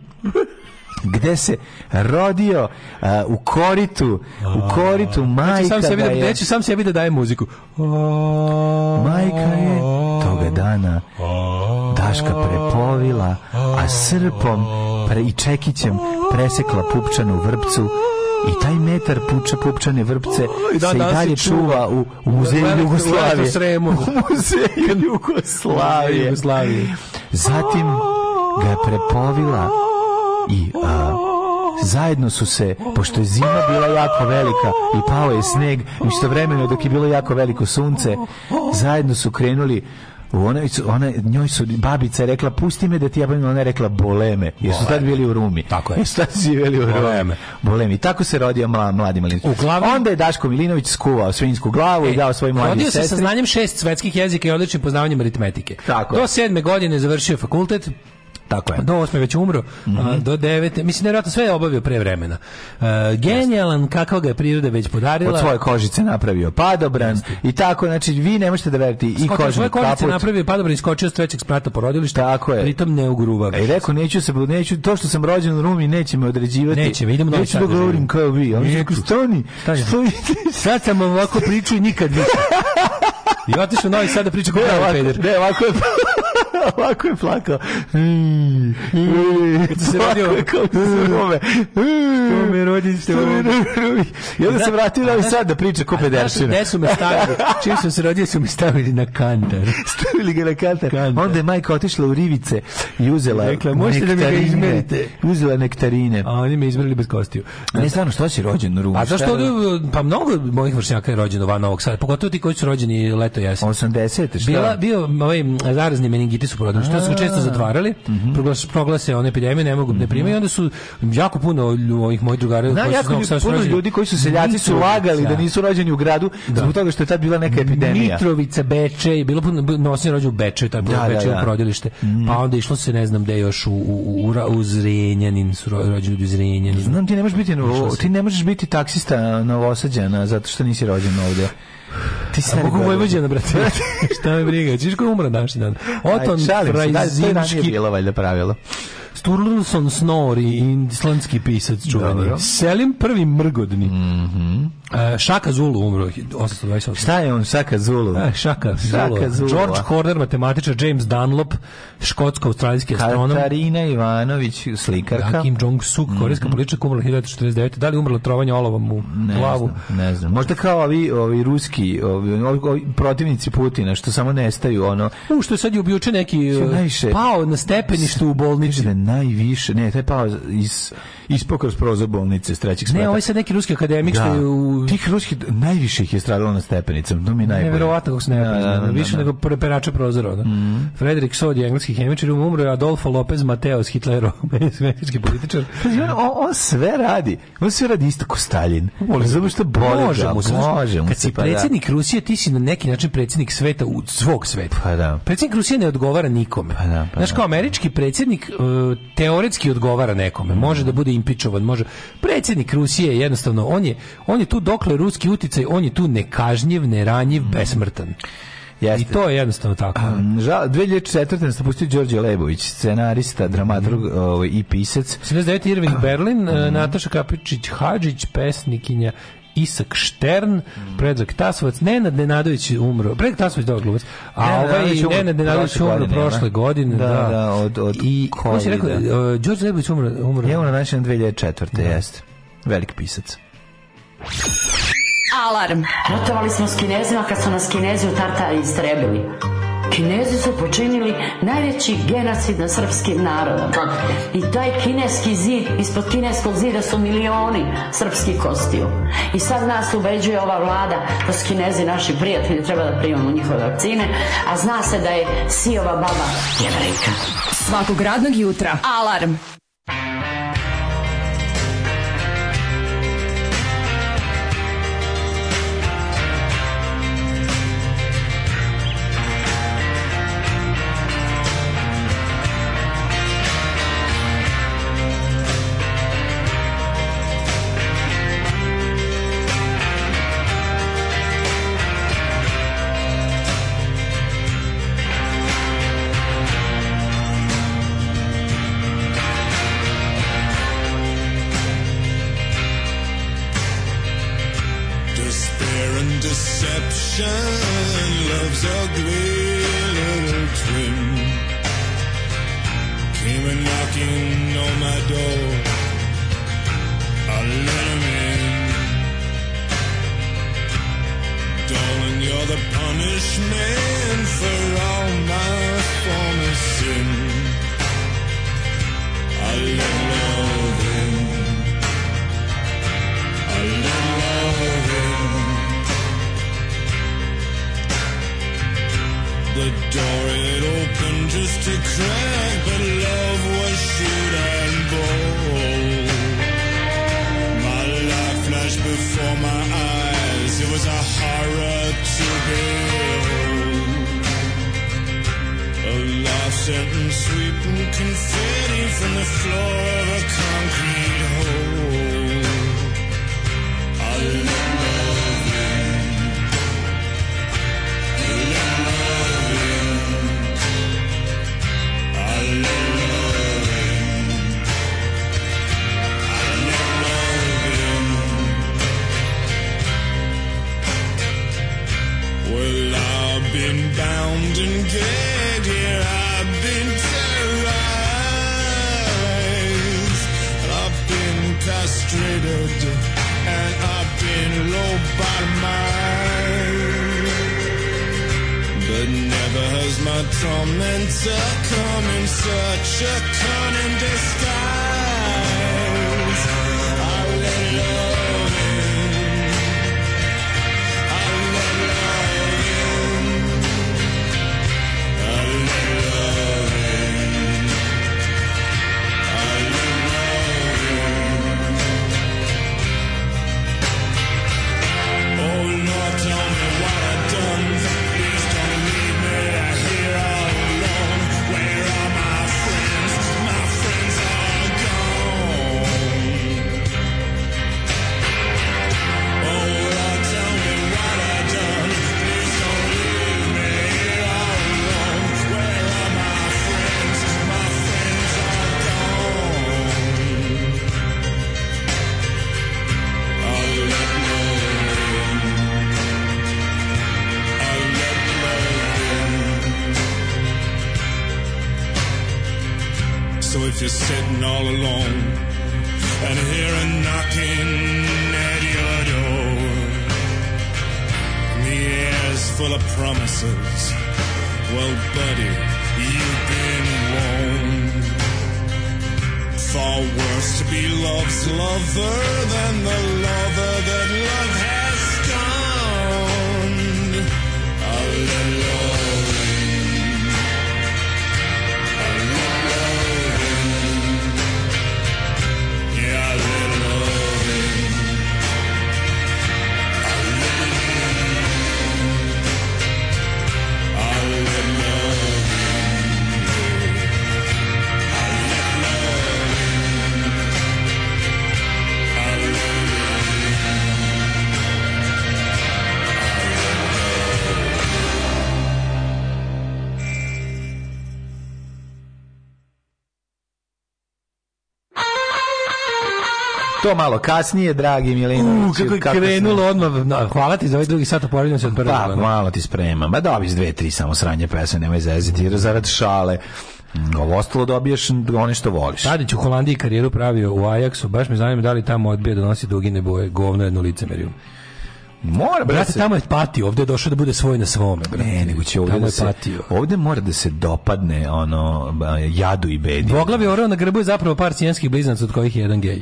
F: gde se rodio a, u koritu, u koritu majka
G: Neću Znači, sam sebi
F: ga
G: da,
F: je-
G: neću sam sebi da dajem muziku.
F: Majka je toga dana Daška prepovila, a srpom pre, i čekićem presekla pupčanu vrpcu i taj metar puča pupčane vrpce
G: I dan
F: se i
G: danas
F: dalje
G: se čuva.
F: čuva u, u
G: U
F: muzeju
G: Velikom-
F: Jugoslavije.
G: u Sremu.
F: U muzeju Jugoslavije.
G: Jugoslavije.
F: Zatim ga je prepovila i a, zajedno su se, pošto je zima bila jako velika i pao je sneg, istovremeno dok je bilo jako veliko sunce, zajedno su krenuli u ona, ona, njoj su babica je rekla pusti me da ti jabim, ona je rekla boleme jer su tad bili u Rumi
G: Tako je.
F: Jer su tad živjeli u Rumi
G: Boleme.
F: boleme i tako se rodio mla, mladi Milinović
G: Uglavnom- E,
F: onda je Daško Milinović skuvao svinsku glavu i dao svoj mladi
G: Rodio se sa
F: sestri
G: znanjem šest svetskih jezika i odličnim poznavanjem aritmetike.
F: Tako je.
G: Do sedme godine je završio fakultet Tako je. Do 8 je već umro,
F: Mhm.
G: a, do 9. Mislim, nevjerojatno sve je obavio pre vremena. E, genijalan, kakva ga je priroda već podarila.
F: Od svoje kožice napravio padobran i tako, znači vi ne možete da veriti i
G: Skočio
F: kožni
G: svoje kožice,
F: kaput.
G: napravio je padobran, iskočio s trećeg sprata porodilišta,
F: Tako je.
G: pritom ne ugruva.
F: E, rekao, neću se, neću, to što sam rođen u Rumi neće me određivati.
G: Neće me, idemo u Novi
F: Neću
G: Sad
F: da
G: da živim.
F: govorim kao vi. A On je
G: Neću.
F: rekao, stani,
G: Stani.
F: stani.
G: Sad sam vam ovako pričao i nikad više. I otišao u novi sad da priča kao
F: Ne,
G: pravi
F: ovako,
G: peder.
F: ne, ovako je, ovako je plakao. Mm, mm,
G: Kad se
F: plakao
G: rodio-
F: je kao da se rome.
G: Što me rodili, što me
F: I onda se vratio na sad da priča ko
G: Znaš,
F: pederšina.
G: gde su me stavili? Čim sam se rodio su me stavili na kantar.
F: Stavili ga na kantar.
G: Kantar.
F: Onda je majka otišla u rivice i uzela
G: Rekla, "Možete da mi ga
F: nektarine."
G: izmerite.
F: Uzela nektarine.
G: A oni me izbrali bez kostiju.
F: A ne stvarno, što si rođen u Rumi?
G: A
F: Šta
G: zašto
F: je-
G: ovdje, pa mnogo mojih vršnjaka je rođeno van Novog Sada, pogotovo ti koji su rođeni leto i jesen.
F: 80. šta?
G: Bila, bio ovaj m, zarazni meningitis u prodom, što su ga često zatvarali,
F: Mhm.
G: proglas- proglase one epidemije, ne mogu ne primaju, i onda su jako puno lju- ovih mojih drugara
F: Znam
G: koji su
F: Mhm.
G: iz
F: jako
G: Novog
F: ljudi,
G: Sada su
F: puno
G: rođeni-
F: ljudi koji su seljaci su
G: Mitrovica.
F: lagali da nisu rođeni u gradu zbog toga što je tad bila neka epidemija.
G: Mitrovica, Beče, i bilo puno nosin rođen u Bečeju, taj
F: Da,
G: da,
F: da,
G: Bečeju
F: da. Mhm.
G: porodilište. Pa onda išlo se ne znam gde još u u u, Ra- u Zrenjanin, su ro- rođeni ljudi u Zrenjaninu.
F: Znam ti ne možeš biti novo, ti ne možeš biti taksista novosađana zato što nisi rođen ovdje. Ti si
G: A mogu
F: Beograd.
G: Vojvođana, brate. Šta me briga, ćeš koji umra danas dan. Oton
F: Aj, šalim se, da, to je ranije
G: Frajzinski,
F: bilo valjda pravilo.
G: Sturluson Snori, islandski pisac čuveni.
F: Dobro. Mhm.
G: Selim prvi mrgodni. E, Šaka Zulu umro 828.
F: Šta je on, Saka Zulu?
G: E, Šaka, Zulu.
F: Šaka Zulu.
G: George Horner, matematičar, James Dunlop, škotsko-australijski astronom.
F: Katarina Ivanović, slikarka.
G: Da, Kim Jong-suk,
F: Mhm.
G: korejska politička, umrla 1949. Da li je umrla trovanje olovom u
F: Ne
G: glavu?
F: znam, ne znam. Možda kao ovi, ovi ruski ovi, ovi- ovi protivnici Putina što samo nestaju ono
G: U, što je sad je ubijuče neki
F: Što
G: e,
F: najviše-
G: pao na stepeništu u bolnici.
F: Kaže da najviše, ne, taj je pao iz, ispao kroz prozor bolnice s trećeg sprata.
G: Ne, ovaj sad neki ruski akademik što
F: da.
G: je u...
F: Tih ruskih, najviše ih je stradalo na stepenicama, to mi je najbolje.
G: Nevjerovatno kako se ne
F: Da, da, da,
G: više
F: da. Mhm.
G: nego preperača prozora. Da. Frederik Sod je engleski hemičar, umro je Adolfo Lopez Mateos, Hitlerov meksički političar.
F: Pazi, on, znači, ono, on, on sve radi. On sve radi isto ko Stalin. Zato što boli
G: može
F: ga,
G: mu se. znaš,
F: može mu
G: Kad
F: se,
G: si
F: pa da.
G: predsjednik Rusije, ti si na neki način predsjednik sveta, u svog sveta.
F: Pa da.
G: Predsjednik Rusije ne odgovara nikome.
F: Pa da, pa
G: Znaš, kao američki predsjednik e, teoretski odgovara nekome. Može da bude impičovan, može. Predsjednik Rusije je jednostavno, on je, on je tu dokle ruski uticaj, on je tu nekažnjiv, neranjiv, besmrtan. I
F: Jeste.
G: to je jednostavno tako.
F: Žal, 2004. nas napustio Đorđe Lebović, scenarista, dramaturg ovaj, i pisac.
G: 79. Irving Berlin, e, Nataša Kapičić Hadžić, pesnikinja Isak Štern, Predrag Tasovac, Nenad Nenadović je umro. Predrag Tasovac je dobar glumac. A
F: Nenad
G: ovaj
F: Nenadović je umro
G: Nenad Nenadović je
F: prošle
G: umro
F: godine,
G: prošle
F: ne?
G: godine.
F: Da, da, od- od
G: I, kako si rekao,
F: covida.
G: e, Đorđe Lebović umro. umro.
F: Je on na način 2004. jeste. Velik pisac.
O: Alarm.
P: Ratovali smo s Kinezima kad su nas Kinezi u Tartari istrebili. Kinezi su počinili najveći genocid nad srpskim narodom. I taj kineski zid, ispod kineskog zida su milioni srpskih kostiju. I sad nas ubeđuje ova vlada da su Kinezi naši prijatelji, treba da primamo njihove vakcine, a zna se da je Sijova baba jevrejka.
O: Svakog radnog jutra. Alarm.
J: Despair and deception, love's ugly little twin. Came and knocking on my door. I let him in. Darling, you're the punishment for all my former sin. I let love in. I let love in. The door it opened just a crack, but love was shoot and bold. My life flashed before my eyes, it was a horror to behold. A life sentence sweeping confetti from the floor of a concrete hole. I'll let love in. You let love in. I'll let love in. I'll let love in. Well, I've been bound and dead, yeah, I've been terrorized. I've been castrated and I've been lobotomized. But never has my tormentor come in such a cunning disguise. I let love in. I let love in. I let love in. I let love in. Oh Lord, tell me what I've done. Please don't leave me out here all alone. Where are my friends? My friends are gone. So if you're sitting all alone and hear a knocking at your door, and the air's full of promises. Well, buddy, you've been warned. Far worse to be love's lover than the lover that love has scorned. I'll let love in. I'll let love in. Yeah, I'll let love in. I'll let it in. I'll let love in. I'll let love in. I'll let it in.
F: To malo kasnije, dragi Milinović.
G: U, kako je krenulo odmah. na- hvala ti za ovaj drugi sat, oporavljam se od prvog.
F: Pa, malo ti spremam. Ma dobiš dve, tri samo sranje pesme, nemoj zeziti, zarad šale. Mm, Ovo ostalo dobiješ one što voliš.
G: Tadić u Holandiji karijeru pravio u Ajaxu, baš me zanima da li tamo odbija da nosi dugine boje, govno jedno licemerju.
F: Mora,
G: brate,
F: se-
G: tamo je patio, ovdje je došao da bude svoj na svome, brate.
F: Ne, nego će ovdje
G: Tamo
F: da
G: je
F: se,
G: patio.
F: ovdje mora da se dopadne ono ba, jadu i bedi.
G: Dvoglavi orao na grbu je zapravo par cijenskih blizanaca od kojih je jedan gej.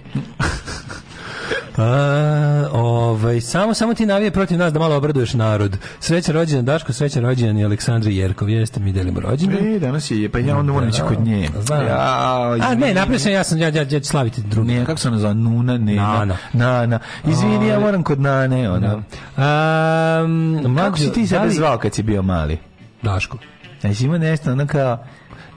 G: A, ovaj, samo, samo ti navije protiv nas da malo obraduješ narod. Srećan rođendan Daško, srećan rođendan i Aleksandri Jerkov. Jeste, mi delimo rođendan.
F: E, danas je, pa ja onda moram ići kod nje.
G: Znam.
F: Ja,
G: A ne,
F: izvini.
G: napravio sam, ja sam, ja, ja, ja ću slaviti drugi.
F: Ne, kako se ona zove? Nuna, ne.
G: Nana.
F: Nana. Izvini, ja
G: Ovaj.
F: moram kod Nane, ona.
G: Um,
F: Kako si ti sebe
G: da li-
F: zvao kad si bio mali?
G: Daško.
F: Znači ima nešto, ono kao,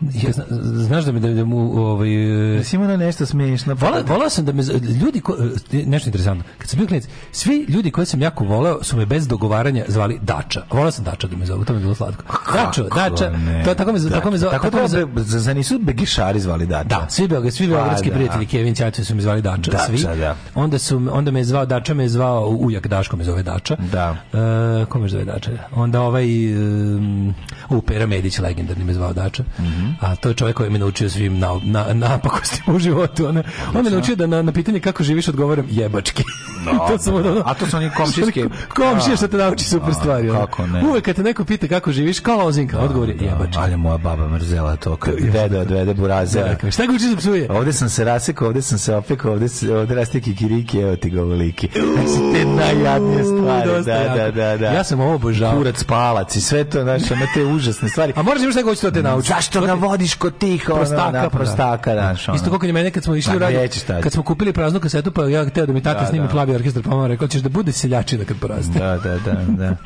G: Ja, zna- znaš da mi da, da mu ovaj e,
F: znači ima ono nešto smiješno. pa-
G: Vola, volao sam da me z- ljudi ko, e, nešto interesantno. Kad sam bio klinac, svi ljudi koje sam jako voleo su me bez dogovaranja zvali Dača. Volao sam Dača da me zovu, to mi je bilo slatko. Dačo, Dača,
F: ne?
G: to tako me z- tako me zvao,
F: Tako,
G: tako me
F: to
G: zvao-
F: be- za, za nisu begišari zvali Dača.
G: Da, svi beog, svi
F: Pa,
G: beogradski
F: da.
G: prijatelji Kevin Ćaci su me zvali Dača,
F: Dača,
G: svi.
F: da.
G: Onda su me- onda me je zvao Dača, me je zvao ujak Daško me zove Dača.
F: Da.
G: E, ko me zove Dača? Onda ovaj um, u Pera Medić legendarni me zvao Dača.
F: Mhm.
G: A to je čovjek koji me naučio svim na, na, napakostima u životu. Ona, on me naučio da na, na pitanje kako živiš odgovaram jebački. to sam od ono-
F: A to su oni komšijske-
G: Komšije što te nauči super
F: A,
G: stvari. ono.
F: kako ne.
G: Uvek kad te neko pita kako živiš, kao lozinka, odgovor je jebački.
F: Ali moja baba mrzela to, kad deda odvede burazera.
G: Dakle, Šta ga uči za psuje?
F: Ovde sam se rasekao, ovde sam se opekao, ovde, se, ovde raste kikiriki, evo ti govoliki. Znači, te najjadnije stvari.
G: dosta
F: Da,
G: jako.
F: da, da, da.
G: Ja sam ovo obožavao.
F: Kurac palac i sve to, znaš, ono te užasne stvari.
G: A moraš imaš šta hoće to te nauči.
F: Mm. Zašto ga vodiš kod tih, ono,
G: prostaka,
F: da,
G: pa da.
F: prostaka, znaš, ono.
G: Isto kako je mene kad smo išli
F: Pa
G: u radio,
F: gdje ćeš tad?
G: kad smo kupili praznu kasetu, pa ja hteo da mi tata
F: Da,
G: snimi
F: da.
G: plavi orkestar, pa mama rekao, ćeš da bude seljačina kad poraste.
F: Da, da, da, da.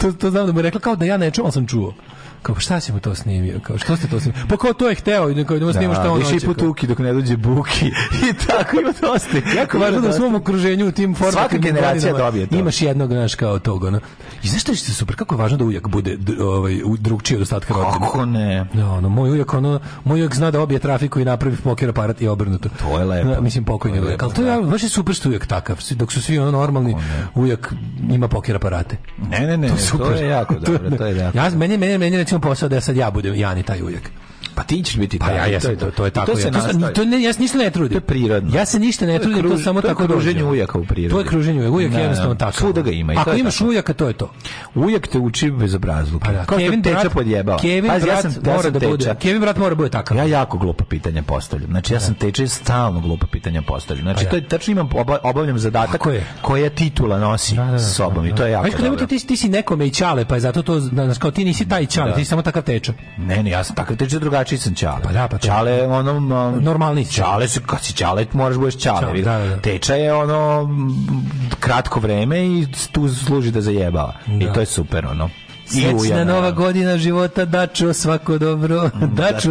G: to, to znam da mu je rekla kao da ja ne čuo, ali sam čuo. Kao pa šta si mu to snimio? Kao što ste to snimio? Pa kao to je hteo, i kao idemo snimamo šta on hoće.
F: i putuki dok ne dođe buki. I tako ima dosta.
G: Jako važno da u svom okruženju u tim formatima
F: Svaka generacija dobije to.
G: Imaš jednog naš kao tog ono. I znaš šta je super kako je važno da ujak bude d- ovaj u- drugčiji od ostatka rodbine.
F: Kako ne?
G: Da, ono, moj ujak, ono, moj ujak zna da obje trafiku i napravi poker aparat i obrnuto.
F: To je lepo.
G: Da, mislim, pokojni
F: To je
G: ujak.
F: lepo,
G: Ali to je, baš je super što je ujak takav. Svi- Dok su svi ono normalni, ujak ima poker aparate.
F: Ne, ne, ne,
G: To
F: to
G: je
F: je,
G: super.
F: jako
G: To je-
F: dobro, to je jako.
G: Ja, meni, meni, meni je recimo posao da sad ja budem Jani taj ujak.
F: Pa ti ćeš biti
G: Pa
F: taj,
G: ja jesam, to, to je
F: I
G: tako.
F: To se
G: ja, to,
F: nastavi.
G: to ne, ja se ništa ne trudim.
F: To je prirodno.
G: Ja se ništa ne
F: To je
G: trudim, to
F: kruž-
G: samo
F: to je
G: tako
F: kruženje
G: dođe.
F: ujaka u prirodi.
G: To je kruženje ujaka, ujak je
F: Da,
G: jednostavno
F: da.
G: tako.
F: Svuda ga ima i
G: Ako
F: to je
G: imaš
F: tako.
G: ujaka, to je to.
F: Ujak te uči bez obrazluka.
G: Pa da,
F: Kao
G: Kevin
F: Kevin teča
G: brat-
F: pod jebala.
G: Kevin
F: Pazi,
G: brat
F: ja sam, ja
G: mora
F: sam
G: da bude-
F: teča.
G: Kevin brat mora bude takav.
F: Ja jako glupa pitanja postavljam. Znači ja sam teča i stalno glupa pitanja postavljam. Znači
G: Pa
F: to
G: da.
F: je tačno imam oba- obavljam zadatak
G: Tako je.
F: koja titula nosi sa sobom i to je jako
G: Ajde, nemoj
F: dobro.
G: ti, ti, ti si nekome i čale, pa je zato to, znaš, kao ti nisi taj čale,
F: Da.
G: ti si samo takav teča.
F: Ne, ne, ja sam takav teča drugačiji sam čale.
G: Pa da, pa to-
F: Čale je ono um,
G: Normalni si.
F: Čale se kad si čale moraš budeš
G: Ćale,
F: čale. vidi.
G: da, da, da.
F: Teča je ono m, kratko vreme i tu služi da zajebava.
G: Da.
F: I to je super ono. I
G: Srećna
F: ujedno,
G: nova
F: ono.
G: godina života, dačo svako dobro, dačo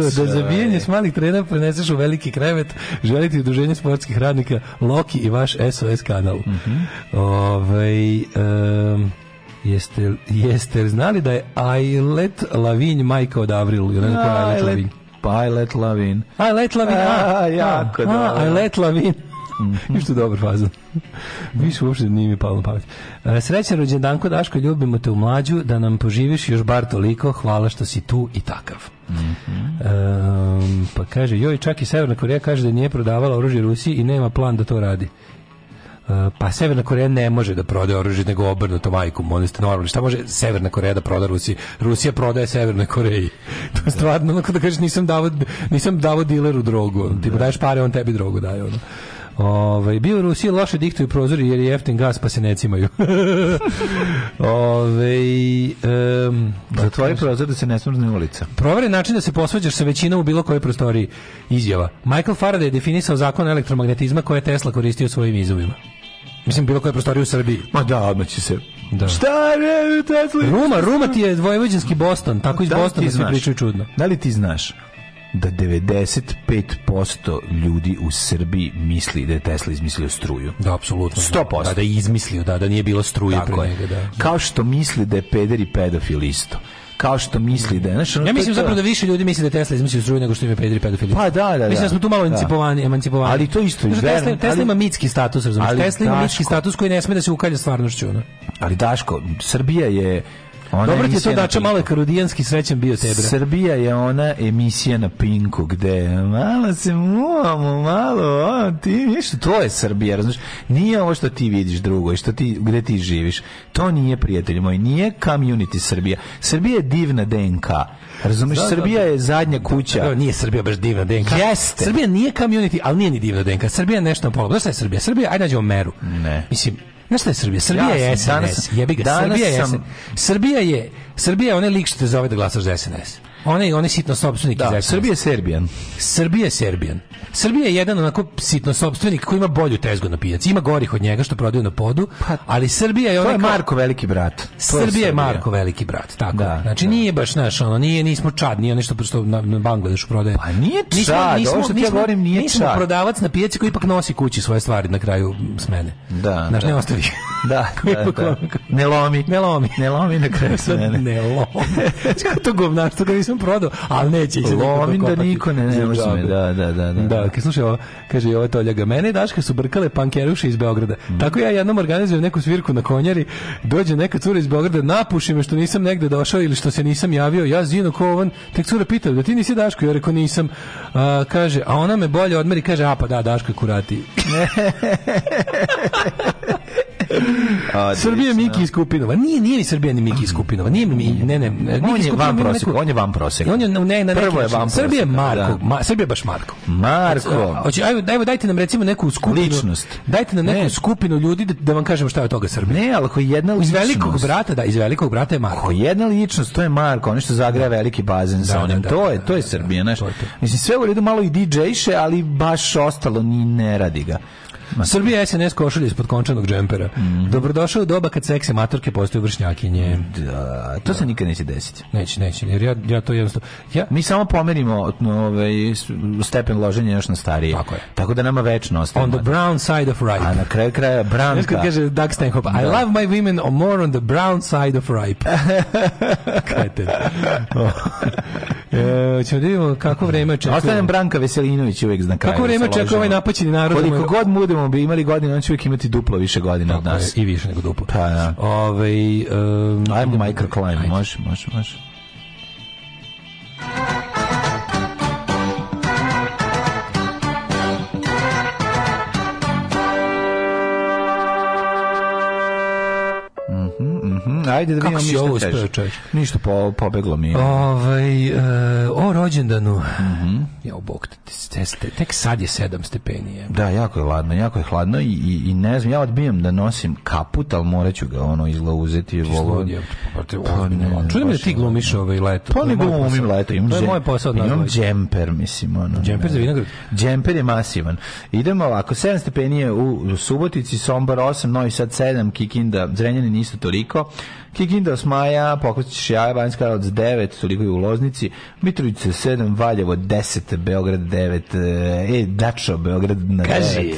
F: dačo,
G: da zabijanje
F: ej.
G: s malih trena preneseš u veliki krevet, želite udruženje sportskih radnika, Loki i vaš SOS kanal.
F: Mhm.
G: Ovaj, em, jeste, jeste li znali da je Ailet Lavinj majka od Avril? Ja ne znam ko je Ailet Lavinj.
F: Pilot, Pilot Lavin.
G: Ailet Lavinj, a,
F: A, jako dobro.
G: Ailet Lavinj. Ništa dobar fazan. Više uopšte nije mi palo na pamet. E, Srećan rođendan kod Daško, ljubimo te u mlađu, da nam poživiš još bar toliko, hvala što si tu i takav. Em, pa kaže, joj, čak i Severna Koreja kaže da nije prodavala oružje Rusiji i nema plan da to radi. E, pa Severna Koreja ne može da prodaje oružje nego obrnuto ono majku, oni ste normalni. Šta može Severna Koreja da proda Rusiji? Rusija prodaje Severnoj Koreji. To je stvarno ono kada kažeš nisam davo, nisam davo dileru drogu. ono, Ti mu daješ pare, on tebi drogu daje. Ono. Ovaj, bio u Rusiji loše diktuju prozori jer je jeftin gas pa se ne cimaju. Ovaj, Ove, Pa,
F: Zatvori prozor da se ne smrzne ulica.
G: Proveri način da se posvađaš sa većinom u bilo kojoj prostoriji. Izjava. Michael Faraday je definisao zakon elektromagnetizma koje je Tesla koristio u svojim izumima. Mislim, bilo koje prostorije u Srbiji.
F: Ma da, odmah će se...
G: Da.
F: Šta je, Tesla?
G: Ruma, Ruma ti je vojvođanski Boston, tako iz
F: Da li
G: Bostona
F: ti
G: svi
F: znaš?
G: pričaju čudno.
F: Da li ti znaš da 95% ljudi u Srbiji misli da je Tesla izmislio struju?
G: Da, apsolutno.
F: 100%.
G: Da, da je izmislio, da, da nije bilo struje
F: Tako
G: pre
F: je.
G: njega, da.
F: Kao što misli da je peder i pedofil isto. Kao što misli da je... Znaš, ono,
G: Ja
F: to
G: mislim
F: je to-
G: zapravo da više ljudi misli da je Tesla izmislio struju nego što im je pedri pedofili.
F: Pa da, da, da.
G: Mislim da smo tu malo
F: Da.
G: emancipovani, emancipovani.
F: Ali to isto,
G: Znaš, Tesla,
F: verujem,
G: Tesla
F: ali-
G: ima mitski status, razumiješ?
F: Ali,
G: Tesla ima mitski
F: Daško-
G: status koji ne sme da se ukalja stvarnošću. ono.
F: Ali Daško, Srbija je... ona
G: Dobro ti je to
F: emisija na
G: dača, malo je karudijanski srećan bio tebe.
F: Srbija je ona emisija na Pinku gde malo se muvamo, malo, a, ti nešto, to je Srbija, razumiješ? Nije ovo što ti vidiš drugo i što ti, gde ti živiš. To nije, prijatelj moj, nije community Srbija. Srbija je divna DNK, razumiješ?
G: Da, da,
F: Srbija
G: da.
F: je zadnja
G: Evo,
F: kuća.
G: nije Srbija baš divna DNK.
F: Jeste.
G: Srbija nije community, ali nije ni divna DNK. Srbija je nešto na polu. Znaš šta je Srbija? Srbija, ajde nađemo meru.
F: Ne.
G: Mislim, znaš šta je Srbija? Srbija
F: Ja
G: je SNS.
F: sam danas-
G: Jebi ga,
F: danas
G: Srbija je
F: sam-
G: SNS. Srbija je, Srbija je onaj lik što te zove da glasaš za SNS. Onaj, onaj sitno sobstvenik iz
F: Da,
G: SNS.
F: Srbija je Serbijan.
G: Srbija je Serbijan. Srbija je jedan onako sitno sobstvenik koji ima bolju tezgu na pijaci. Ima gorih od njega što prodaju na podu, ali Srbija je
F: Pa- To
G: onaj
F: je
G: kao-
F: Marko veliki brat. To je
G: Srbija je Marko veliki brat, tako.
F: Da,
G: je. znači
F: da.
G: nije baš naš ono, nije nismo čad, nije nešto prosto na, na Bangladešu prodaje.
F: Pa nije Čad, ovo što ti ja govorim nije
G: nismo
F: Čad.
G: prodavac na pijaci koji ipak nosi kući svoje stvari na kraju smene.
F: Da,
G: Znaš,
F: da.
G: ne ostavi.
F: Da, da, da. Ne lomi.
G: Ne lomi.
F: Ne lomi na kraju
G: Sad
F: mene.
G: ne lomi. Kako to govnarstvo ga nisam prodao, ali neće ići.
F: Lomin da niko ne- ne uzme, da, da, da, da.
G: Da, kad slušaj, ovo, kaže Jova Toljaga, mene i Daška su brkale pankeruše iz Beograda.
F: Mm.
G: Tako ja jednom organizujem neku svirku na konjari, dođe neka cura iz Beograda, napuši me što nisam negde došao ili što se nisam javio, ja zino kovan, tek cura pita, da ti nisi Daško? Ja rekao nisam. A, kaže, a ona me bolje odmeri, kaže, a pa da, Daško je kurati.
F: Odlično. Mm.
G: Srbija je Miki iz Kupinova. Nije, nije ni Srbija ni Miki iz Kupinova. Nije, mi- ne, ne. ne, Miki
F: On
G: iz
F: je
G: Kupinova
F: van
G: ima
F: prosek,
G: neku-
F: on je van prosek.
G: On je na- ne, na neki
F: Prvo je
G: način.
F: van
G: Srbija je
F: proseka,
G: Marko,
F: da.
G: ma, Srbija je baš Marko. Znači,
F: Marko.
G: Hoće, ajde, evo, dajte nam recimo neku skupinu.
F: Ličnost.
G: Dajte nam neku
F: Ne.
G: skupinu ljudi da, da vam kažem šta je od toga Srbija.
F: Ne, ali ako je jedna
G: Iz
F: ličnost.
G: velikog brata, da, iz velikog brata je Marko.
F: Ako je jedna ličnost, to je Marko, ono što zagraja veliki bazen
G: Da,
F: sa onim.
G: da, da,
F: to je,
G: da,
F: to je
G: da,
F: Srbija,
G: da,
F: znaš.
G: to je to.
F: Mislim, sve u redu malo i DJ-še, ali baš ostalo ni ne radi ga.
G: Srbija SNS košulja ispod končanog džempera.
F: Mhm.
G: Dobrodošao u doba kad seks matorke postaju vršnjakinje.
F: Da, to se nikad neće desiti.
G: Neće, neće, jer ja, ja to jednostavno... Ja,
F: Mi samo pomerimo no, ovaj, s- stepen loženja još na starije. Tako je. Tako da nama večno ostaje.
G: On the
F: mlada.
G: brown side of ripe.
F: A na kraju kraja
G: Znaš
F: Branka.
G: kad kaže Doug Stanhope, I
F: Da.
G: love my women on more on the brown side of ripe. Kreter. e, ćemo da vidimo kako vreme očekuje.
F: Ostanem Branka Veselinović uvijek na kraju.
G: Kako vreme
F: sa loženjem.
G: očekuje ovaj napaćeni narod?
F: Koliko god budemo bi imali godine, on će uvijek imati duplo više godina od
G: Tako je,
F: nas.
G: I više nego duplo.
F: Pa, da.
G: Ove, um,
F: Ajmo microclimb, može, može, može. Mhm, mhm, Ajde da
G: Kako
F: vidimo
G: si
F: ništa
G: ovo
F: teže.
G: uspeo, čovječe?
F: Ništa po, pobeglo mi. je.
G: Ovaj, e, o rođendanu.
F: Mhm.
G: Jao, bog, te, te, te, tek sad je sedam stepenije.
F: Da, jako je hladno, jako je hladno i, i, i ne znam, ja odbijam da nosim kaput, ali morat ću ga ono izla uzeti. volim.
G: pa Čujem da
F: Pa baš
G: ti
F: je
G: glumiš ovaj leto.
F: Pa
G: To
F: ne
G: je moj
F: glumim
G: posao.
F: leto, imam,
G: To je
F: džem-
G: moj posao. od nas
F: imam
G: dvojice.
F: džemper, mislim. Ono,
G: Džemper
F: ne,
G: za vinograd?
F: Džemper je masivan. Idemo ovako, 7 stepenije u Subotici, Sombar 8, Novi Sad 7, Kikinda, Zrenjanin isto toliko, Kikinda 8 maja, Pokusić Jaja, Banjska Karlovac 9, toliko je u Loznici, Mitrovica 7, Valjevo 10, Beograd 9, e, Dačo, Beograd na
G: Kaži.
F: 9.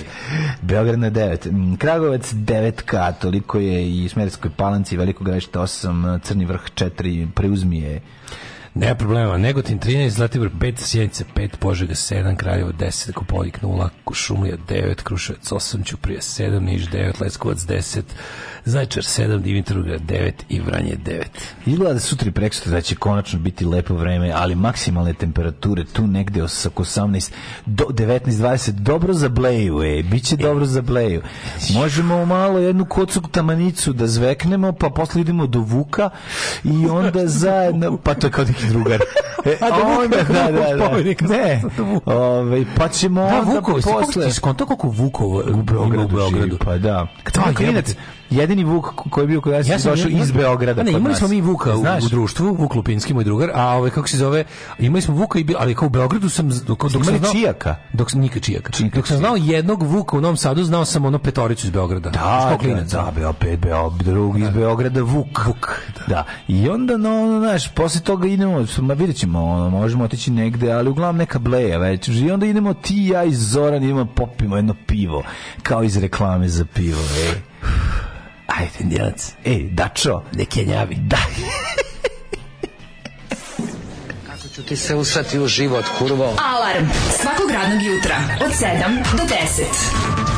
F: Beograd na 9. Mm, Kragujevac 9K, toliko je i Smederskoj palanci, Veliko gravište 8, Crni vrh 4, Preuzmije
G: Ne problema, Negotin 13, Zlatibor 5, Sjenica 5, Požega 7, Kraljevo 10, Kopolik 0, Šumlija 9, Kruševac 8, Ćuprija 7, Niš 9, Leskovac 10, Zajčar 7, Dimitrovgrad 9 i Vranje 9.
F: Izgleda da sutra i prekosutra da će konačno biti lepo vreme, ali maksimalne temperature tu negde os- oko 18 do 19 20 dobro za bleju, e, biće dobro za bleju. Možemo malo jednu kocu tamanicu da zveknemo, pa posle idemo do Vuka i onda zajedno pa to je kao neki drugar. E,
G: A do Vuka,
F: onda, da, da, da.
G: spomenik.
F: Ne. Ovaj pa ćemo
G: Da,
F: onda
G: Vukovo, si
F: posle
G: posle... skonto koliko Vukovo u Beogradu, u Beogradu.
F: živi, pa da.
G: Da,
F: Kako
G: jebote.
F: jedini Vuk koji je bio kod nas
G: Ja
F: ja
G: sam
F: došao
G: ja-
F: iz Beograda.
G: A Ne,
F: kod
G: imali
F: nas.
G: smo mi Vuka u,
F: Znaš,
G: u društvu, Vuk Lupinski, moj drugar, a ovaj, kako se zove, imali smo Vuka, i, bi- ali kao u Beogradu sam, z- dok, dok sam
F: imali
G: znao...
F: Čijaka?
G: Dok, sam- Nika Čijaka. dok sam znao jednog Vuka u Novom Sadu, znao sam ono petoricu iz Beograda. Znaš
F: Da,
G: kao
F: da,
G: klinac.
F: da, bio opet bio drug iz Beograda Vuk. Vuk, da. I onda no, no, znaš, posle toga idemo, s- ma vidjet ćemo, ono, možemo otići negde, ali uglavnom neka bleja već. I onda idemo ti i ja i Zoran idemo popimo jedno pivo, kao iz reklame za pivo, ej. Ajde, Njelac. Ej, Dačo. Neke njavi. Da.
Q: ću ti se usrati u život, kurvo.
E: Alarm svakog radnog jutra od 7 do 10.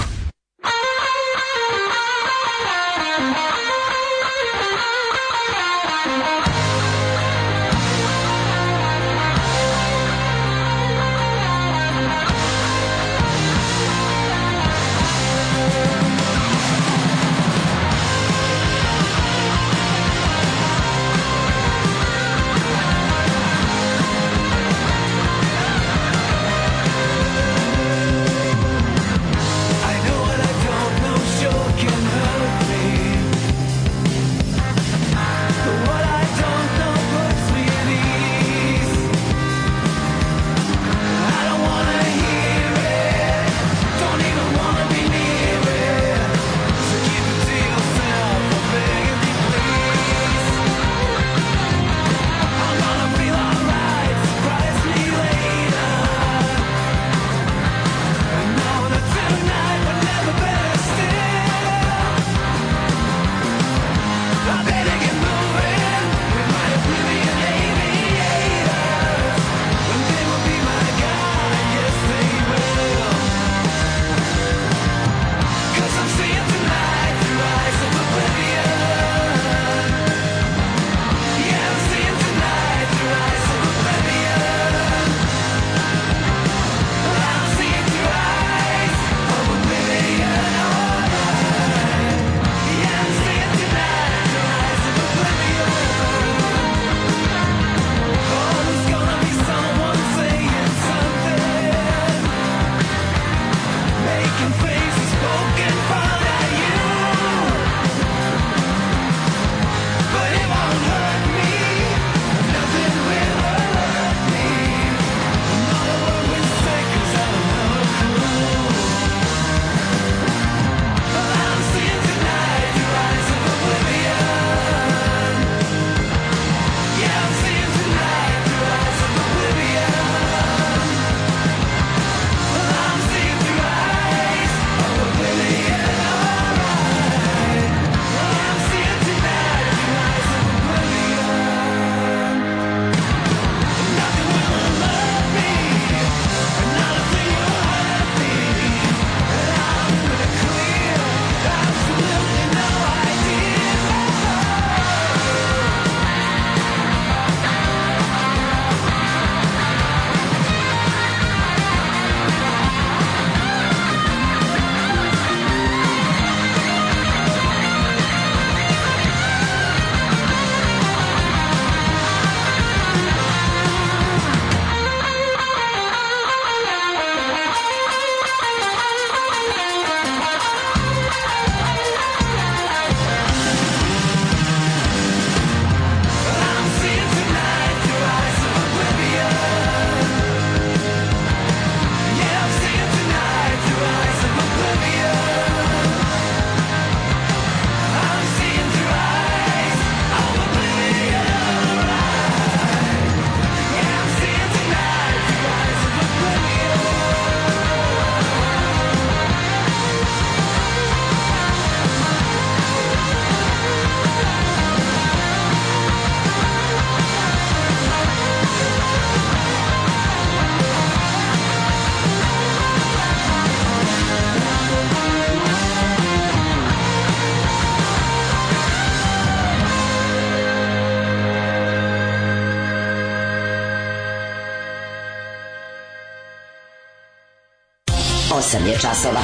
I: 8 je časova.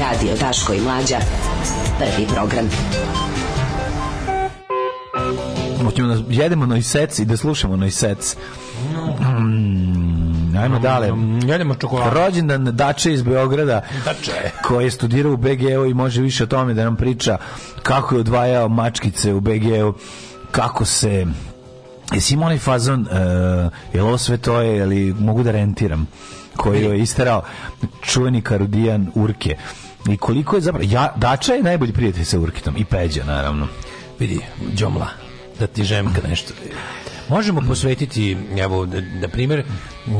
I: Radio Daško i Mlađa. Prvi program.
F: Hoćemo da jedemo noisec i da slušamo noisec. Mm, ajmo dalje.
G: Jedemo čokoladu.
F: Rođendan Dače iz Beograda.
G: Dače.
F: Koji je studirao u BGO i može više o tome da nam priča kako je odvajao mačkice u BGO, kako se... Jesi imao onaj fazon, uh, jel ovo sve to je, ali mogu da rentiram, koji je isterao čuveni Karudijan Urke. I koliko je zapravo... Ja, Dača je najbolji prijatelj sa Urkitom i Peđa, naravno.
G: Vidi, džomla, da ti žemka nešto. Možemo posvetiti, evo, na- na primjer, uh,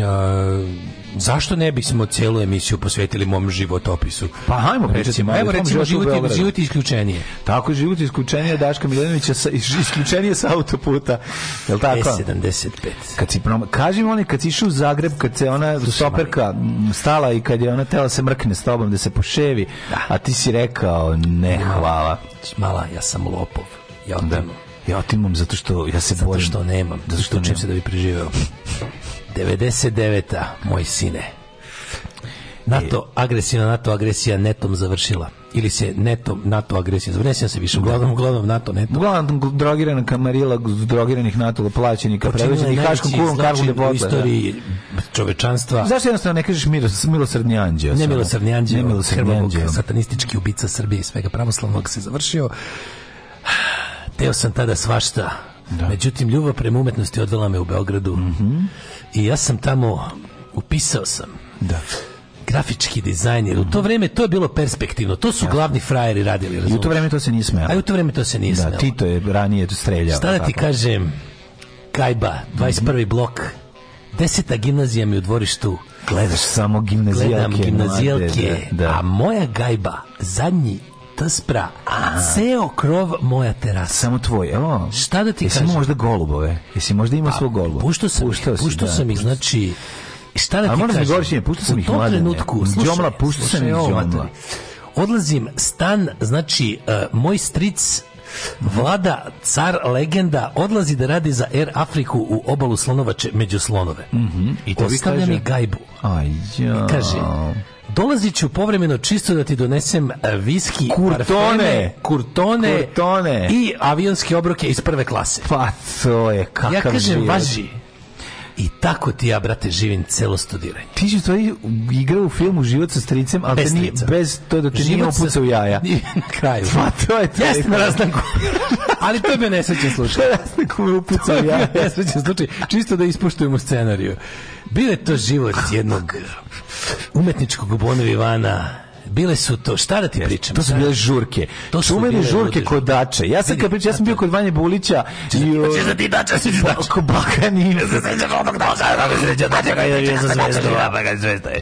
G: zašto ne bismo cijelu emisiju posvetili mom životopisu?
F: Pa hajmo pričati malo
G: Evo
F: o tom
G: recimo
F: životu u
G: život, je-
F: Beogradu.
G: život je isključenije.
F: Tako je život isključenija Daška Miljanovića sa, iš- isključenije sa autoputa. Jel
G: E,
F: tako?
G: E75.
F: Kad si prom... Kaži mi onaj, kad si išao u Zagreb, kad se ona stoperka m, stala i kad je ona tela se mrkne s tobom da se poševi, a ti si rekao ne, hvala.
G: Mala, ja sam lopov. Ja otimam.
F: Ja otimam zato što ja se
G: Zato
F: bojim.
G: što nemam. Zato što učim se da bi preživeo. 99. Moj sine. NATO agresija, NATO agresija netom završila. Ili se netom NATO agresija završila. Ne sjećam se više. Uglavnom, uglavnom NATO netom.
F: Uglavnom drogirana kamarila, drogiranih natolo plaćenika, preveđenih haškom kuvom, karvom
G: zločin u
F: depotle.
G: istoriji čovečanstva.
F: Zašto jednostavno ne kažeš miros, milosrdni anđeo?
G: Ne milosrdni anđeo,
F: Ne milosrdni
G: Krvavog
F: ono anđeo.
G: satanistički ubica Srbije i svega pravoslavnog se završio. Teo sam tada svašta. Međutim, ljubav prema umetnosti odvela me u Beogradu.
F: Mhm.
G: I ja sam tamo, upisao sam
F: da.
G: grafički dizajn, jer u to vreme to je bilo perspektivno. To su glavni frajeri radili.
F: I u
G: razumeš?
F: to vreme to se nije smelo.
G: A i u to vreme to se nije
F: Da,
G: smelo.
F: Tito je ranije streljao.
G: Šta da ti
F: tako.
G: kažem? Kajba, 21. blok, 10. gimnazija mi u dvorištu.
F: Gledaš samo gimnazijalke.
G: Gledam gimnazijalke,
F: mlade, da, da.
G: a moja gajba, zadnji tspra, a ceo krov moja terasa.
F: Samo tvoj, evo.
G: Šta da ti
F: Jesi
G: kažem?
F: možda golubove? Jesi možda imao svog goluba?
G: Puštao sam
F: Puštao
G: ih,
F: si,
G: puštao
F: da.
G: sam ih, znači... Šta da
F: A
G: ti
F: moram da
G: kažem?
F: govoriš, ne, puštao sam ih,
G: U tom
F: mladene.
G: trenutku, slušaj,
F: Đomla, puštao sam
G: slušaj
F: ih,
G: ovo,
F: Đomla.
G: matori. Odlazim, stan, znači, eh, moj stric, Vlada, car, legenda, odlazi da radi za Air Afriku u obalu slonovače među slonove.
F: I to vi
G: Ostavlja
F: Mhm. kaže?
G: mi gajbu.
F: Aj, ja.
G: Kaže, dolazit ću povremeno čisto da ti donesem e, viski,
F: Kurtone!
G: parfeme, kurtone,
F: Kurtone!
G: i avionske obroke iz prve klase.
F: Pa to je kakav
G: ja kažem,
F: život.
G: važi. I tako ti ja, brate, živim celo studiranje.
F: Ti si u stvari igrao u filmu Život sa stricem, ali
G: Bez
F: te nije,
G: strica.
F: bez to da te nije
G: Život sa-
F: opucao jaja.
G: Nije na kraju.
F: Pa to je to.
G: Jeste na rastanku. Ali to je bio nesrećen slučaj.
F: Rastanku me
G: To
F: upucao
G: je bio
F: jaja.
G: nesrećen slučaj. Čisto da ispoštujemo scenariju. Bio je to život jednog umetničkog Bonovi Ivana. Bile su to, šta da ti pričam?
F: To su bile žurke.
G: To su
F: Čuvene
G: bile
F: žurke
G: lude
F: kod Dače. Ja sam
G: Vidi,
F: kad pričam, ja sam bio kod Vanje Bulića i o-
G: Hoćeš da ti dače se ti dače.
F: Ko baka nije. pa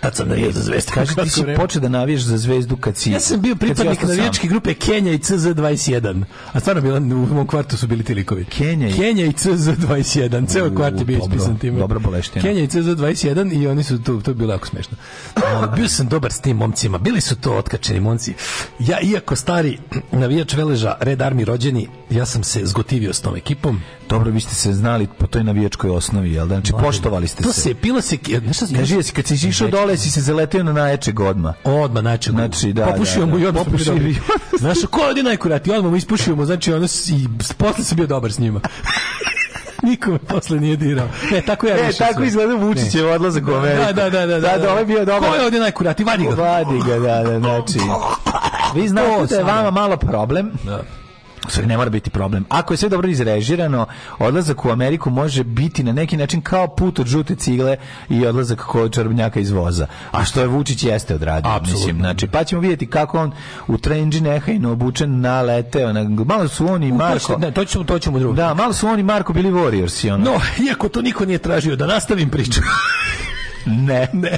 G: Tad sam navijao za zvezde.
F: Kaže, ti si počeo da navijaš za zvezdu kad si...
G: Ja sam bio
F: kad si
G: pripadnik
F: ostao sam.
G: navijačke grupe Kenja i CZ21. A stvarno bila, u mom kvartu su bili ti likovi.
F: Kenja i-
G: Kenja i CZ21. Ceo
F: U,
G: kvart je bio
F: dobro,
G: ispisan time.
F: dobro boleština.
G: Kenja i CZ21 i oni su tu, to je bilo jako smešno. A, bio sam dobar s tim momcima. Bili su to otkačeni momci. Ja, iako stari navijač Veleža, Red Army rođeni, ja sam se zgotivio s tom ekipom.
F: Dobro, vi ste se znali po toj navijačkoj osnovi, jel da? Znači, poštovali ste
G: To
F: se.
G: se, pilo se... Znaš šta se-
F: Kaži, jesi kad si išao dole, si se zaletio na najjačeg odma.
G: Odmah znači,
F: Znači, da,
G: popušio
F: da, da.
G: mu i odmah smo bili
F: Popušio
G: dobri.
F: i-
G: Znaš, ko je najkurati, odmah mu ispušio mu, znači ono s- i s- posle sam bio dobar s njima. Niko me posle nije dirao. Ne, tako ja
F: E,
G: više
F: tako
G: sve.
F: izgleda Vučićev odlazak u Ameriku.
G: Da, da, da, da.
F: Da, da, ovaj bio dobar.
G: Ko je ovdje najkurati, vadi ga.
F: Vadi ga, da, da, znači. Vi znate
G: To
F: da je
G: sam.
F: vama malo problem.
G: Da.
F: U stvari ne mora biti problem. Ako je sve dobro izrežirano, odlazak u Ameriku može biti na neki način kao put od žute cigle i odlazak kod čarobnjaka iz voza. A što je Vučić jeste odradio.
G: Apsolutno.
F: Mislim. Znači, pa ćemo vidjeti kako on u trenđi nehajno obučen naleteo. Na, malo su oni i
G: To će-
F: Marko...
G: Ne, to ćemo, to ćemo drugo.
F: Da, malo su oni i Marko bili warriors i ono.
G: No, iako to niko nije tražio, da nastavim priču.
F: Ne.
G: ne.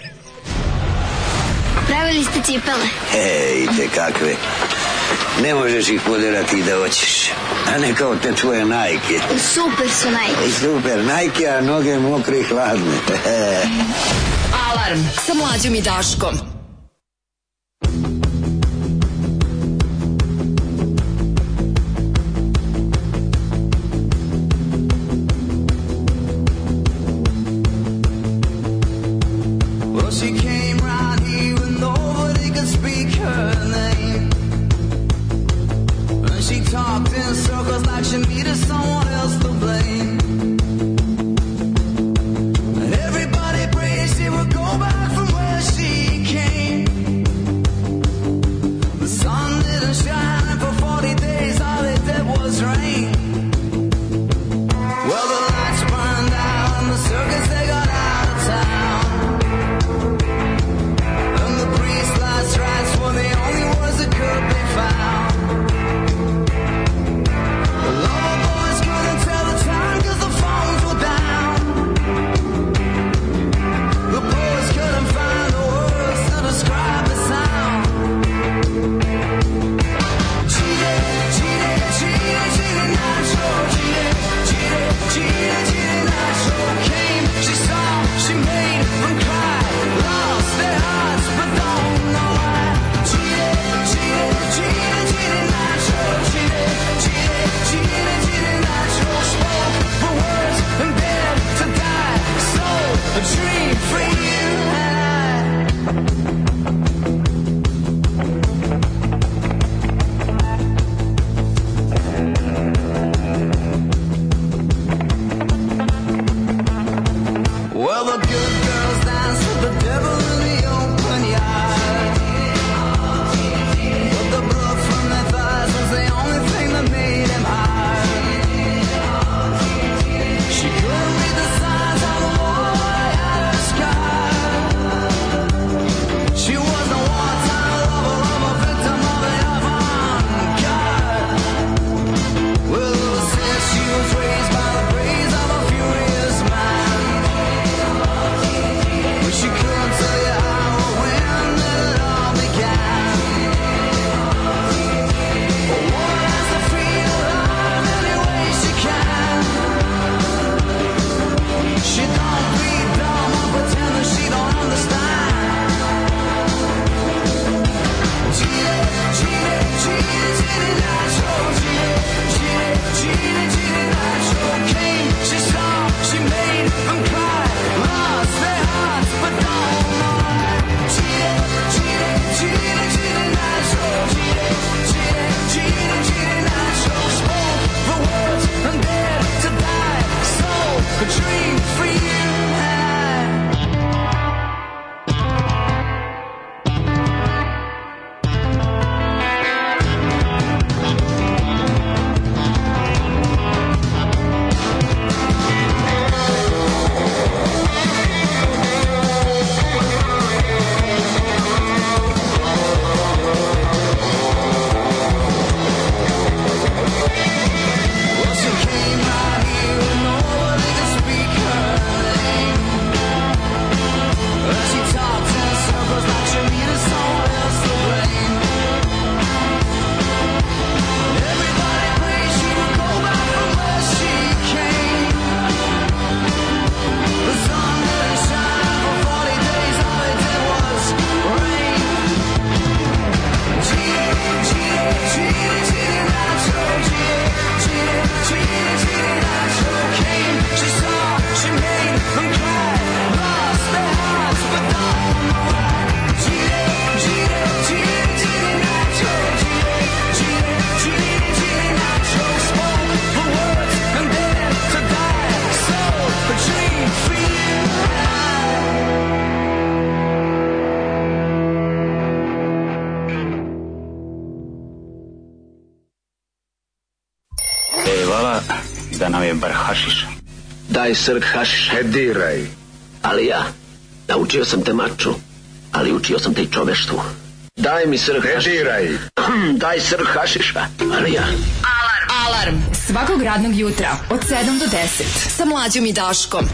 M: Pravili ste cipele.
B: Ej, te kakve. Ne možeš ih poderati i da hoćeš. A ne kao te tvoje najke.
M: Super su najbolji.
B: Super, najke, a noge mokre i hladne.
E: Alarm sa Mlađom i Daškom.
O: Well, she came round here
J: circles like she needed someone else to blame. And everybody prayed she would go back from where she came. The sun didn't shine, and for 40 days all it did was rain. Well, the lights burned out, and the circus they got out of town. And the priest's last rites were the only words that could be found. The lover boys couldn't tell the time 'cause the phones were down. The boys couldn't find the words to describe the sound. Cheated, cheated, cheated, cheated, not sure. Cheated, cheated, cheated, cheated, not sure. Came, she saw, she made them cry. Lost their hearts, but don't know why. Cheated, cheated, cheated, cheated, not sure. Cheated, cheated, cheated, cheated, not sure. Spoke the words and dared to die. Sold a dream for you and I. Well, the good girls dance with the devil in the open yard. But the blood from their thighs was the only thing that made him hard. She couldn't read the signs on the wall at her scar. She was a one-time lover of a victim of the avant-garde. Well, says she was raised by the praise of a furious mind. But she couldn't tell you how or when that it all began. A woman has to feel love any way she can. She don't be dumb or pretend that she don't understand. Cheated, cheated, cheated, cheated, I chose cheated. Cheated, cheated, cheated, I chose came. She saw, she made them cry. Lost their hearts, but don't know why. Cheated, cheated, cheated, cheated, I chose cheated. Cheated, cheated, cheated, I chose spoke the words and dared to die. Sold a dream for you and I. Well, she came right here and nobody could speak her name. Well, she talked in circles like she needed someone else to blame. And everybody prayed she would go back from where she came. The sun didn't shine for 40 days, all it did was rain. Cheated, cheated, cheated, cheated, not sure. Cheated, cheated, cheated, cheated, not sure. Came, she saw, she made them cry. Lost their hearts, but don't know why. Cheated, cheated, cheated, cheated, not sure. Cheated, cheated, cheated, cheated, not sure. Spoke the words and dared to die. Sold a dream for you and I.
R: E, vala, da nam je bar hašiš.
S: Daj srk hašiš. E, diraj. Ali ja, naučio sam te maču, ali učio sam te i čoveštvu. Daj mi srk hašiša. diraj. Daj srk hašiša. Ali ja.
O: Alarm. Alarm. Svakog radnog jutra od 7 do 10 sa mlađom i Daškom.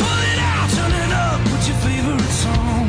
J: Pull it out, turn it up, put your favorite song.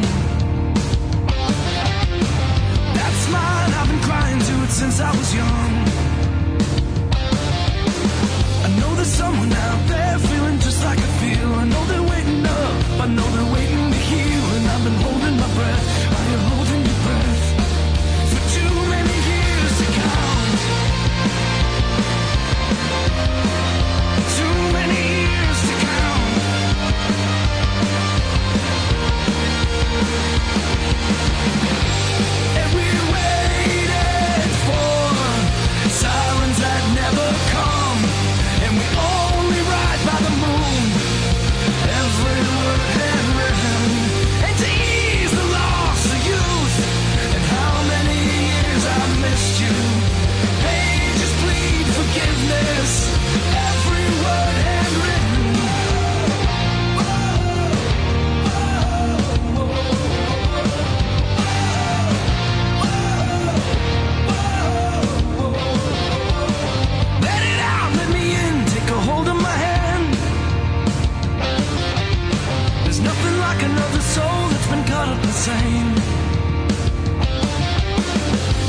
L: same.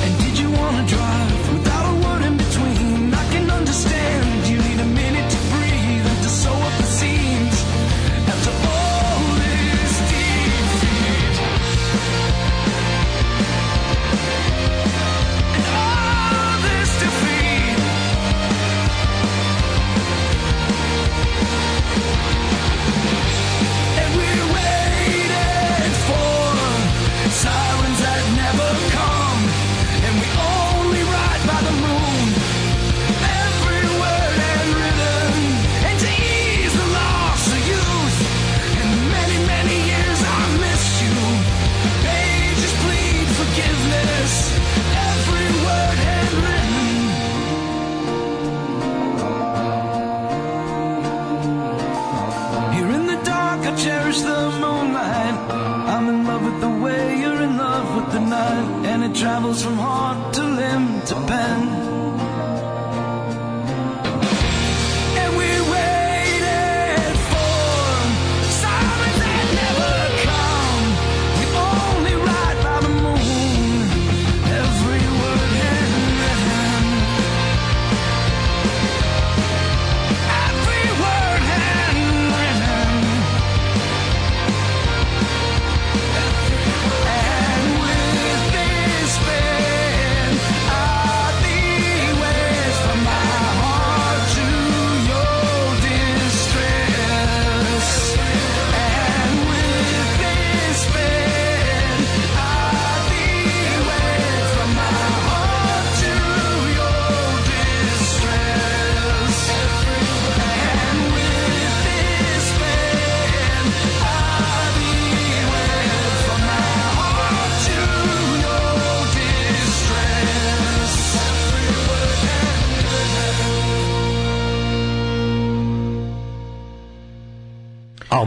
L: And did you want to drive without a word in between? I can understand you need a minute to breathe and to sew up the seams. After all this defeat. And all this defeat. And we waited for sirens that never come. And we only ride by the moon. Every word and rhythm. And to ease the loss of youth. And the many, many years I missed you. Pages plead forgiveness. Every word handwritten. Here in the dark, I cherish the moonlight. I'm in love with the way you're in love with the night, and it travels from heart to limb to pen. And we waited for silence that never come. We only ride by the moon. Every word handwritten. Every word handwritten. And with this pen, I beware from my heart to your distress. And with this pen, I beware from my heart to your distress. And with this pen, I beware from my heart to your distress.
G: A,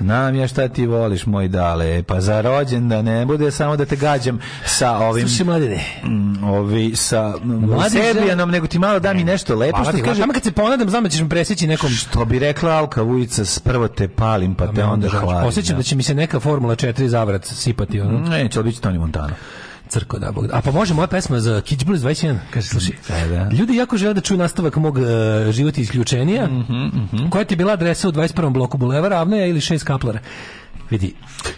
F: Nam ja šta ti voliš, moj dale. Pa za rođendan ne bude samo da te gađam sa ovim...
G: Slušaj, mladene,
F: Mm, Ovi, sa
G: Mladi
F: Serbijanom, nego ti malo da mi nešto lepo.
G: Hvala
F: što
G: ti,
F: kaže, Mm,
G: Tamo kad se ponadam, znam da ćeš mi presjeći nekom...
F: Što bi rekla Alka Vujica, s prvo te palim, pa te onda hvalim.
G: Osjećam da će mi se neka Formula 4 zavrat sipati. Ono.
F: Ne, će li biti Tony Montana.
G: Crko da Bog. da. A pa može moja pesma za Kids Blues 21? Kaže, slušaj,
F: Da, da.
G: ljudi jako žele da čuju nastavak mog e, života isključenija.
F: Mhm,
G: Koja ti je bila adresa u 21. bloku Bulevara, Avnoja ili 6 Kaplara? Vidi,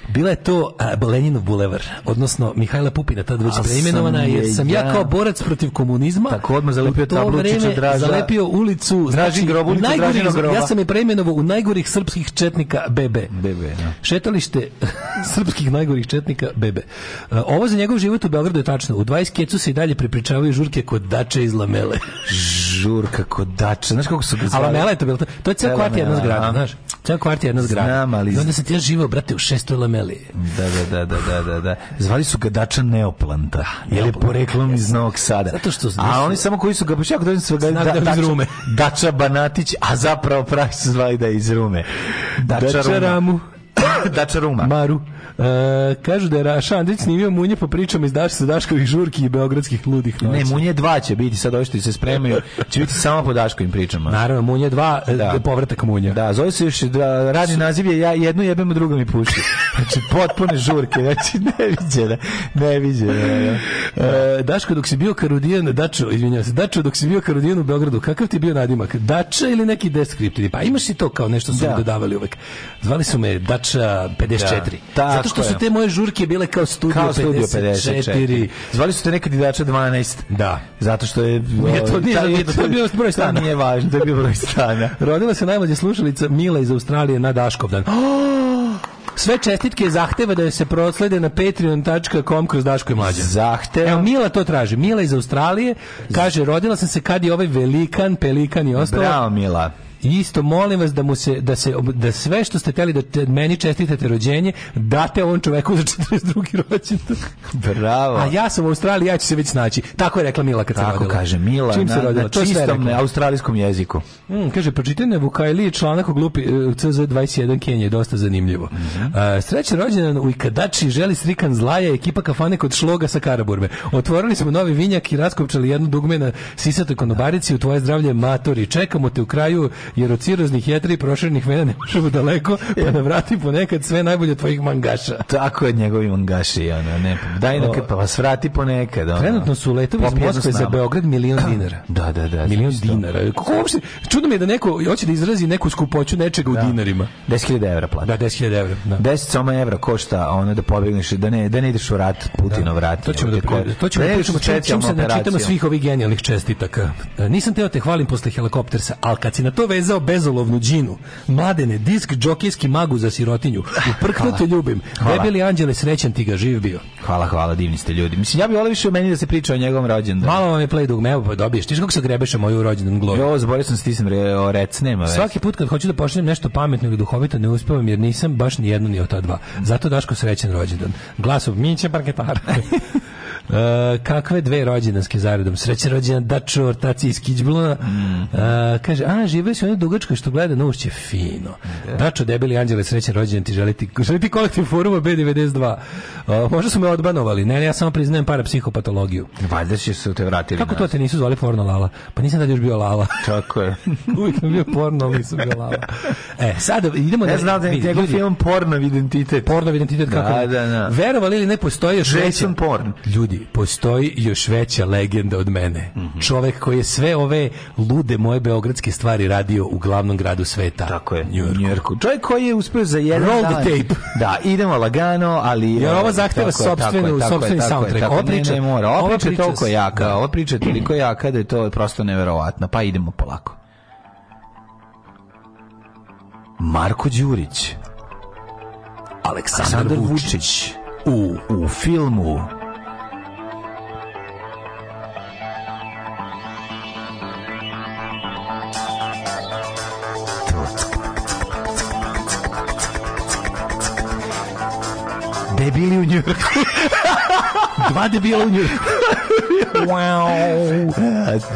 G: bila je to uh, Leninov bulevar, odnosno Mihajla Pupina, tad već
F: Al sam
G: preimenovana, jer
F: je
G: sam ja
F: ja-
G: kao borac protiv komunizma
F: Tako odmah zalepio
G: u to
F: tablu Čiča
G: vreme
F: Draža.
G: zalepio ulicu,
F: Dražin grob, ulicu
G: najgorih-
F: Dražinog groba.
G: ja sam je preimenovao u najgorih srpskih četnika BB.
F: Bebe, da.
G: Šetalište srpskih najgorih četnika Bebe. E, Ovo za njegov život u Beogradu je tačno. U 20 kecu se i dalje prepričavaju žurke kod dače iz Lamele.
F: Žurka kod dača. Znaš kako su ga
G: A
F: zvali?
G: Lamela je to bilo. To- To je ceo
F: Lamela,
G: kvart jedna zgrada,
F: aha.
G: znaš. Ceo kvart jedna zgrada.
F: Znam, ali-
G: I onda sam ti ja živao, brate, u šestoj Lameli.
F: Da, da, da, da, da, da, da. Zvali su ga Dača Neoplanta. Jer je
G: Neoplanta,
F: poreklom iz Novog Sada.
G: Zato što su-
F: A oni samo koji su ga baš jako dođeni su ga
G: Znak da je iz Rume.
F: Dača Banatić, a zapravo pravi su zvali da je iz Rume. Dača, Ruma.
G: Ramu.
F: Dača Ruma.
G: Maru. E, kažu da je Raša Andrić snimio munje po pričama iz Daš- sa Daškovih žurki i beogradskih ludih noći.
F: Ne, Munje 2 će biti, sad ovi što se spremaju, će biti samo po Daškovim pričama.
G: Naravno, munje dva, e,
F: Da.
G: povratak munja.
F: Da, zove se još, da, radni naziv je ja jednu jebem, a druga mi puši. Znači, potpune žurke, znači, neviđene, neviđene.
G: E, Daško, dok si bio karudijan, Dačo, izvinjavam se, Dačo, dok si bio karudijan u Beogradu, kakav ti je bio nadimak? Dača ili neki deskriptivni? Pa imaš i to kao nešto su
F: Da.
G: mi dodavali uvek. Zvali su me Dača 54.
F: Da,
G: Zato što
F: tako
G: su
F: je.
G: te moje žurke bile kao studio,
F: Kao studio
G: 54.
F: 54. Zvali su te nekad i Dača 12.
G: Da.
F: Zato što je... ovaj,
G: Nije to- nije-
F: taj-
G: nije to- to je bio broj stana.
F: To nije važno, to je bio broj stana.
G: Rodila se najmlađa slušalica Mila iz Australije na Daškovdan. Sve čestitke zahteva da joj se proslede na patreon.com kroz Daško i Mlađa.
F: Zahtev.
G: Evo, Mila to traži. Mila iz Australije kaže, rodila sam se kad je ovaj velikan, pelikan i ostalo.
F: Bravo, Mila.
G: Isto molim vas da mu se da se da sve što ste hteli da te- meni čestitate rođenje, date ovom čoveku za 42. rođendan.
F: Bravo.
G: A ja sam u Australiji, ja ću se već snaći. Tako je rekla Mila kad se
F: Tako
G: rodila.
F: kaže Mila,
G: Čim se
F: na-
G: rodila,
F: na
G: to je sve
F: čistom
G: rekla.
F: ne- australijskom jeziku.
G: Mm, kaže, pročitaj na Vukajliji članak o glupi e, CZ21 Kenije, dosta zanimljivo.
F: Mhm.
G: E, srećan rođendan u Ikadači želi srikan zlaja ekipa kafane kod šloga sa Karaburme. Otvorili smo novi vinjak i raskopčali jednu dugme na sisatoj konobarici u tvoje zdravlje matori. Čekamo te u kraju jer od ciroznih jetri i proširenih vena ne možemo daleko, pa da vrati ponekad sve najbolje od tvojih mangaša.
F: Tako je njegovi mangaši, ono, ne, daj na pa vas vrati ponekad. Ono.
G: Trenutno su letovi iz
F: Popijemo s
G: Moskve za
F: nama.
G: Beograd milion dinara.
F: Da, da, da. znači
G: Milion dinara. Kako uopšte, čudno mi je da neko hoće da izrazi neku skupoću nečega u dinarima.
F: 10.000 evra plata.
G: Da, 10.000 evra. Da.
F: 10 soma evra košta ono da pobegneš, da ne, da ne ideš u rat Putinov rat. ono,
G: To ćemo da,
F: Ko-
G: pri- to ćemo da
F: ne ideš
G: pričamo
F: u
G: čim, čim
F: specijalnu
G: se načitamo
F: operaciju.
G: svih ovih genijalnih čestitaka. E, Nisam teo te hvalim posle helikoptersa, ali kad si na to vezao bezolovnu džinu, mladene, disk džokijski magu za sirotinju, uprkno te ljubim,
F: Hvala.
G: debeli anđele, srećan ti ga, živ bio.
F: Hvala, hvala, divni ste ljudi. Mislim, ja bih volio više o meni da se priča o njegovom rođendanu.
G: Malo vam je play dugme, evo pa dobiješ. Tiš kako se grebeše moju rođendan gloru.
F: Jo, zaboravio sam stisnem re, o rec, nema veze.
G: Svaki put kad hoću da pošaljem nešto pametno ili duhovito ne uspevam jer nisam baš ni jedno ni od ta dva. Zato Daško srećan rođendan. Glasov Miće Parketar. E, kakve dve rođendanske zaredom srećan rođendan Dačo Ortaci iz Kiđblona E, kaže a žive su ono dugačko što gleda na ušće fino Dačo debeli anđele srećan rođendan ti želiti želiti kolektiv foruma B92 E, možda su me odbanovali ne, ne ja samo priznajem parapsihopatologiju
F: Valjda će se te vratili.
G: kako to te nisu zvali porno lala pa nisam tad još bio lala
F: Tako je.
G: Uvijek sam bio porno, ali nisam bio lava. E, sad idemo
F: Ne znam da je
G: vidi,
F: njegov
G: ljudi,
F: film porno identitet.
G: porno identitet kako.
F: Da,
G: ne.
F: da, da.
G: Verovali ili ne postoji još
F: Jason
G: veća
F: porn.
G: Ljudi, postoji još veća legenda od mene.
F: Mhm.
G: Čovek koji je sve ove lude moje beogradske stvari radio u glavnom gradu sveta.
F: Tako je,
G: Njujorku.
F: Njujorku. Čovjek koji je uspio za jedan
G: Roll the
F: dan.
G: tape.
F: Da, idemo lagano, ali...
G: Jer
F: ovaj,
G: ovo zahteva
F: tako je, tako je,
G: sopstvenu-
F: tako je,
G: sopstveni
F: tako je,
G: soundtrack.
F: tako je.
G: Ova priča-
F: Ne, ne, mora. Ova
G: ova
F: priča je
G: priča
F: toliko
G: s-
F: jaka, ova priča je toliko jaka da je to prosto neverovatno. Pa idemo polako. Marko Đurić, Aleksandar Vučić u, u filmu Debili u Njujorku.
G: Dva debila u Njujorku.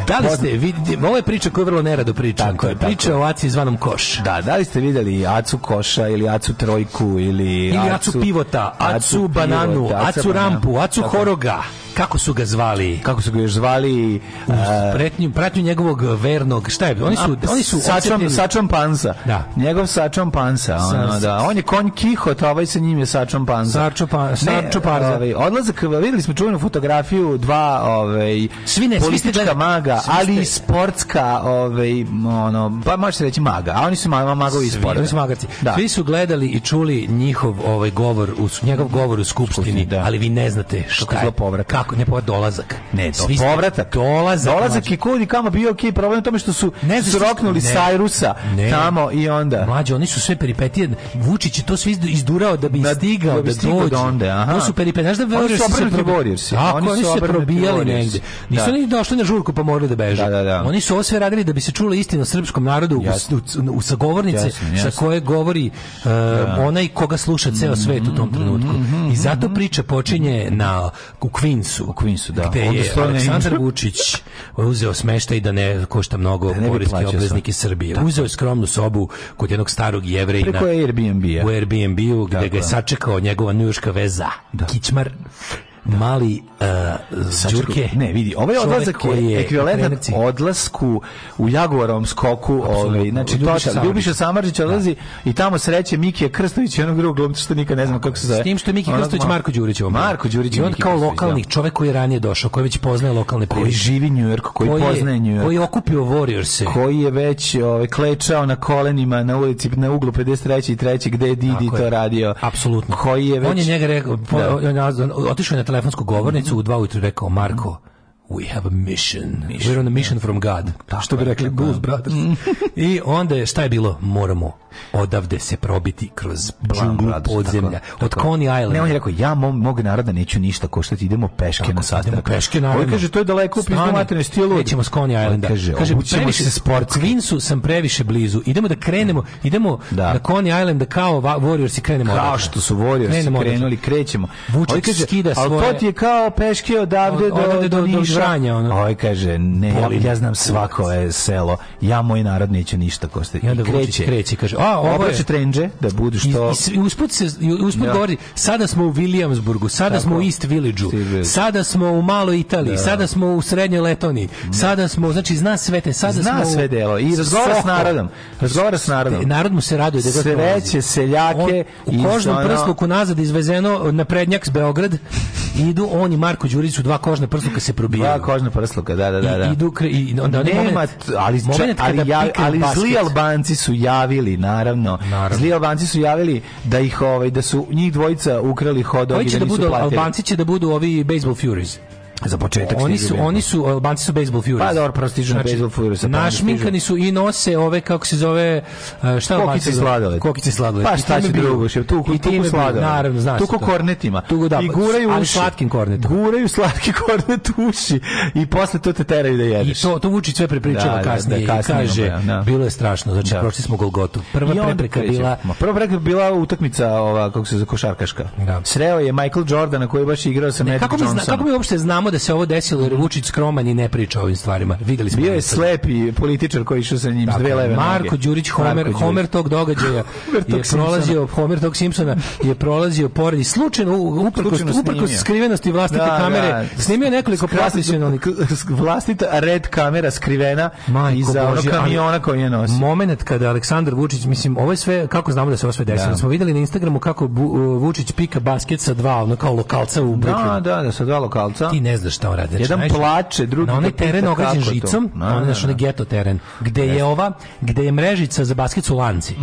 G: Da li ste, vidi, ovo je priča koju vrlo nerado pričam.
F: Tako je, tako
G: priča o Aci zvanom Koš.
F: Da, da li ste vidjeli Acu Koša ili Acu Trojku ili...
G: Ili Acu pivota, Acu bananu,
F: pivota,
G: Acu
F: bananu.
G: rampu, Acu
F: Tako je.
G: horoga. Kako su ga zvali?
F: Kako su ga još zvali? e,
G: pretnju, pratnju njegovog vernog, šta je, oni su, oni su
F: sačom,
G: odcepljeni-
F: sačom pansa.
G: Da.
F: Njegov sačom pansa. Ono,
G: Sa-
F: da. On je konj Kihot, a ovaj sa njim je sačom pansa.
G: Sarčo pa- Sarčo Parza.
F: ovaj, odlazak, videli smo čuvenu fotografiju, dva ovaj,
G: Svi ne, svi ste
F: politička
G: gledali.
F: maga,
G: Svi
F: ali
G: ste-
F: i sportska, ovaj, ono, pa možete reći maga, a oni su ma, ma- magovi iz
G: Svi,
F: sporta.
G: oni su magarci.
F: Da.
G: Svi su gledali i čuli njihov ovaj govor u s- njegov govor u skupštini,
F: da.
G: ali vi ne znate šta
F: Kako je zlo povratak.
G: Kako ne povrat dolazak.
F: Ne, to
G: Svi ste-
F: povratak.
G: Dolazak.
F: Dolazak je kod i kamo bio okej, problem je u tome što su,
G: Ne,
F: su
G: znaš što-
F: roknuli
G: ne.
F: Sajrusa
G: Ne.
F: tamo i onda.
G: Mlađe, oni su sve peripetije. Vučić je to sve izdu- izdurao da bi
F: Da-
G: stigao
F: da
G: da,
F: bi stigao
G: dođe.
F: do onda, aha.
G: To su peripetije. Znaš da
F: Oni
G: Warriorsi
F: su
G: se
F: obrnuti
G: probi-
F: Warriorsi.
G: Tako,
F: Oni
G: oni
F: su
G: su se
F: obrnuti
G: probijali
F: Warriorsi.
G: negde. Nisu
F: Da.
G: oni došli na žurku pa morali da beže.
F: Da, da, da.
G: Oni su ovo sve radili da bi se čula istina o srpskom narodu u-
F: Jasno.
G: u, u sagovornice
F: Jasno, Mm-hmm,
G: sa
F: jasno.
G: koje govori e, onaj koga sluša ceo svet u tom trenutku.
F: mm-hmm,
G: I zato priča počinje na u Queensu. U
F: Queensu, da.
G: Gde
F: Onda
G: je
F: stoje na
G: Aleksandar
F: intro.
G: Vučić uzeo smeštaj da ne košta mnogo
F: ne bi
G: poreski
F: plaćao
G: obveznik iz Srbije. Uzeo je skromnu sobu kod jednog starog jevrejna
F: Preko Airbnb-a.
G: u Airbnb-u gde
F: Tako
G: ga
F: je.
G: je sačekao njegova njuška veza. Kičmar, mali uh, Đurke.
F: Ne, vidi, ovaj
G: Čovek
F: odlazak
G: koji
F: je ekvivalentan
G: trenerci.
F: odlasku u Jaguarovom skoku, ovaj, znači
G: Ljubiša
F: total.
G: Samardžić.
F: Ljubiša Samarđić odlazi i tamo sreće Mikija Krstović i onog drugog glumca što nikad ne znam kako se zove.
G: S tim što je Miki
F: Onog
G: Krstović
F: ma-
G: Marko Đurić ovo bio.
F: Marko Đurić
G: I on
F: Miki
G: kao
F: Krstović,
G: lokalni
F: da.
G: čovjek koji je ranije došao, koji već poznaje lokalne
F: koji
G: prilike.
F: živi New York, koji,
G: je-
F: poznaje New York.
G: Koji je okupio Warriorse.
F: koji je već ovaj klečao na kolenima na ulici na uglu 53. i 3. gde je Didi
G: Tako
F: to
G: je.
F: radio.
G: Apsolutno.
F: Koji je već
G: On je njega rekao, po-
F: Da.
G: on je nazvan- otišao je na telefonsku govornicu u dva ujutru i rekao Marko, we have a mission. We're on a mission from God. što bi rekli Blues Brothers.
F: Mm.
G: I onda je, šta je bilo? Moramo odavde se probiti kroz džunglu
F: Brothers,
G: podzemlja.
F: tako je,
G: Od
F: tako je.
G: Coney Island.
F: Ne, on je rekao, ja mom, mog naroda neću ništa koštati, idemo peške na sastanak.
G: idemo peške, naravno.
F: Ovo kaže, to je daleko u pizdu
G: Stani,
F: materine stilu.
G: Nećemo s Coney Islanda.
F: Kaže, obućemo se sportski.
G: Kvinsu sam previše blizu. Idemo da krenemo, idemo na Coney Island da kao va- Warriors i krenemo.
F: Kao
G: odatle.
F: što su Warriors
G: Krenemo odatle.
F: krenuli, krećemo.
G: Vučić
F: Ovaj
G: skida
F: Ali
G: svoje-
F: to ti je kao peške odavde
G: Od-
F: do,
G: odavde do- do
F: Niša.
G: Žranja, ono.
F: Ovaj kaže, ne, ja,
G: Volim.
F: ja znam svako je selo, ja moj narod neću ništa koštati.
G: I onda Vučić kreće, kaže, a, ovo je-
F: Obraće trendže, da budu
G: I,
F: što...
G: i, i usput se i usput
F: Da.
G: govori sada smo u Williamsburgu, sada
F: Tako.
G: smo u East Villageu,
F: East Village.
G: sada smo u maloj Italiji, sada smo u srednjoj Letoniji, sada smo znači zna sve te, sada
F: Mm. Zna
G: smo u
F: sve delo i razgovara s
G: Soko.
F: narodom. Razgovara s narodom.
G: Narod mu se raduje da god
F: Sve
G: dolazi.
F: veće seljake
G: On,
F: i
G: u kožnom
F: ono-
G: prsluku nazad izvezeno na prednjak s Beograd idu on i Marko Đurić su dva kožna prsluka se probijaju.
F: Dva kožna prsluka, da, da, da. da.
G: I, idu kre, i onda onaj
F: Nema,
G: moment,
F: t- ali, čak-
G: moment kada
F: ali, ja-
G: pikne
F: ali
G: basket.
F: zli Albanci su javili, naravno. Zli Albanci su javili da ih ovaj da su njih dvojica ukrali hodog
G: Koji
F: i
G: će
F: da
G: da
F: nisu
G: budu,
F: platili.
G: Albanci će da budu ovi Baseball Furies.
F: za početak
G: Oni
F: stižu
G: su,
F: bili.
G: oni su, e, Albanci su Baseball Furies.
F: Pa dobro, prvo stižu na Baseball Furies, a pa onda
G: Našminkani su i nose ove, kako se zove, e, šta Albanci
F: Kokice
G: zove?
F: sladoled.
G: Kokice sladoled.
F: Pa
G: I
F: šta
G: time
F: će
G: biju.
F: drugo, šef, tu
G: I
F: tu
G: time biju,
F: sladoled.
G: Naravno, znaš.
F: Tu
G: to.
F: kornetima.
G: Tu go da,
F: I guraju
G: ali
F: uši.
G: slatkim kornetom.
F: Guraju slatki kornet u uši i posle to te teraju da
G: I
F: jedeš.
G: to, to Vučić sve
F: Da,
G: prepričava
F: da, da,
G: kasnije,
F: kasnije,
G: i kaže,
F: da, da.
G: bilo je strašno, znači
F: Da.
G: prošli smo Golgotu. Prva
F: I onda
G: prepreka
F: kreće.
G: bila
F: Ma, prva prepreka bila utakmica ova kako se zove košarkaška. Sreo je Michael Jordana koji je baš igrao sa Magic
G: Kako mi, zna,
F: Johnsonom.
G: kako mi uopšte znamo da se ovo desilo jer je Vučić skroman i ne priča o ovim stvarima? Videli smo.
F: Bio je
G: Instagram.
F: slepi političar koji je išao sa njim s dve leve
G: Marko
F: noge.
G: Đurić Homer
F: Marko Đurić.
G: Homer tog događaja
F: Homer tog
G: je prolazio Homer tog Simpsona je prolazio pored i slučajno u- uprkos
F: Slučajno snimio.
G: uprkos skrivenosti vlastite
F: Da,
G: kamere
F: da.
G: snimio nekoliko
F: Krasna-
G: profesionalnih
F: k- vlastita red kamera skrivena iza onog kamiona koji je nosio.
G: Moment kada Aleksandar Vučić, mislim, ovo je sve, kako znamo da se ovo sve desilo,
F: Da.
G: smo videli na Instagramu kako Bu- uh, Vučić pika basket sa dva, ono kao lokalca u Brooklynu.
F: Da, da, da, sa dva lokalca.
G: Ti ne znaš šta on radi. Znači,
F: Jedan
G: znaš,
F: plače, drugi
G: Na onaj
F: ga pita
G: teren ograđen
F: kako to.
G: žicom,
F: Da,
G: na onaj,
F: da,
G: znaš, onaj
F: da.
G: geto teren, gde je ova, gde je mrežica za basket su lanci.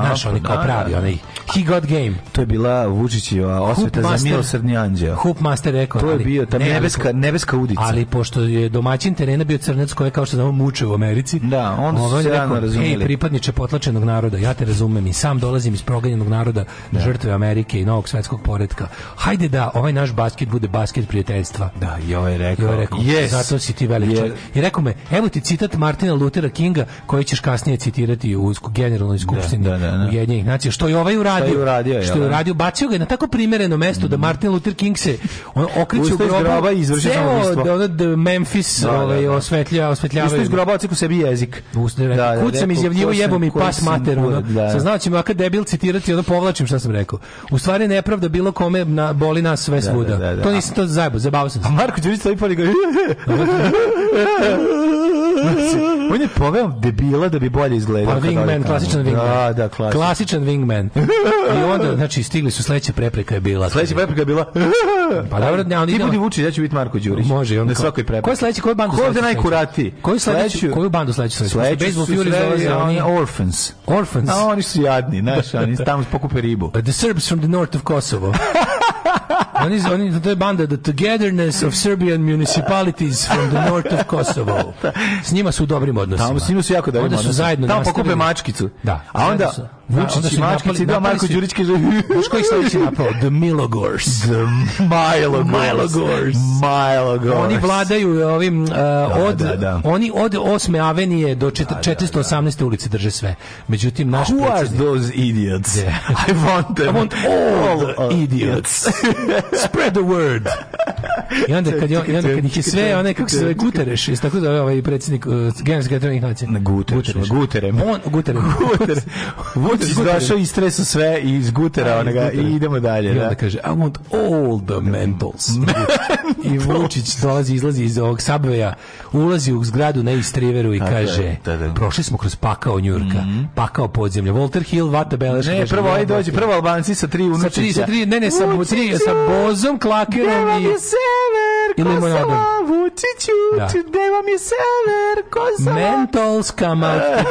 G: Znaš, oni kao
F: pa da,
G: pravi,
F: da.
G: onaj, he got game.
F: To je bila Vučićeva osveta Pa za
G: Hoopmaster.
F: milosrdni anđeo.
G: Hoop master rekao.
F: To je
G: ali-
F: bio ta
G: ne, ali-
F: nebeska, nebeska udica.
G: Ali pošto je domaćin terena bio crnac koji je kao što znamo muče u Americi.
F: Da, onda su
G: ovaj
F: se
G: je
F: rano razumeli.
G: Ej, pripadniče potlačenog naroda, ja te razumem i sam dolazim iz proganjenog naroda, žrtve Amerike i novog svetskog poretka. Hajde da ovaj naš basket bude basket prijateljstva.
F: Da, i ovaj je rekao.
G: I ovaj rekao,
F: yes.
G: zato si ti velik
F: Yes.
G: čovjek. I rekao me, evo ti citat Martina Luthera Kinga, koji ćeš kasnije citirati u sku- generalnoj skupštini
F: Da, da, da, da.
G: Ujedinjenih nacija, što je ovaj uradio.
F: Što je uradio, je,
G: što je
F: da.
G: uradio, bacio ga je na tako primereno mesto da Martin Luther King se on, okriće u
F: Ustao iz
G: grobu,
F: groba i izvršio
G: ceo
F: samoubistvo.
G: da ono, da Memphis
F: Da, da,
G: ovaj,
F: da.
G: osvetlja, osvetljavaju.
F: Isto iz
G: ga.
F: groba ociku sebi jezik.
G: Ustao je rekao,
F: Da, da,
G: Kud sam
F: rekao,
G: izjavljivo
F: ko sam-
G: jebo mi
F: koji
G: pas
F: sam
G: mater. Ono.
F: kurd, da.
G: Sad znao ćemo, ako debil citirati, ono povlačim šta sam rekao. U stvari nepravda bilo kome na, boli nas sve
F: da,
G: svuda.
F: da, da.
G: To nisam to zajebo, zabavao sam se.
F: A Marko Đurić stoji pored i govori, Znači, On je poveo debila da bi bolje izgledao.
G: Pa
F: kad ode
G: wingman,
F: tamo.
G: klasičan wingman.
F: Da, da, klasičan.
G: Klasičan wingman. I onda, znači, stigli su, sledeća prepreka je bila.
F: Sledeća prepreka je bila
G: Pa dobro, ne, ali
F: Ti
G: idemo.
F: budi Vučić, ja ću biti Marko Đurić.
G: Može, i on
F: na
G: kao-
F: svakoj prepreki.
G: Ko je sledeći, koju bandu
F: Ko je ovde
G: sledeći sledeći?
F: najkuratiji?
G: Koju sledeću-
F: Sledeću-
G: koju bandu sledeću sledeću?
F: Sledeću
G: Baseball
F: su
G: Furies
F: sledeći,
G: dolaze
F: oni
G: oni-
F: Orphans.
G: Orphans.
F: A oni su jadni, znaš, oni tamo pokupe ribu.
G: The Serbs from the north of Kosovo. oni, oni, to je banda The Togetherness of Serbian Municipalities from the north of Kosovo. S njima su u dobrim odnosima.
F: Tamo s njima su jako dobri
G: Onda su
F: odnosi.
G: zajedno
F: Tamo
G: nastavili-
F: pokupe mačkicu.
G: Da.
F: A onda
G: Zajedno su- da, onda
F: Vučić i
G: su ih
F: mačkici,
G: napali-
F: da,
G: napali
F: Marko
G: su-
F: Đurić kaže...
G: Znaš koji sledeći napao? The Milogors.
F: The Milo Gors. Milo Gors.
G: Oni vladaju ovim uh, od
F: da, da.
G: oni od 8. avenije do čet- 418. ulice drže sve. Međutim naš
F: Who are
G: predsjednik
F: those idiots? I want them.
G: I want all idiots. Spread the word. I onda kad, je, i onda kad ih je sve, onaj kako se zove Guterres, jest tako zove ovaj predsjednik uh, generalni sekretar Ujedinjenih nacija.
F: Guterres, Guterem.
G: On Guterres.
F: Guter. Vučić
G: Guter.
F: došao i streso sve i iz gutera onoga i idemo dalje.
G: I onda
F: da.
G: kaže, I want all the mentals. I Vučić dolazi, izlazi iz ovog sabveja, ulazi u zgradu na East Riveru i
F: Tako je,
G: kaže,
F: da, da.
G: prošli smo kroz pakao Njurka, pakao podzemlja, Walter Hill, Vata Beleška.
F: Ne,
G: kaže,
F: prvo aj
G: "Jebote."
F: dođe, prvo Albanci sa tri
G: Sa
F: unučića.
G: tri, sa tri, ne, ne, sa,
F: Vučiću,
G: tri, sa Bozom,
F: Gde
G: Klakerom
F: vam
G: i...
F: je sever,
G: i limonadom.
F: Kosovo, Vučiću,
G: Da.
F: today vam je sever Kosova.
G: Mentolska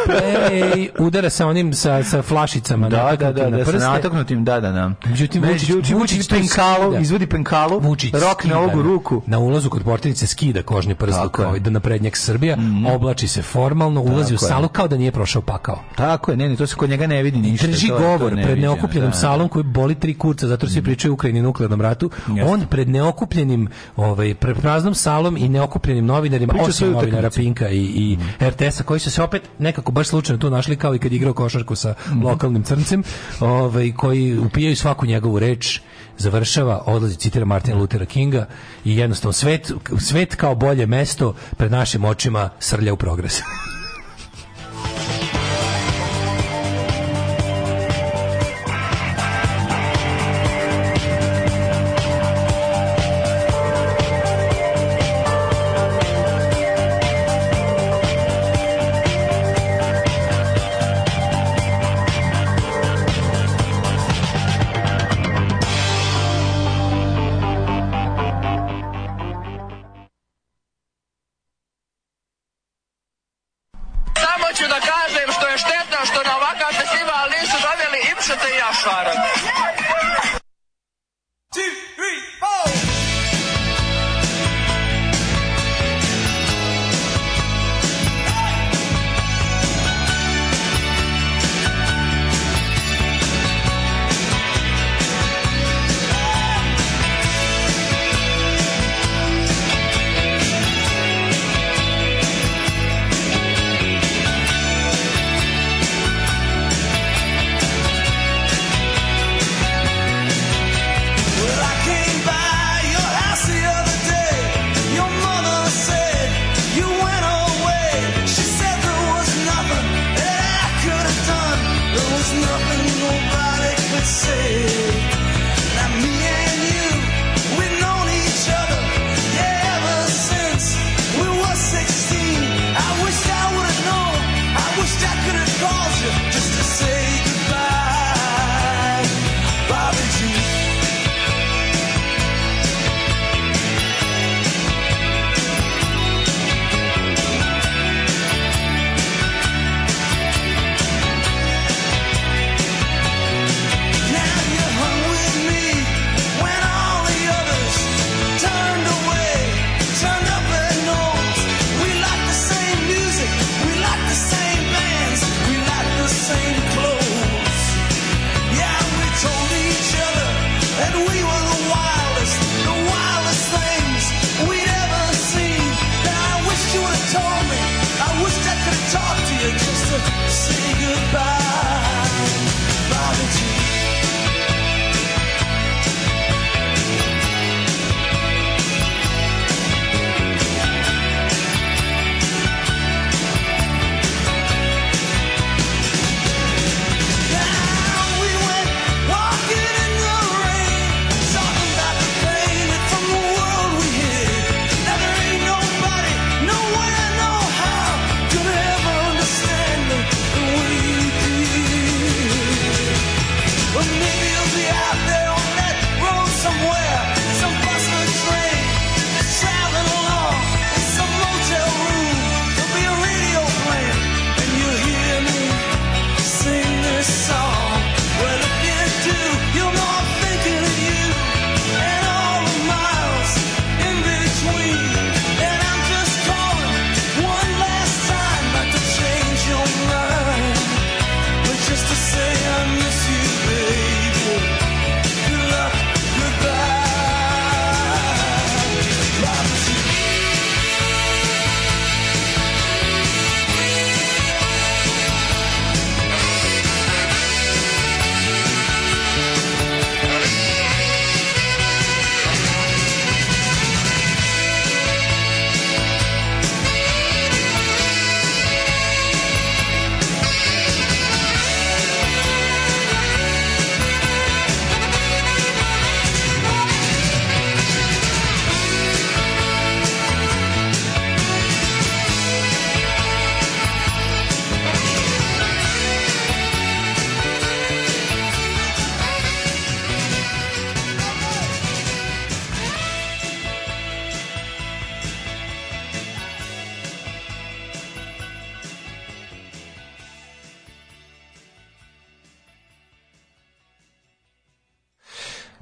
G: multiplay udara sa onim sa, sa flašicama
F: Da, da, da,
G: nataknutim na
F: da, sa
G: prste.
F: nataknutim, da, da, da.
G: Međutim, Vučić,
F: Međutim, Vučić
G: to
F: penkalo,
G: skida.
F: izvodi penkalo,
G: Vučić
F: rokne
G: skida,
F: ovu
G: da.
F: ruku.
G: Na ulazu kod portinice skida kožni prsluk
F: Tako je. Mhm.
G: ovaj, da naprednjak Srbija, oblači se formalno, ulazi u
F: Tako je.
G: salu kao da nije prošao pakao.
F: Tako je, ne, ne, to se kod njega ne vidi ništa.
G: Drži
F: to je- to je
G: govor pred
F: neviđeno,
G: neokupljenom
F: da. Mm.
G: salom koji boli tri kurca zato što svi pričaju o Ukrajini i nuklearnom ratu.
F: Jeste.
G: On pred neokupljenim, ovaj pred praznom salom i neokupljenim novinarima,
F: Priča
G: osim
F: svoju utakmicu. Mm.
G: novinara Pinka i, i RTS-a koji su se opet nekako baš slučajno tu našli kao i kad je igrao košarku sa
F: Mm-hmm.
G: lokalnim crncem, ovaj koji upijaju svaku njegovu reč završava, odlazi, citira Martina Luthera Kinga i jednostavno svet, svet kao bolje mesto pred našim očima srlja u progres.
J: Samo ću da kažem što je štetno što na ovakav festival nisu doveli Ipšeta i Jašara.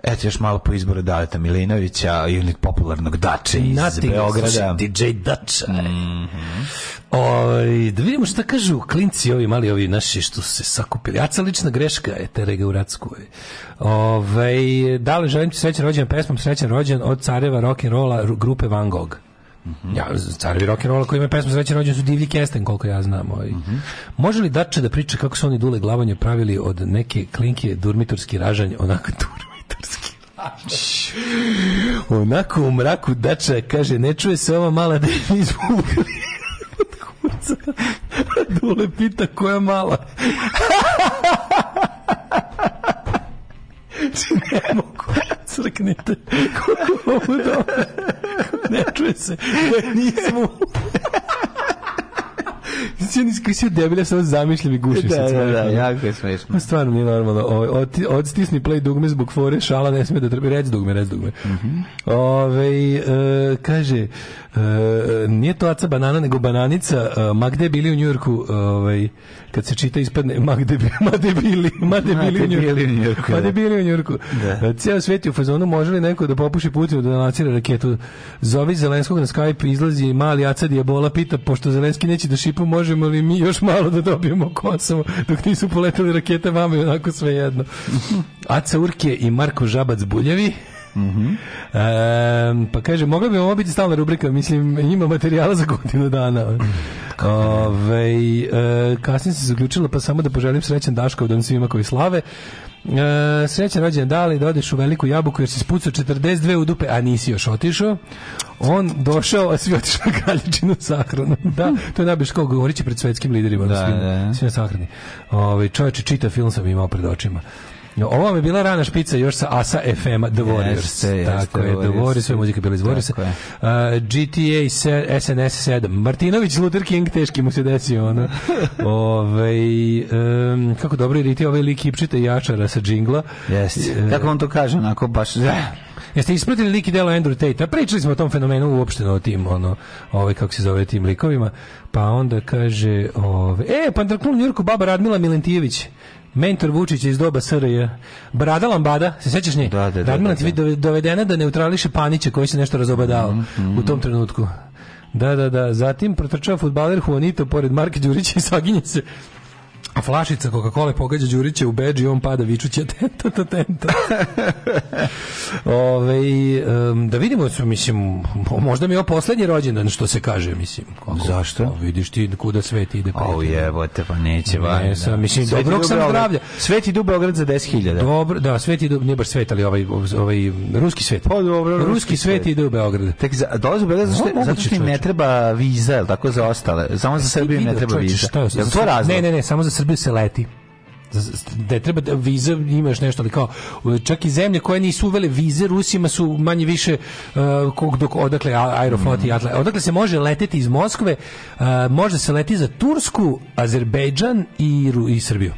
F: eto još malo po izboru Daleta Milinovića ili popularnog Dače iz
G: Nothing,
F: Beograda. Mm.
G: slušaj, DJ Dača. Oj, Ovaj, da vidimo šta kažu klinci ovi mali ovi naši što su se sakupili. Aca lična greška je terega u Radskoj. Ove, da li želim ti srećan rođen pesmom srećan rođen od careva rock'n'rolla grupe Van Gogh. Ja, carevi rock'n'rolla koji imaju pesmu srećan rođen su divlji kesten, koliko ja znam. Ovaj. Može li Dače da priča kako su oni dule glavanje pravili od neke klinke durmitorski ražanj, onako durmitorski Onako u mraku dača kaže, ne čuje se ova mala devina iz Bulgarije. Od kurca. Dule pita koja mala. ne mogu, crknite. Koliko je ovo dobro. Ne čuje se. Nismo. Ja nisam koji si debila, samo zamišljam i gušim se.
F: Da, da, da,
G: Smešno.
F: jako je smešno.
G: Ma Stvarno nije normalno. Ovaj, oti- Odstisni play dugme zbog fore, šala ne sme da trpi. Rec dugme, rec dugme.
F: Mhm.
G: Ovaj, e, kaže, e, nije to aca banana, nego bananica. E, ma gde bili u Njujorku? Ovaj, kad se čita ispadne, ma gde, bi- ma gde bili? Ma gde
F: Ma
G: bili u
F: gde bili u
G: Njujorku?
F: Njujorku,
G: Ma
F: da.
G: gde bili u Njurku.
F: Da.
G: Da. Ceo svet je u fazonu, može li neko da popuši Putinu da lancira raketu? Zovi Zelenskog na Skype, izlazi mali Aca Diabola, pita, pošto Zelenski neće da šipa, možemo li mi još malo da dobijemo Kosovo, dok nisu poletali rakete, vama je onako sve jedno. Aca Urke i Marko Žabac Buljevi.
F: Mhm.
G: Em, pa kaže, mogla bi ovo biti stalna rubrika, mislim, ima materijala za godinu dana. Ove, kasnije se zaključila, pa samo da poželim srećan Daškov dan svima koji slave. E, srećan rođendan dali da odeš u veliku jabuku jer si spucao 42 u dupe, a nisi još otišao. On došao, a svi otišli na kraljičinu sahranu. Da, to je najbolje kao govorit će pred svetskim liderima. Da, svim,
F: da.
G: svi na sahrani. Ove, čovječe, čita film sam imao pred očima. No, ovo vam je bila rana špica još sa Asa FM-a The Warriors.
F: Jeste,
G: tako
F: jeste,
G: je, The
F: Warriors.
G: Warriors, sve muzika je bila iz Warriorsa.
F: Tako je.
G: Uh, GTA se- SNS 7. Martinović Luther King teški mu se desio ono. Ovaj em, kako dobro iriti ovaj lik Ipčita i Jačara sa džingla.
F: Jeste.
G: E,
F: Kako on to kaže, onako baš...
G: Jeste ispratili lik i delo Andrew Tate. Pričali smo o tom fenomenu uopšteno o tim ono, ovaj kako se zove tim likovima. Pa onda kaže, ovaj e, pa u Njurku baba Radmila Milentijević. Mentor Vučića iz doba SRJ. Brada Lambada, se sećaš nje?
F: Da, da, da, da,
G: Radmila
F: Mhm,
G: Milentijević dove- dovedena da neutrališe Panića koji se nešto razobadao u tom trenutku. Da, da, da. Zatim protrčava fudbaler Juanito pored Marka Đurića i saginje se. A flašica Coca-Cola pogađa Đurića u bedž i on pada vičući atenta, atenta. Ove, em, da vidimo, su, mislim, mo- možda mi je ovo poslednji rođendan, što se kaže, mislim. Kako,
F: Zašto?
G: Pa vidiš ti kuda svet ide.
F: O jebote, pa neće van.
G: Ne, sam, mislim, dobrog sam zdravlja.
F: Sveti du Beograd za 10.000.
G: Dobro, da, svet ide, nije baš svet, ali ovaj, ovaj ruski svet.
F: Pa dobro,
G: ruski,
F: ruski
G: svet
F: svet.
G: ide u Beograd.
F: Tek za, dolazi u Beograd zato
G: Mo-
F: što, zato
G: moguće,
F: što im ne
G: čoveče.
F: treba viza, jel tako za ostale. Samo za Srbiju im ne
G: Video,
F: treba
G: čoveče,
F: viza.
G: šta je-
F: Jel to razlog?
G: Ne, ne, ne, samo za Srbiju se leti. Za- da je treba da viza imaš nešto ali kao čak i zemlje koje nisu uvele vize Rusima su manje više uh, kog- dok odakle a-
F: Mm.
G: Aeroflot i Atla odakle se može leteti iz Moskve uh, može se leti za Tursku, Azerbejdžan i Ru- i Srbiju.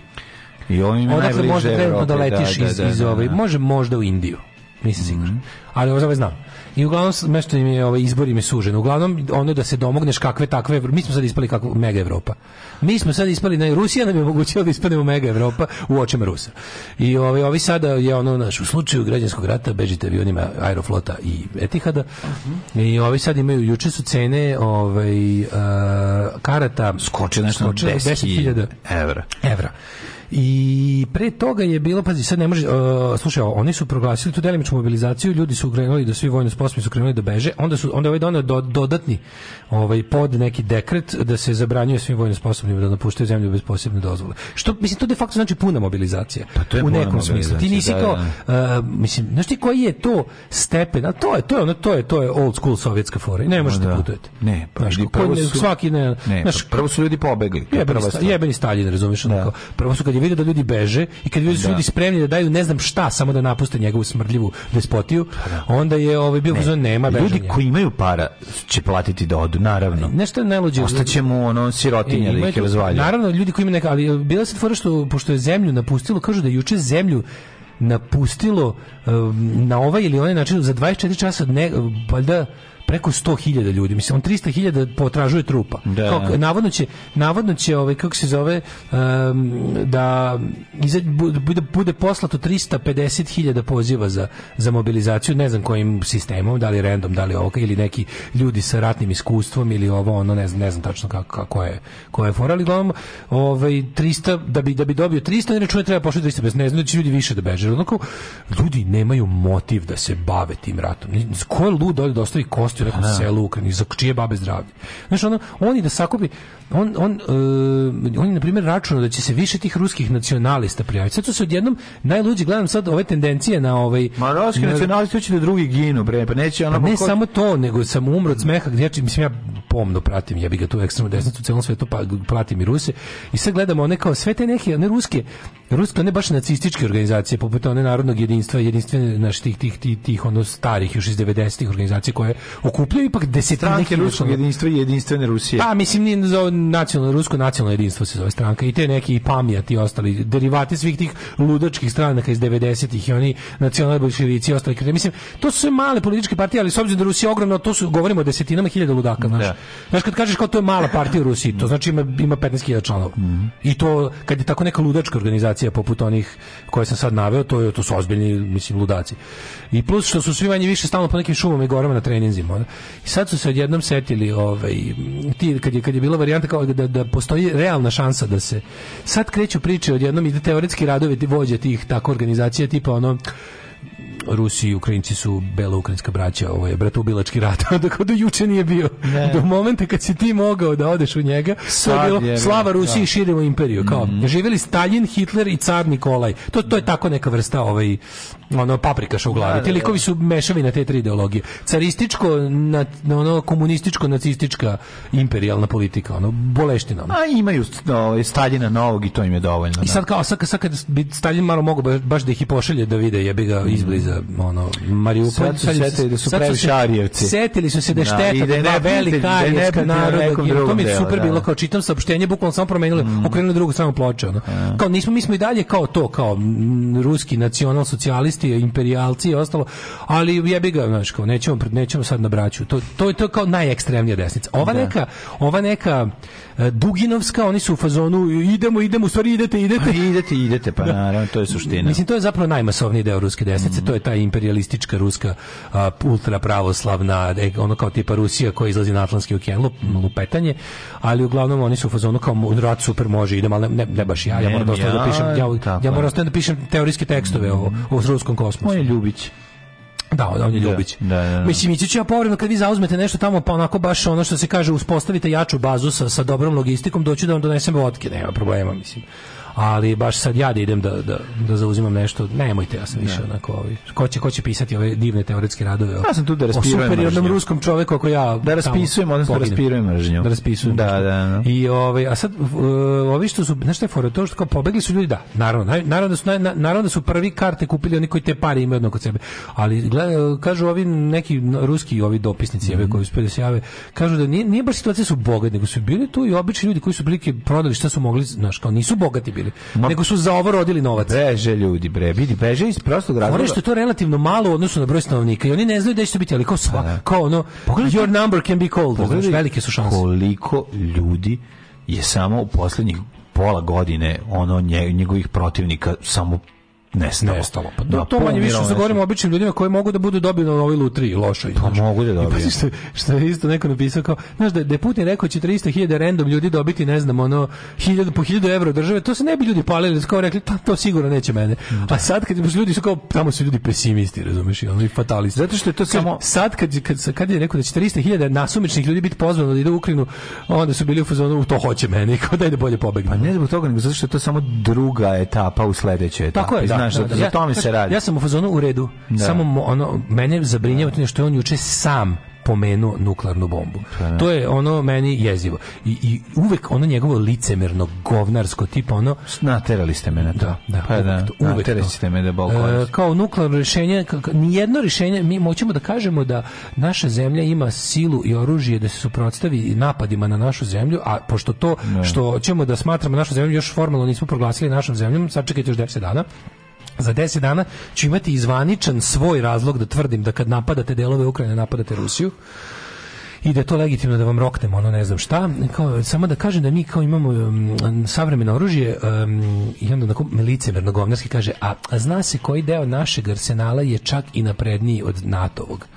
F: I on im je
G: Odakle
F: najbliže
G: može trenutno
F: Evropi,
G: da letiš
F: da,
G: iz,
F: da,
G: iz
F: da,
G: ove,
F: da. Mhm.
G: može možda u Indiju, nisam siguran. Ali ovo ovaj znam. I uglavnom s- nešto im je ovaj izbor im je sužen. Uglavnom ono da se domogneš kakve takve Evro- mi smo sad ispali kakva mega Evropa. Mi smo sad ispali na Rusija nam je omogućila da ispadnemo mega Evropa u očima Rusa. I ovaj ovi sada je ono naš u slučaju građanskog rata bežite avionima Aeroflota i Etihada.
F: Mhm.
G: I ovi sad imaju juče su cene ovaj e, karata
F: Skoči nešto na 10.000 evra.
G: evra. I pre toga je bilo, pazi, sad ne može, e, slušaj, oni su proglasili tu delimičnu mobilizaciju, ljudi su krenuli da svi vojno sposobni su krenuli da beže, onda su onda je ovaj doneo do- dodatni ovaj pod neki dekret da se zabranjuje svim vojno sposobnim da napuštaju zemlju bez posebne dozvole. Što mislim to de facto znači puna mobilizacija.
F: Pa to je
G: u
F: puna
G: nekom smislu. Ti
F: mobilizacija,
G: nisi
F: da,
G: kao
F: da.
G: E, mislim, znaš ti koji je to stepen, a to je, to je ono, to je, to je old school sovjetska fora i ne možete
F: da.
G: putujete.
F: Ne, pa
G: Znaš,
F: vidi,
G: ko-
F: prvo
G: ne-
F: su-
G: svaki ne,
F: Ne,
G: znaš,
F: pa prvo su ljudi pobegli. to je
G: Jebeni,
F: prva
G: sta,
F: stvar.
G: jebeni Stalin, razumeš? ono
F: Da.
G: kao, Prvo su kad je vidio da ljudi beže i kad vidio da su
F: Da.
G: ljudi spremni da daju ne znam šta, samo da napuste njegovu smrdljivu despotiju, onda je ovaj bio fazon nema bežanja.
F: Pa Ljudi koji imaju para će platiti da odu, naravno.
G: Nešto je najluđe.
F: Ostaćemo ono sirotinje
G: E,
F: da
G: ima
F: ih
G: tu-
F: razvalja.
G: Naravno, ljudi koji imaju neka, ali bila se fora što, pošto je zemlju napustilo, kažu da je juče zemlju napustilo um, na ovaj ili onaj način za 24 časa ne, valjda preko 100.000 ljudi. Mislim, on 300.000 potražuje trupa.
F: Da.
G: Kao, navodno će, navodno će ovaj, kako se zove, em, da iza, bu- bude, bude poslato 350.000 poziva za, za mobilizaciju, ne znam kojim sistemom, da li random, da li ovo, ili neki ljudi sa ratnim iskustvom, ili ovo, ono, ne znam, ne znam tačno kako, kako je, koja je fora, ali uglavnom, ovaj, 300, da bi, da bi dobio 300, ne čuje treba pošli 350, ne znam da će ljudi više da beže. Onako, ljudi nemaju motiv da se bave tim ratom. Ni- Ko je lud ovdje da ostavi kosti u nekom
F: Da.
G: selu u Ukrajini, za čije babe zdravlje. Znaš, ono, oni da sakupi, on, on, e, oni, na primjer, računa da će se više tih ruskih nacionalista prijaviti. Sad su se odjednom, najluđi, gledam sad ove tendencije na ovaj...
F: Ma ruski
G: na-
F: nacionalisti hoće da drugi ginu, bre, pa neće ono...
G: pa ne samo to, nego sam umro od smeha gdje ja- mislim ja pomno pratim, ja bi ga tu ekstremnu desnicu u celom svetu, pa pratim i Ruse. I sad gledamo one kao sve te neke, one ruske, ruske, one baš nacističke organizacije, poput one narodnog jedinstva, jedinstvene, znaš, tih, tih, tih, tih ono starih, još iz 90-ih organizacija koje okupljaju ipak desetine
F: Stranke
G: hiljada
F: ruskog
G: članova.
F: jedinstva i jedinstvene Rusije.
G: Pa mislim nije za nacionalno rusko nacionalno jedinstvo se zove stranka i te neki i Pamija ti ostali derivati svih tih ludačkih stranaka iz 90-ih i oni nacionalni bolševici i ostali kreteni. mislim to su sve male političke partije ali s obzirom da je Rusija ogromna to su govorimo o desetinama hiljada ludaka znaš. Znaš kad kažeš kao to je mala partija u Rusiji to znači ima ima 15.000 članova. I to kad je tako neka ludačka organizacija poput onih koje sam sad naveo to je to su ozbiljni mislim ludaci. I plus što su svi manje više stalno po nekim šumama i gorama na treninzima. ono. I sad su se odjednom setili ovaj ti kad je kad je bila varijanta kao da da postoji realna šansa da se sad kreću priče odjednom ide teoretski radovi ti- vođe tih tako organizacija tipa ono Rusi i Ukrajinci su beloukrajinska braća, ovo je bratoubilački rat, tako do juče nije bio. Do momenta kad si ti mogao da odeš u njega, to
F: Sad
G: je
F: je,
G: bilo slava
F: da. Mhm.
G: Rusiji i Pa širimo imperiju. Kao, živjeli Stalin, Hitler i car Nikolaj. To, to je tako neka vrsta ovaj, ono, paprikaša u glavi.
F: Da, da,
G: Ti
F: da.
G: likovi su mešavi na te tri ideologije. Carističko, na, ono, komunističko, nacistička, imperijalna politika, ono, boleština. ono.
F: A imaju st- ovaj, Staljina novog i to im je dovoljno.
G: I sad kao, sad, sad kad bi Stalin malo mogao ba- baš da ih i pošalje da vide, jebi ga izbliza, ono, Mariupolj.
F: Mhm. Sad su
G: im se-
F: setili da su
G: sad
F: previše
G: se-
F: Arijevci.
G: Setili su se
F: Da,
G: da
F: i da
G: šteta,
F: je
G: da, dva
F: neprijatelj-
G: velika
F: da je
G: arijevska
F: neprijatelj na
G: naroda,
F: nekom
G: jer to mi
F: drugom
G: je super
F: delu,
G: bilo,
F: da.
G: kao čitam saopštenje, bukvalno samo promenili, okrenuli na drugu stranu ploče, ono. Kao, nismo, mi smo i dalje kao to, kao m, ruski nacional socijalisti, imperialci i ostalo, ali jebi ga, znaš, kao, nećemo, pred- nećemo sad na braću. To, to, je- to je kao najekstremnija desnica. Ova neka, ova neka e, Duginovska, oni su u fazonu idemo, idemo, u stvari idete, idete,
F: Pa idete, idete, pa naravno, to je suština. Mm.
G: Mislim, to je zapravo najmasovniji deo ruske desnice, to je ta imperialistička ruska a, ultra pravoslavna, e, ono kao tipa Rusija koja izlazi na Atlantski okean, lup,
F: Mm.
G: lupetanje, ali uglavnom oni su u fazonu kao mo- rat super može, idem, ali ne, ne, ne baš ja, ja
F: Ne,
G: moram da ostanem da
F: ja,
G: pišem, ja,
F: tako
G: ja moram
F: je. Mm.
G: da ostanem da pišem teorijske tekstove o, o ruskom kosmosu.
F: On je Ljubić.
G: Da, on on je
F: Da,
G: Ljubić.
F: da, da, da.
G: Mislim, ići ću ja povremeno kad vi zauzmete nešto tamo, pa onako baš ono što se kaže, uspostavite jaču bazu sa, sa dobrom logistikom, doću da vam donesem vodke, nema problema, mislim. Ali baš sad ja da idem da, da, da zauzimam nešto, nemojte, ja sam više onako ovi. Ko će, ko će pisati ove divne teoretske radove? o-
F: Ja sam tu da
G: o
F: raspirujem
G: superiornom
F: mržnju.
G: ruskom čoveku ako ja
F: Da raspisujem,
G: tamo
F: odnosno da
G: poginem.
F: raspirujem mržnju.
G: Da raspisujem.
F: Da,
G: mržnju.
F: da, da.
G: I ovaj a sad v- e, ovi što su znaš šta je fora to što kao pobegli su ljudi da naravno naj- naravno da su naj- na- naravno da su prvi karte kupili oni koji te pare imaju odmah kod sebe. Ali gle- kažu ovi neki n- ruski ovi dopisnici mm koji uspeju da se jave kažu da nije, nije baš situacija su bogati nego su bili tu i obični ljudi koji su prilike prodali šta su mogli znaš kao nisu bogati bili nego su za ovo rodili novac.
F: Beže ljudi, bre, vidi, beže iz prostog razloga.
G: Fore što je to relativno malo u odnosu na broj stanovnika i oni ne znaju da će to biti, ali kao sva, kao ono, your number can be called, znaš, velike su šanse.
F: koliko ljudi je samo u posljednjih pola godine ono nje- njegovih protivnika samo nestalo.
G: nestalo. Pa to,
F: Da,
G: to manje više
F: pomiralo
G: se
F: nešto.
G: govorimo o običnim ljudima koji mogu da budu dobili na ovoj lutriji lošoj. znači.
F: Pa mogu da
G: I
F: dobiju.
G: pazi što, što je isto neko napisao kao, znaš da, da je Putin rekao će 300.000 random ljudi dobiti, ne znam, ono, 1000 po 1000 evra od države, to se ne bi ljudi palili, kao rekli, pa to sigurno neće mene. A sad kad ljudi su kao, tamo su ljudi pesimisti, razumeš, i ono, i fatalisti.
F: Zato što je to
G: Kaže,
F: samo-
G: Sad kad, kad, kad je rekao da će 300.000 nasumičnih ljudi biti pozvano da ide u Ukrajinu, onda su bili u fazonu, "U, to hoće mene, kao daj da bolje pobegne.
F: Pa ne zbog toga, nego zato što je to samo druga etapa u sledećoj etapi.
G: Tako je, da,
F: Znaš,
G: da,
F: za,
G: da.
F: za tome se
G: znaš,
F: radi.
G: Ja sam u fazonu u redu.
F: Da.
G: Samo mo- ono mene zabrinjava to što je on juče sam pomenuo nuklearnu bombu. To je ono meni jezivo. I, i uvek ono njegovo licemerno govnarsko tipa ono
F: Naterali ste me na to.
G: da, da,
F: pa
G: uvek
F: da,
G: to, uvek
F: naterali
G: to.
F: ste me da bol
G: E,
F: koristi.
G: kao nuklearno rješenje, k- k- nijedno rješenje, mi moćemo da kažemo da naša zemlja ima silu i oružje da se suprotstavi i napadima na našu zemlju, a pošto to što ćemo da smatramo našu zemlju još formalno nismo proglasili našom zemljom, sačekajte još 10 dana za 10 dana ću imati izvaničan svoj razlog da tvrdim da kad napadate delove Ukrajine, napadate Rusiju i da je to legitimno da vam roknemo ono ne znam šta kao, samo da kažem da mi kao imamo um, savremeno oružje um, i onda onako licemerno govnarski kaže a, a zna se koji deo našeg arsenala je čak i napredniji od NATO-ovog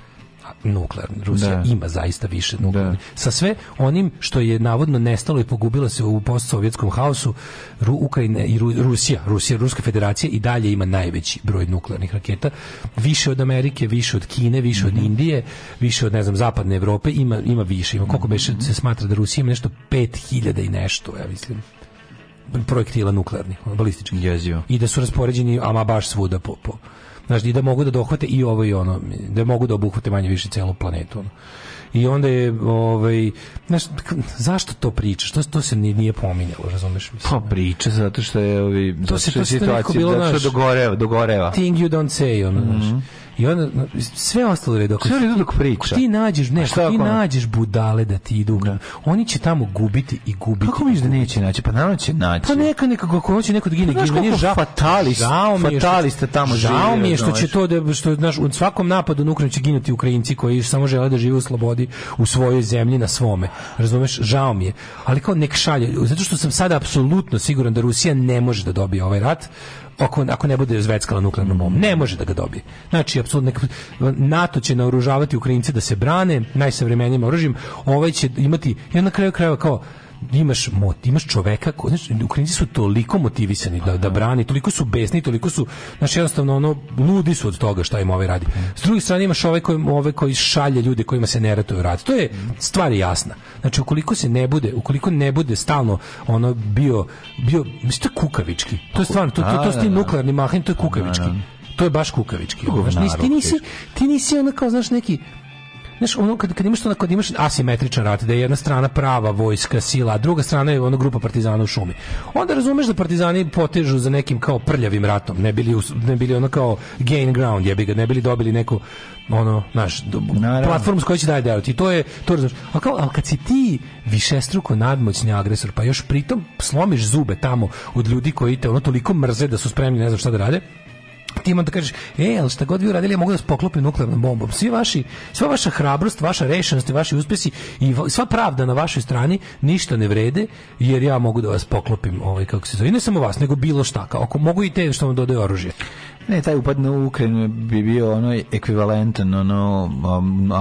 G: A nuklearni. Rusija
F: Da.
G: ima zaista više nuklearni. Sa sve onim što je navodno nestalo i pogubilo se u postsovjetskom haosu, Ru, Ukrajina i Ru, Rusija, Rusija, Ruska federacija i dalje ima najveći broj nuklearnih raketa. Više od Amerike, više od Kine, više od Indije, više od, ne znam, zapadne Evrope, ima, ima više. Ima koliko beše se smatra da Rusija ima nešto 5000 i nešto, ja mislim projektila nuklearnih, ono, balističkih. I da su raspoređeni, ama baš svuda po, po. Znaš, i da mogu da dohvate i ovo i ono, da mogu da obuhvate manje više celu planetu. Ono. I onda je, ovaj, znaš, k- zašto to pričaš? To, to se ni- nije pominjalo, razumeš? Mislim,
F: Pa priča zato što je ovi
G: To
F: to
G: se-
F: se
G: to se nekako
F: situacija
G: bilo,
F: zato
G: znaš,
F: što dogoreva, dogoreva.
G: Thing you don't say, ono, znaš. I onda, na- sve ostalo je dok...
F: Mhm. Sve u redu dok priča.
G: Ako ti nađeš, ne,
F: A šta
G: ako ti
F: ako ono-
G: nađeš budale da ti idu, oni će tamo gubiti i gubiti.
F: Kako misliš da neće naći? Pa naravno će naći.
G: Pa neka neka kako hoće neko da gine,
F: Pa znaš
G: gine, nije
F: koliko
G: žao.
F: fatalist-
G: žao mi je što-
F: fatalista tamo znači.
G: Žao
F: živi,
G: mi je što će
F: razumeš.
G: to da što znaš, u svakom napadu na Ukrajinu će ginuti Ukrajinci koji samo žele da žive u slobodi u svojoj zemlji na svome. Razumeš? Žao mi je. Ali kao nek šalje, zato što sam sada apsolutno siguran da Rusija ne može da dobije ovaj rat. Ako, ako ne bude zveckala nuklearnom bombom. Ne može da ga dobije. Znači, apsolutno, neka- NATO će naoružavati Ukrajince da se brane najsavremenijim oružjem, ovaj će imati, i na kraju krajeva kao, imaš mot, imaš čoveka ko, znaš, Ukrajinci su toliko motivisani da, da brani, toliko su besni, toliko su znaš, jednostavno ono, ludi su od toga šta im ovaj radi. S druge strane imaš ove koji, ove koji šalje ljude kojima se ne ratuje rat. To je stvar je jasna. Znači, ukoliko se ne bude, ukoliko ne bude stalno ono bio, bio, mislim, to je kukavički. To je stvarno, to, to, to, su ti
F: Da, da, da.
G: nuklearni mahin, to je kukavički. To je baš kukavički. ono,
F: Govnar,
G: Znaš, nisi, ti nisi,
F: teško.
G: ti nisi ono kao, znaš, neki, Znaš, ono, kad, kad imaš to, kad imaš asimetričan rat, da je jedna strana prava vojska, sila, a druga strana je ono grupa partizana u šumi. Onda razumeš da partizani potežu za nekim kao prljavim ratom, ne bili, us- ne bili ono kao gain ground, jebi ga, ne bili dobili neku ono, znaš, do- platformu s kojoj će dalje delati. I to je, to razumeš. A kao, ali kad si ti višestruko nadmoćni agresor, pa još pritom slomiš zube tamo od ljudi koji te ono toliko mrze da su spremni ne znam šta da rade, ti imam da kažeš, e, ali šta god vi uradili, ja mogu da spoklopim nuklearnom bombom. Svi vaši, sva vaša hrabrost, vaša rešenost i vaši uspesi i va- sva pravda na vašoj strani ništa ne vrede, jer ja mogu da vas poklopim, ovaj, kako se zove, I ne samo vas, nego bilo šta, kao, ako mogu i te što vam dodaju oružje.
F: Ne, taj upad na Ukrajinu bi bio ono ekvivalentan ono um,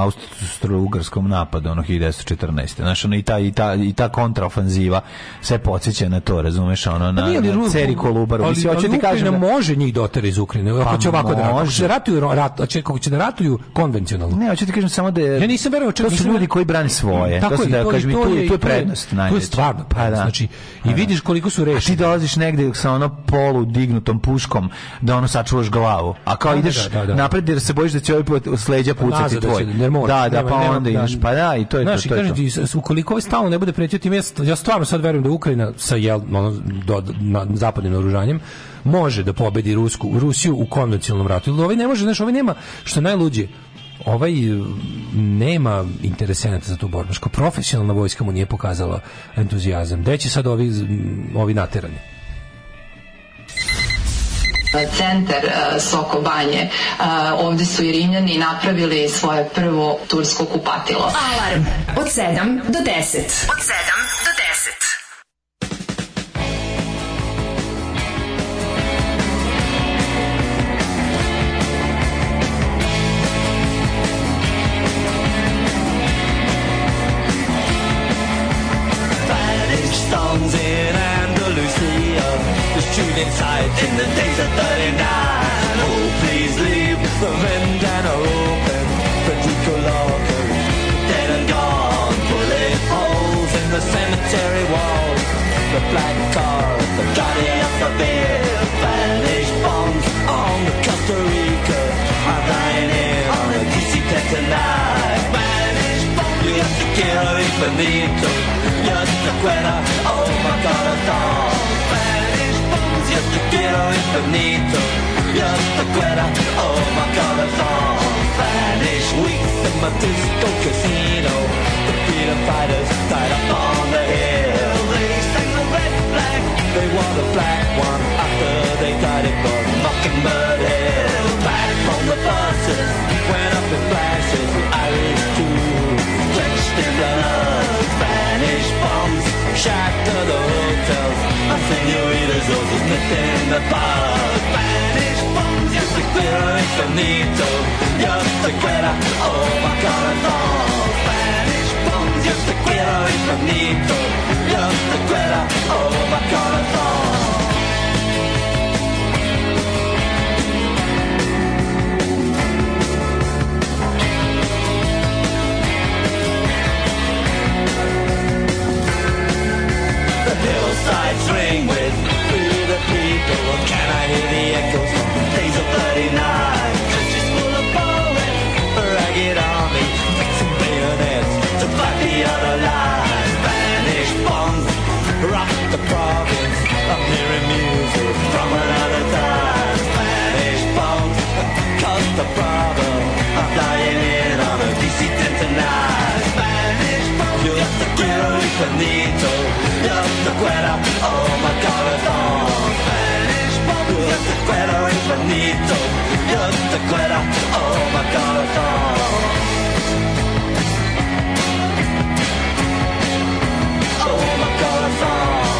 F: austro-ugarskom napadu ono 1914. Znaš, ono i ta, i ta, i ta kontraofanziva sve podsjeća na to, razumeš, ono na,
G: Pa nije li
F: na
G: Ru-
F: ceri Kolubaru.
G: Ali,
F: Mislim, hoću
G: ali
F: ti kažem
G: Ukrajina
F: da-
G: može njih dotera iz Ukrajine, ako
F: Pa
G: će ovako da ratuju. Ako
F: može.
G: će da ratuju, ro- rat, a će, ako će da ratuju konvencionalno.
F: Ne, hoću ti kažem samo da je...
G: Ja nisam verovao, čak
F: to su
G: nisam-
F: ljudi koji brane svoje.
G: Tako
F: to
G: je,
F: sam da
G: to-
F: kažem, i
G: to
F: tu,
G: je-
F: tu je
G: to je-
F: prednost.
G: to je
F: najveća.
G: stvarno prednost,
F: Pa
G: znači, i vidiš koliko su
F: A ti dolaziš negde sa ono polu dignutom puškom da ono sačuvaš glavu. A kao
G: Da,
F: ideš
G: da, da, da.
F: napred jer se bojiš da će ovaj put s leđa pucati
G: Nazad da
F: tvoj.
G: će, jer može.
F: Da, da,
G: Nema-
F: pa
G: nema-
F: onda imaš. Pa da, i to je to.
G: Znaš, i
F: to je to.
G: kažem ti, s- ukoliko ovaj stalno ne bude pretio tim, ja, st- ja stvarno sad verujem da Ukrajina sa jel, ono, do, na, zapadnim naoružanjem može da pobedi Rusku, Rusiju u konvencionalnom ratu. Ili ovaj ne može, znaš, ovaj nema, što je najluđe, ovaj eh, nema interesenata za tu borbu. Znaš, kao profesionalna vojska mu nije pokazala entuzijazam. Gde će sad ovi, mm, ovi naterani?
T: centar e, Soko Banje. E, Ovde su i Rimljani napravili svoje prvo tursko kupatilo.
E: Alarm od 7 do 10. Od 7 do 10.
J: Spanish songs in Andalusia. There's shooting sight in the days of 39. Oh, please leave the vendetta open. Federico Lorca, dead and gone. Bullet holes in the cemetery walls. The black car, the guardian of the beer. Spanish bombs on the Costa Rica. I'm dying in on the DC tonight. Spanish bombs, you have to kill it Benito. Yes, the cuerda, oh my god, I thought. Spanish bombs, yes, the quiero it Benito. Yes, the cuerda, oh my god, I thought. Spanish weeks in my disco casino. The freedom fighters died up on the hill. They sang the red flag, they wore the black one after they died. It was mockingbird. Those met in the park Spanish bombs, yes, the glitter infinito Yes, the glitter, oh my god, I love Spanish bombs, yes, the glitter infinito Yes, the glitter, oh my god, I love The hillsides ring with through the people. Well, can I hear the echoes from days of bloody night? Countries full of poets, a ragged army, fixing bayonets to fight the other lies. Spanish bombs rock the province. I'm hearing music from another time. Spanish bombs cause the problem. I'm flying in on a DC-10 tonight. Spanish bombs, you're the quiero infinito. You're the quiero, oh my God, it's all. Spanish bombs, you're the quiero infinito. You're the quiero, oh my God, it's all. Oh my God, it's all.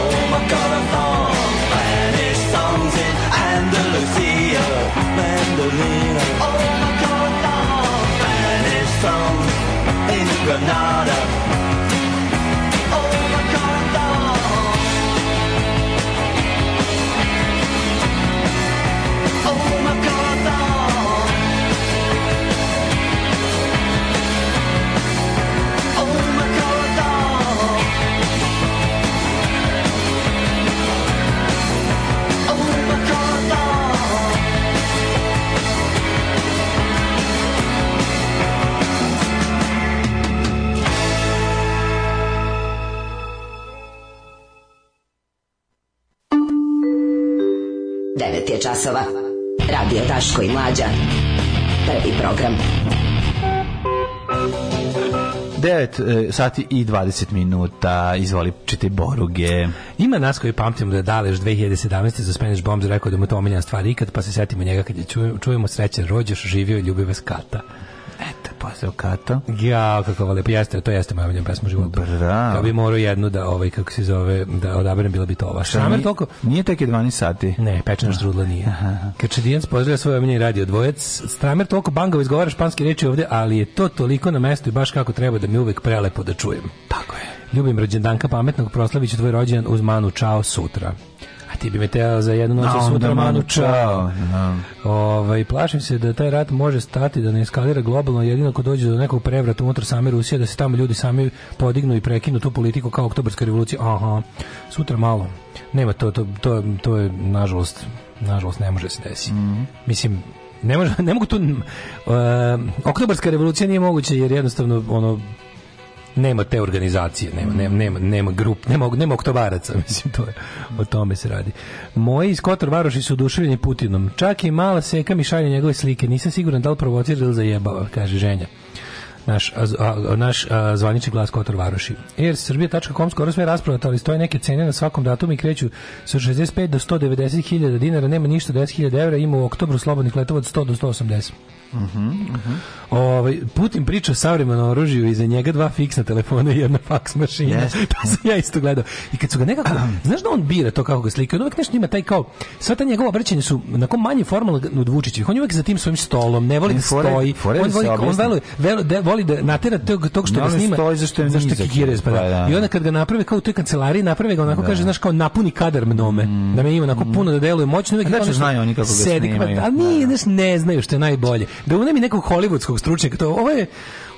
J: Oh my god, I found Spanish songs in Andalusia, Mandolina. Oh my god, I found Spanish songs in Granada. Oh my god, I found. Oh my god, I found. Oh my god, oh. I found.
I: Devet je časova. Radio Daško i Mlađa. Prvi program.
F: 9 e, sati i 20 minuta, izvoli čite Boruge.
G: Ima nas koji pamtimo da je Dalež 2017. za Spanish Bombs rekao da mu je to omiljena stvar ikad, pa se setimo njega kad je čujemo, čujemo srećen rođeš, živio i ljubi vas kata.
F: Eto, pozdrav Kato.
G: Ja, kako ovo lepo, jeste, to jeste moja omiljena pesma u životu.
F: Bravo.
G: Ja bi morao jednu da, ovaj, kako se zove, da odaberem, bila bi to ova. Šramer
F: Nije-
G: toliko...
F: Nije tek je 12 sati.
G: Ne, pečena štrudla nije. Krčedijac pozdravlja svoje omiljeni radio dvojec. Stramer toliko bangavo izgovara španske reči ovde, ali je to toliko na mestu i baš kako treba da mi je uvek prelepo da čujem. Tako je. Ljubim rođendanka pametnog, proslavit ću tvoj rođendan uz Manu Čao sutra. A ti bi me teo za jednu noć
F: A
G: i
F: onda
G: sutra
F: Manu
G: Manu
F: Čao,
G: Čao. Ovaj, plašim se da taj rat može stati, da ne eskalira globalno, jedino ako dođe do nekog prevrata unutar same Rusije, da se tamo ljudi sami podignu i prekinu tu politiku kao oktobarska revolucija. Aha, sutra malo. Nema to, to, to, to je, nažalost, nažalost ne može da se desi. Mislim, ne, može, ne mogu tu... m, e, oktobarska revolucija nije moguća jer jednostavno ono, nema te organizacije, nema nema nema nema grup, nema nema oktobaraca, mislim to je. O tome se radi. Moji iz Kotor Varoši su oduševljeni Putinom. Čak i mala seka mi šalje njegove slike. Nisam siguran da li provocira ili zajebava, kaže ženja. Naš, a, a, naš a, zvanični glas Kotor Varoši. Air Srbija.com skoro sve je rasprodato, ali stoje neke cene na svakom datumu i kreću sa 65 do 190 hiljada dinara, nema ništa 10 hiljada evra, ima u oktobru slobodnih letova od 100 do 180. Ovaj Putin priča o savremenom oružju iza njega dva fiksna telefona i jedna faks mašina.
F: Jeste.
G: to sam ja isto gledao. I kad su ga nekako, znaš da on bira to kako ga slika, on uvek nešto ima taj kao, sva ta njegova obraćanja su onako manje formalno od Vučićevih. On je uvek za tim svojim stolom, ne voli da
F: Ne, fore-
G: stoji.
F: fore
G: on
F: da se
G: voli, on
F: objasni.
G: veli, veli, da, voli da natera tog, tog što
F: Ne,
G: ga
F: on
G: snima.
F: stoji zašto je
G: zašto
F: nizak.
G: kikirez, pa da.
F: Pa da.
G: I onda kad ga naprave kao u toj kancelariji, naprave ga onako kaže, znaš, kao napuni kadar mnome. Da me ima onako puno da deluje moćno.
F: Mm. A
G: Uvek
F: znači,
G: ono što
F: znaju oni kako ga
G: sedi,
F: snimaju.
G: pa, ali nije, znaš, ne znaju što je najbolje. Da unemi nekog hollywoodskog stručnjaka, to ovo je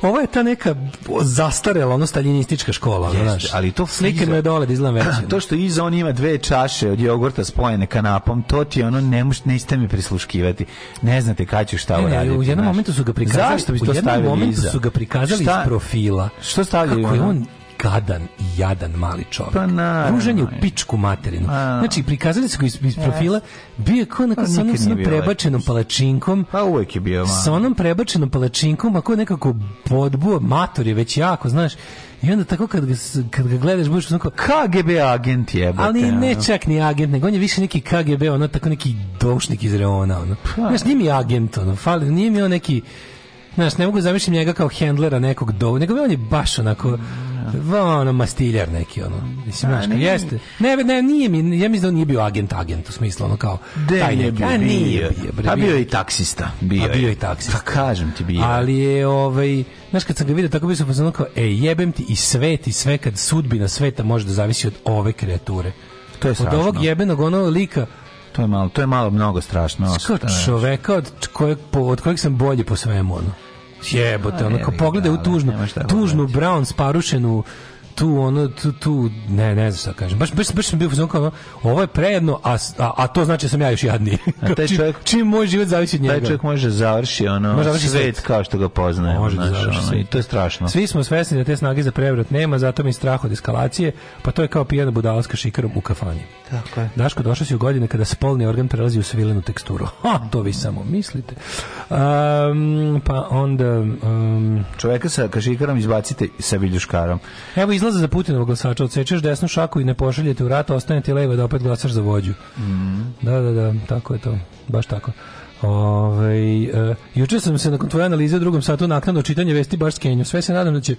G: ovo je ta neka zastarela, ono staljinistička škola, ono,
F: Jeste,
G: znaš.
F: ali to
G: slike
F: iza-
G: me dole da izgledam veći.
F: To što iza on ima dve čaše od jogurta spojene kanapom, to ti ono ne moš, nećete mi prisluškivati. Ne znate kada ću šta
G: Ne, ne,
F: uraditi.
G: u jednom
F: znaš.
G: momentu su ga prikazali,
F: Zašto bi
G: u
F: to
G: jednom
F: stavili
G: momentu
F: iza?
G: su ga prikazali
F: Šta-
G: iz profila.
F: Što stavljaju
G: Kako je
F: ono?
G: on gadan i jadan mali čovjek.
F: Pa naravno.
G: Ružan je u pičku materinu.
F: Pa.
G: Znači, prikazali su ga iz, iz profila, bio je kao onako
F: Pa
G: sa onom,
F: nikad
G: sa
F: nije
G: onom
F: bio
G: prebačenom palačinkom,
F: Pa uvek je bio
G: sa
F: malo.
G: onom prebačenom palačinkom, ako nekako podbuo, mator je već jako, znaš, i onda tako kad ga, s- kad ga gledaš, budeš onako,
F: KGB agent jebote.
G: ali ne
F: ono.
G: čak ni agent, nego on je više neki KGB, ono tako neki doušnik iz Reona, ono. Znaš, nije mi agent, ono, fali, nije mi on neki, znaš, ne mogu zamišljati njega kao hendlera nekog do, nego on je baš onako, Va, ono, mastiljar neki, ono. Mislim, znaš, kao, jeste. Ne, ne, nije mi, ja mislim da on nije bio agent, agent, u smislu, ono, kao, taj
F: je
G: neki.
F: bio,
G: A nije bio, bre,
F: A
G: bio
F: bio
G: je.
F: i taksista. Bio
G: A bio
F: je.
G: i taksista.
F: Pa kažem ti bio.
G: Ali je, ovaj, znaš, kad sam ga vidio, tako bio sam pozvano kao, e, jebem ti i svet i sve, kad sudbina sveta može da zavisi od ove kreature.
F: To je
G: Od
F: strašno.
G: ovog jebenog onog lika,
F: To je malo, to je malo mnogo strašno.
G: kao čoveka od kojeg, po- od kojeg sam bolji po svemu, ono. Jebote, ono, kao pogledaj u tužnu, tužnu brown sparušenu tu ono tu tu ne ne znam šta kažem baš baš baš sam bio u fazonu kao ono, ovo je prejedno a, s- a, a to znači da sam ja još jadniji
F: A taj
G: čim,
F: čovjek-
G: čim moj život zavisi od njega
F: Taj čovjek može završi ono
G: Može završi
F: svet
G: svet.
F: kao što ga poznaje.
G: Može da završi svet.
F: ono, I to je strašno.
G: Svi smo svesni da te snage za prevrat nema, zato mi je strah od eskalacije, pa to je kao pijena budala s kašikarom u kafani.
F: Tako je.
G: Daško, došao si u godine kada spolni organ prelazi u svilenu teksturu. Ha, to vi samo mislite. Um, pa onda... Um,
F: Čoveka sa kašikarom izbacite sa viljuškarom.
G: evo izlaza za Putinovog glasača, odsečeš desnu šaku i ne pošaljete u rat, ostane ti leva da opet glasaš za vođu.
F: Mm.
G: Da, da, da, tako je to. Baš tako. Ovaj e, juče sam se nakon tvoje analize u drugom satu naknadno čitanje vesti baš skenju. Sve se nadam da će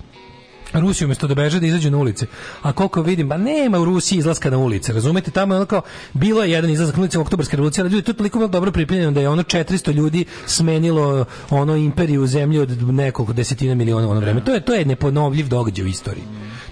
G: Rusiju umjesto da beže da izađe na ulice. A koliko vidim, pa nema u Rusiji izlaska na ulice. Razumete, tamo je ono kao, bilo je jedan izlazak na ulice u oktobarske revolucije, ali ljudi, to je toliko bilo dobro pripremljeno da je ono 400 ljudi smenilo ono imperiju zemlju od nekoliko desetina miliona u ono vreme. To je, to je neponovljiv događaj u istoriji.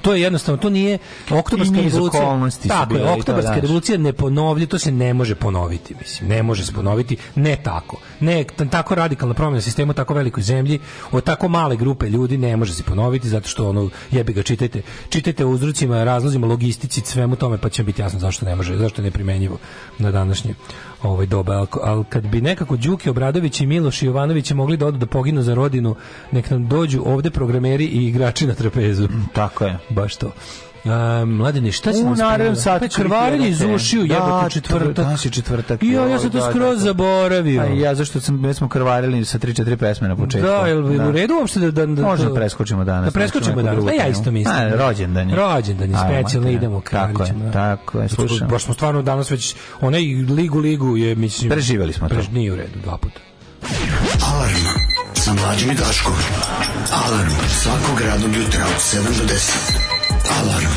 G: To je jednostavno, to nije oktobarska
F: I niz
G: revolucija.
F: okolnosti su
G: Tako
F: bile i
G: je,
F: to,
G: oktobarska
F: znaš.
G: revolucija ne ponovlji, to se ne može ponoviti, mislim, ne može se ponoviti, ne tako. Ne, t- tako radikalna promjena sistema u tako velikoj zemlji, od tako male grupe ljudi ne može se ponoviti, zato što ono, jebi ga, čitajte, čitajte o uzrocima, razlozima, logistici, svemu tome, pa će vam biti jasno zašto ne može, zašto je neprimenjivo na današnje ovaj doba. Ali, kad bi nekako Đuki Obradović i Miloš Jovanović mogli da odu da poginu za rodinu, nek nam dođu ovde programeri i igrači na trapezu.
F: Tako je.
G: Baš to. A, mladine, šta si
F: U
G: nam
F: narednom
G: spremila?
F: satu
G: Pa,
F: ću
G: krvarenje
F: biti
G: iz
F: jedan
G: ušiju,
F: tema.
G: jebote,
F: Da,
G: četvrtak.
F: danas je četvrtak.
G: Jo, ja sam to
F: Da, da,
G: skroz
F: da.
G: zaboravio.
F: A i ja zašto sam već smo krvarili sa 3 4 pesme na početku.
G: Da, jel bi u redu uopšte da... da, da
F: Možda
G: to-
F: preskočimo danas.
G: Da preskočimo
F: neku
G: danas,
F: drugu
G: da ja
F: temu.
G: isto mislim.
F: A, rođendan je.
G: Rođendan je,
F: A,
G: specijalno
F: mater.
G: idemo.
F: Tako je,
G: kraljićima, da.
F: tako je,
G: Zato što
F: slušam.
G: Baš smo stvarno danas već, onaj ligu ligu je, mislim...
F: Preživjeli smo to.
G: prež- Nije u redu, dva puta.
U: Alarm sa mlađim i Daškom. Alarm svakog radnog jutra od 7 do 10. Alarm.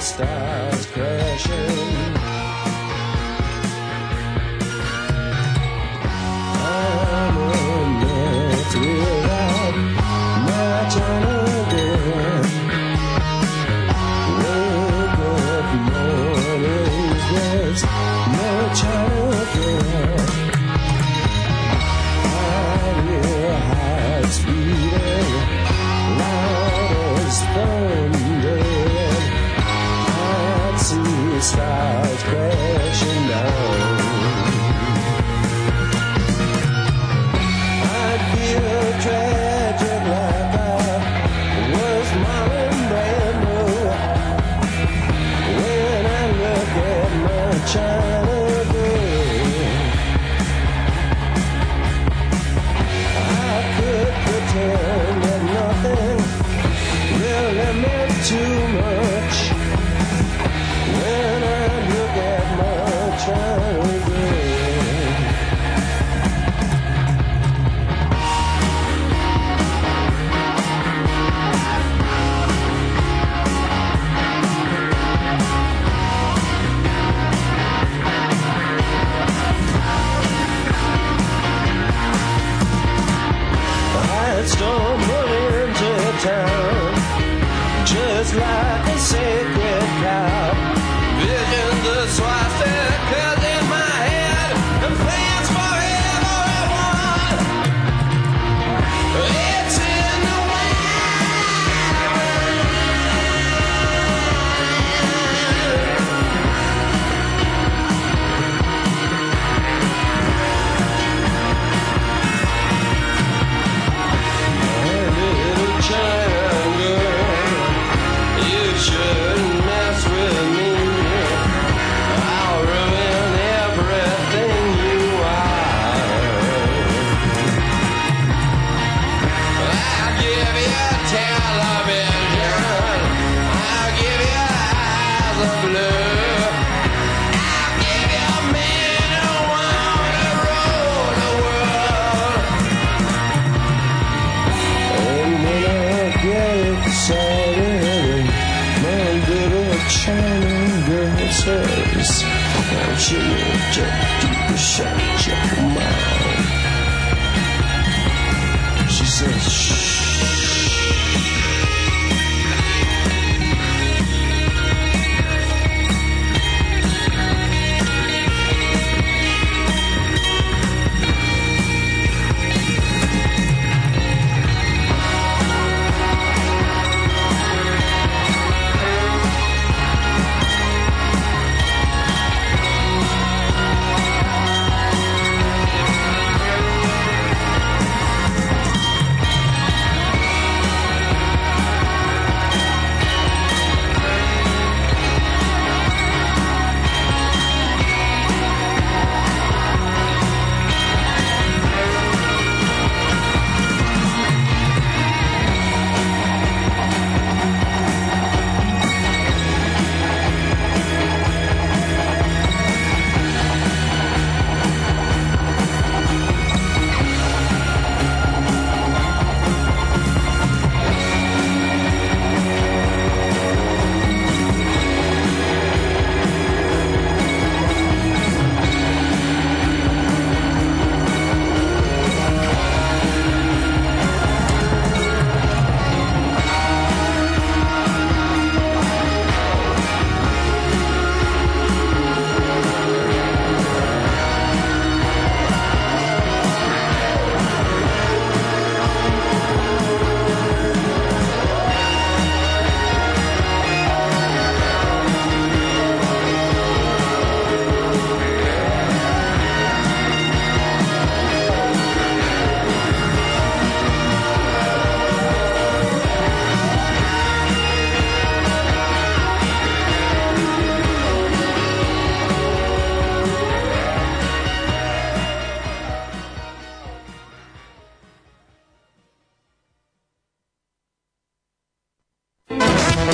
J: Stars crashing. I'm on earth without my China girl. Wake up mornings, there's no China girl. I hear hearts beating loud as thunder. I see stars crashing down. I feel tragic like I was Marlon Brando when I look at my China girl. I could pretend that nothing really meant too much when I look at my China girl. I stumble into town just like a sacred cow. Vision the swastika in my head and plans for everyone. It's in the Little China girl, you should your television. I'll give your eyes a blue. I'll give you men who wanna rule the world. And when I get excited, my little China girl says, Won't you just shut your mouth? She says, shh.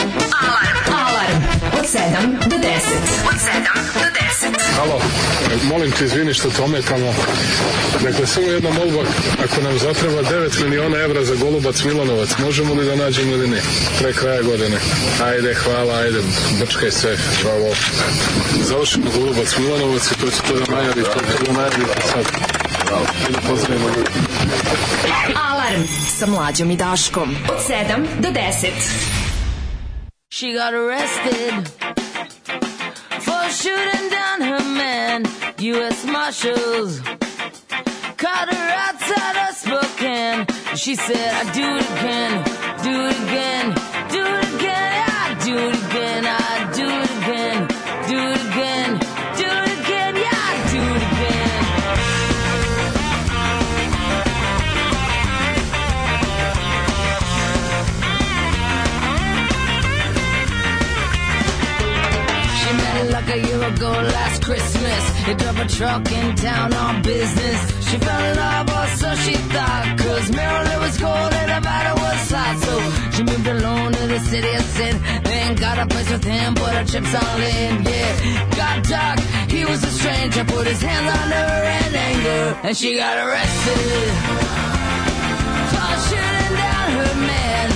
E: Alarm. Od 7 do 10. Od 7 do 10.
V: Halo, molim te izvini što te ometamo. Dakle, samo jedna molba, ako nam zatreba 9 miliona evra za Golubac Milanovac, možemo li da nađemo ili ne? Pre kraja godine. Ajde, hvala, ajde, brčkaj sve, bravo. Završimo Golubac Milanovac i to će to da najavi, to će da najavi sad. Bravo. Ajde, pozdravimo ljudi.
E: Alarm sa mlađom i Daškom. Od 7 do 10.
O: She got arrested for shooting down her man. U.S. Marshals caught her outside of Spokane. She said, I do it again, do it again, do it again, I do it again, I do it again, do it again, do it again, yeah, I do it again. She met it like a year ago last Christmas. He drove a truck in town on business. She fell in love, or so she thought. Cause Maryland was cold and Nevada was hot. So she moved alone to the city of sin. Then got a place with him, put her chips all in. Yeah, got dark. He was a stranger, put his hands on her in anger. And she got arrested. For shooting down her man,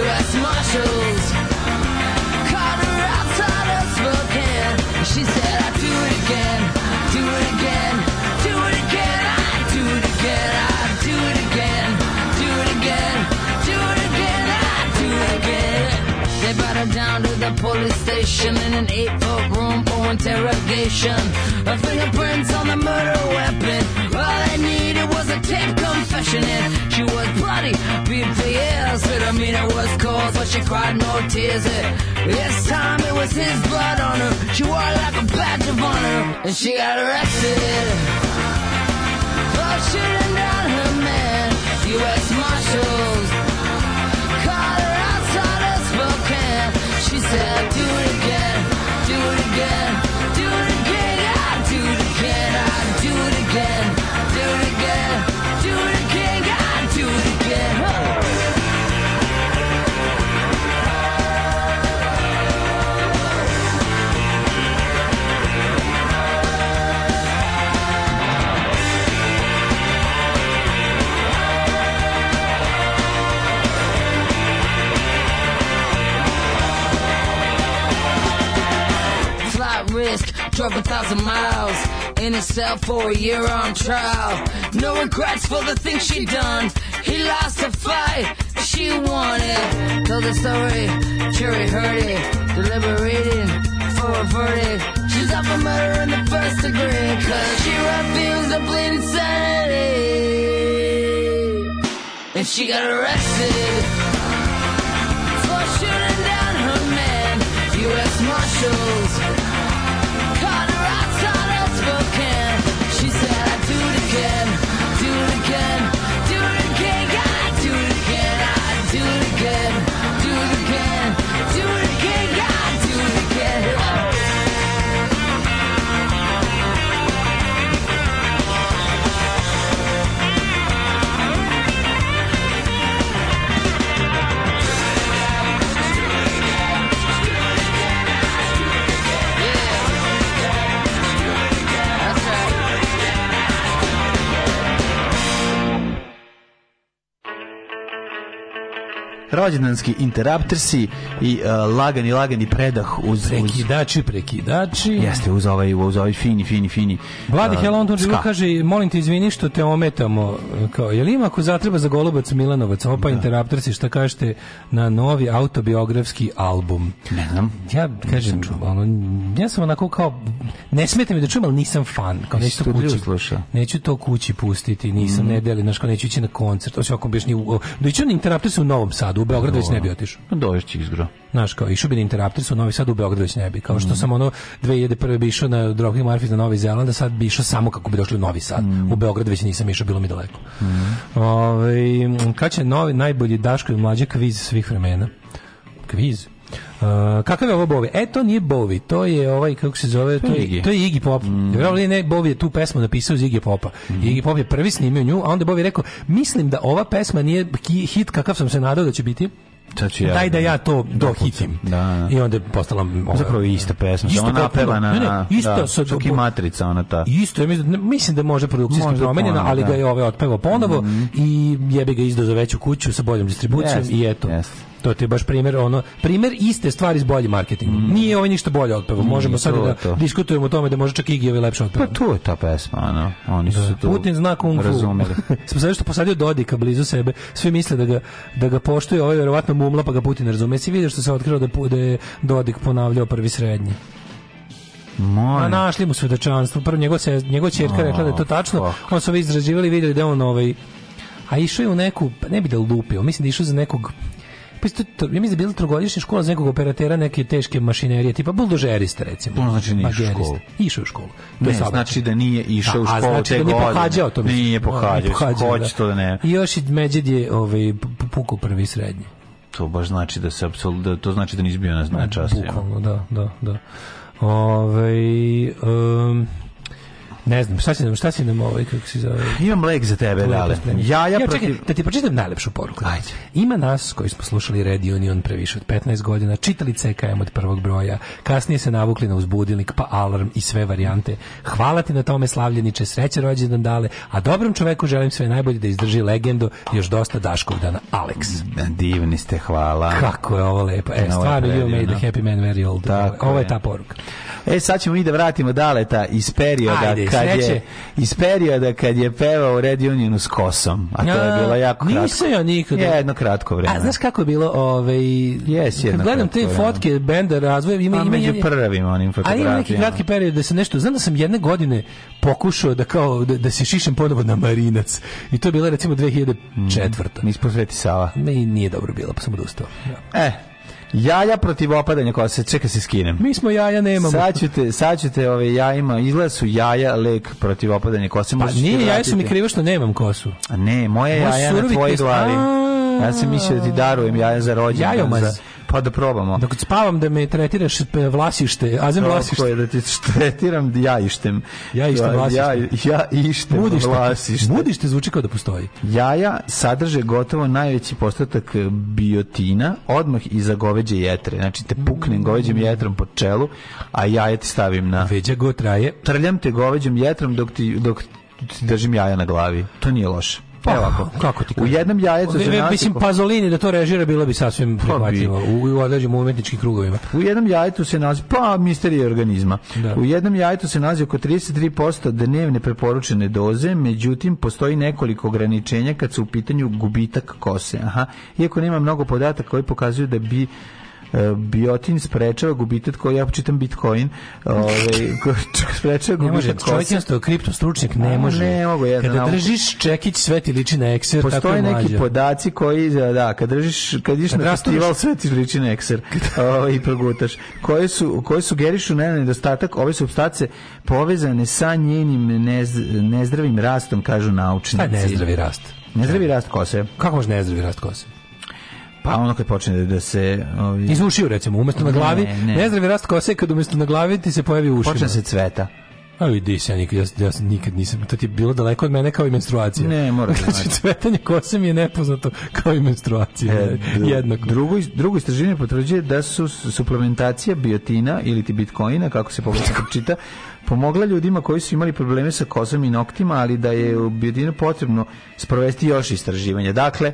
O: U.S. Marshals caught her outside of Spokane. She said, I do it again, do it again, do it again, I do it again, I do it again, do it again, do it again, I do it again. They brought her down to the police station in an eight foot room for interrogation. Her fingerprints on the murder weapon. All they needed was a tape confession, and she was bloody, beat for years. But I mean, it was cold, but she cried no tears. It, this time it was his blood on her. She wore it like a badge of honor, and she got arrested Oh, for shooting down her man. U.S. Marshals caught her outside of Spokane. She said, "Do it again, do it again, do it again, I do it again, I do it again, do it again, do it again, I do it again." Huh.
H: drove a thousand miles in a cell for a year on trial. No regrets for the things she done. He lost the fight, she won it. Told the story, jury heard it, deliberating for a verdict. She's up for murder in the first degree, cause she refused to plead insanity. And she got arrested for shooting down her man. U.S. Marshals caught her outside of Spokane. She said, "I do it again, do it again, do it again, God, I do it again, I do it again, do it again, do it again, God, I do it again."
F: Rođendanski interruptersi i uh, lagani, lagani predah uz...
G: Prekidači, prekidači.
F: Jeste, uz ovaj, uz ovaj fini, fini, fini.
G: Vladi
F: uh,
G: Helon
F: ska.
G: kaže, molim te izvini što te ometamo. Kao, jel ima ako zatreba za Golubac Milanovac? Opa, Interruptersi, šta kažete na novi autobiografski album?
F: Ne znam.
G: Ja kažem, ono, ja sam onako kao, ne smete mi da čujem, ali nisam fan. Kao,
F: Jesi
G: neću to
F: studiju
G: kući,
F: slušao? Mhm.
G: neću to kući pustiti, nisam ne deli, znaš, kao neću ići na koncert. Osim ako biš ni u, da iću na Interruptersi u Novom Sadu, u Beogradu već ne bi otišao.
F: Doješći pa izgro.
G: Znaš, kao išao bi na Interruptors u Novi Sad u Beogradu već ne bi. Kao što sam ono 2001. bi išao na Drogi Marfit na Novi Zeland, a sad bi išao samo kako bi došli u Novi Sad. U Beograd već nisam išao, bilo mi daleko. Ovaj, m, kad će novi, najbolji Daško i mlađe kviz svih vremena? Kviz? Uh, kakav je ovo Bovi? E, to nije Bovi, to je ovaj, kako se zove, to, je,
F: Iggy.
G: to je Iggy Mm. Pop. Vjerovali ili ne, Bovi je tu pesmu napisao iz Iggy Popa. Iggy Pop je prvi snimio nju, a onda je Bovi rekao, mislim da ova pesma nije ki- hit kakav sam se nadao da će biti,
F: Sad ću ja.
G: daj da ja to dohitim.
F: Da, da.
G: I onda je postala... Ova,
F: Zapravo je ista pesma.
G: Isto
F: Isto ona
G: kao-
F: napeva na...
G: ne, ne,
F: na-
G: isto
F: da,
G: sad-
F: čak i matrica ona ta.
G: Isto, ja mislim, ne, mislim da može produkcijski
F: Možda
G: promenjena,
F: ponovo,
G: ali
F: da. Mhm.
G: ga je ovaj otpevao ponovo i jebi ga izdao za veću kuću sa boljom distribucijom
F: Jest,
G: i eto.
F: jest.
G: To ti je baš primjer, ono, primjer iste stvari s boljim marketingom. Nije ovaj ništa bolje otpevao. Možemo sad
F: Mhm. to
G: da
F: je to.
G: diskutujemo o tome da može čak i Gijovi lepše
F: Pa
G: otpevao.
F: tu je ta pesma, ono. Oni su se tu
G: Putin zna kung fu.
F: Razumeli.
G: Smo sad što posadio Dodika blizu sebe. Svi misle da ga, da ga poštuje, ovaj verovatno mumla pa ga Putin razume. Si vidio što se otkrilo da, pu- da je Dodik ponavljao prvi srednji. A
F: Molim.
G: našli mu svedočanstvo. Prvo njegov, se, njegov čerka
F: A,
G: rekla da je to tačno. On su ovi izrađivali i vidjeli da je on ovaj... A išao je u neku, pa ne bi da lupio, mislim da je išao za nekog Pa isto, to- ja mislim da je bila trogodišnja škola za nekog operatera neke teške mašinerije, tipa buldožerista recimo.
F: To znači nije išao u
G: Magerista.
F: školu.
G: Išao je u školu. To je
F: Ne,
G: saobraćaj.
F: znači da nije išao u
G: A, a
F: školu
G: znači
F: te
G: da nije
F: godine.
G: pohađao to mislim.
F: Nije
G: Da,
F: pohađao, hoće
G: da.
F: to da ne.
G: I još i Međed je ovaj, pu- pukao prvi i srednji.
F: To baš znači da se apsolutno, da, to znači da nisi bio na, na času. ja.
G: Bukvalno, da, da, da. Ovaj, em, ne znam, šta si nam, šta si nam ovaj, kako se zove?
F: Imam lek za tebe, dale. Jaja
G: ja, čekaj,
F: protiv...
G: da ti pročitam najlepšu poruku.
F: Ajde.
G: Ima nas koji smo slušali Red Union pre više od 15 godina, čitali CKM od prvog broja, kasnije se navukli na uzbudilnik, pa alarm i sve varijante. Hvala ti na tome, slavljeniče, sreće rođendan dale, a dobrom čoveku želim sve najbolje da izdrži legendo još dosta Daškov dana, Alex.
F: Divni ste, hvala.
G: Kako je ovo lepo. E,
F: Ovo je
G: stvarno, you made
F: ovaj predivno.
G: the happy man very old.
F: Tako
G: ovo je
F: je.
G: ta poruka.
F: E, sad ćemo mi da vratimo Daleta iz perioda
G: Ajde,
F: kad
G: sreće.
F: je iz perioda kad je pevao Red Unionu s kosom, a to
G: Ja,
F: je bilo jako kratko.
G: nisam ja nikada.
F: Jedno kratko vreme.
G: A znaš kako je bilo ovaj
F: E, Jes,
G: kad
F: jedno
G: gledam te
F: kratko vreme.
G: fotke benda razvoja ima
F: A
G: ima
F: Pa među ono. prvim onim
G: A
F: fotografijama.
G: ima neki kratki period da se nešto, znam da sam jedne godine pokušao da kao da, da se šišem ponovo na Marinac. I to je bila recimo 2004.
F: Nisi posveti Sava.
G: Mi nije dobro bilo, pa sam odustao. Ja.
F: E, jaja protiv opadanja kose. Čekaj se skinem.
G: Mi smo jaja nemamo.
F: Sad ćete, sad ćete ove jajima, izgleda su jaja lek protiv opadanja kose.
G: pa
F: možda ću ti
G: nije, jaja su mi
F: vratiti.
G: krivo što nemam kosu.
F: A Ne, moje
G: Moj
F: jaja na
G: surovi
F: tvojoj
G: test-
F: glavi.
G: A.
F: Ja sam mislio da ti darujem jaja za rođendan.
G: Jajomaz.
F: za- Pa da probamo.
G: Dok spavam da me tretiraš pe- vlasište, azem
F: Tako
G: vlasište.
F: je da ti tretiram jajištem.
G: Jajištem,
F: Ja,
G: vlasištem.
F: ja ištem,
G: Budište,
F: vlasištem.
G: budište zvuči kao da postoji.
F: Jaja sadrže gotovo najveći postotak e, biotina odmah iza goveđe jetre. Znači te puknem goveđim jetrom po čelu, a jaja ti stavim na...
G: Veđa go traje.
F: Trljam te goveđim jetrom dok ti, dok ti držim jaja na glavi. To nije loše.
G: Pa, Evo ovako, kako ti
F: u jednom jajetu za
G: kažem? Mislim,
F: nasipu.
G: Pazolini da to režira bilo bi
F: Pa
G: sasvim prihvatljivo u, u određenim umetničkim krugovima.
F: U jednom jajetu se nalazi, pa misterije organizma. U jednom jajetu se nalazi oko 33% dnevne preporučene doze, međutim postoji nekoliko ograničenja kad su u pitanju gubitak kose. Aha. Iako nema mnogo podataka koji pokazuju da bi e, biotin sprečava gubitak koji ja čitam bitcoin ovaj, ko- sprečava
G: Ne može,
F: gubitak
G: čovjek
F: kose
G: jednostavno kripto stručnjak ne
F: A,
G: može.
F: ne mogu, jedna
G: Kada
F: nauka.
G: držiš čekić, sve ti liči na ekser, tako
F: Postoje
G: je
F: neki
G: mlađa.
F: podaci koji, da, da, kad držiš, kad ideš
G: Kad
F: na
G: rastureš-
F: festival, sve ti liči na ekser ovaj, i progutaš, koje, su, koje sugerišu na nedostatak ove substance povezane sa njenim nez, nezdravim rastom, kažu naučnici.
G: Šta Pa je nezdravi rast?
F: Nezdravi rast kose.
G: Kako može nezdravi rast kose?
F: Pa ono kad počne da se... Ovaj,
G: Iz ušiju, recimo, umjesto na
F: Ne,
G: glavi.
F: ne.
G: Nezdravi rast kose je kad umjesto na glavi ti se pojavi u ušima.
F: počne se cveta.
G: A vidi se, ja nikad, ja, ja nikad nisam, to ti je bilo daleko od mene kao i menstruacija.
F: Ne, mora da
G: Znači,
F: znači.
G: cvetanje kose mi je nepoznato kao i menstruacija.
F: E, dru-
G: Jednako.
F: Drugo, is- drugo istraživanje potvrđuje da su s- suplementacija biotina ili ti bitcoina, kako se pogledno čita, pomogla ljudima koji su imali probleme sa kosom i noktima, ali da je u biotinu potrebno sprovesti još istraživanja. Dakle,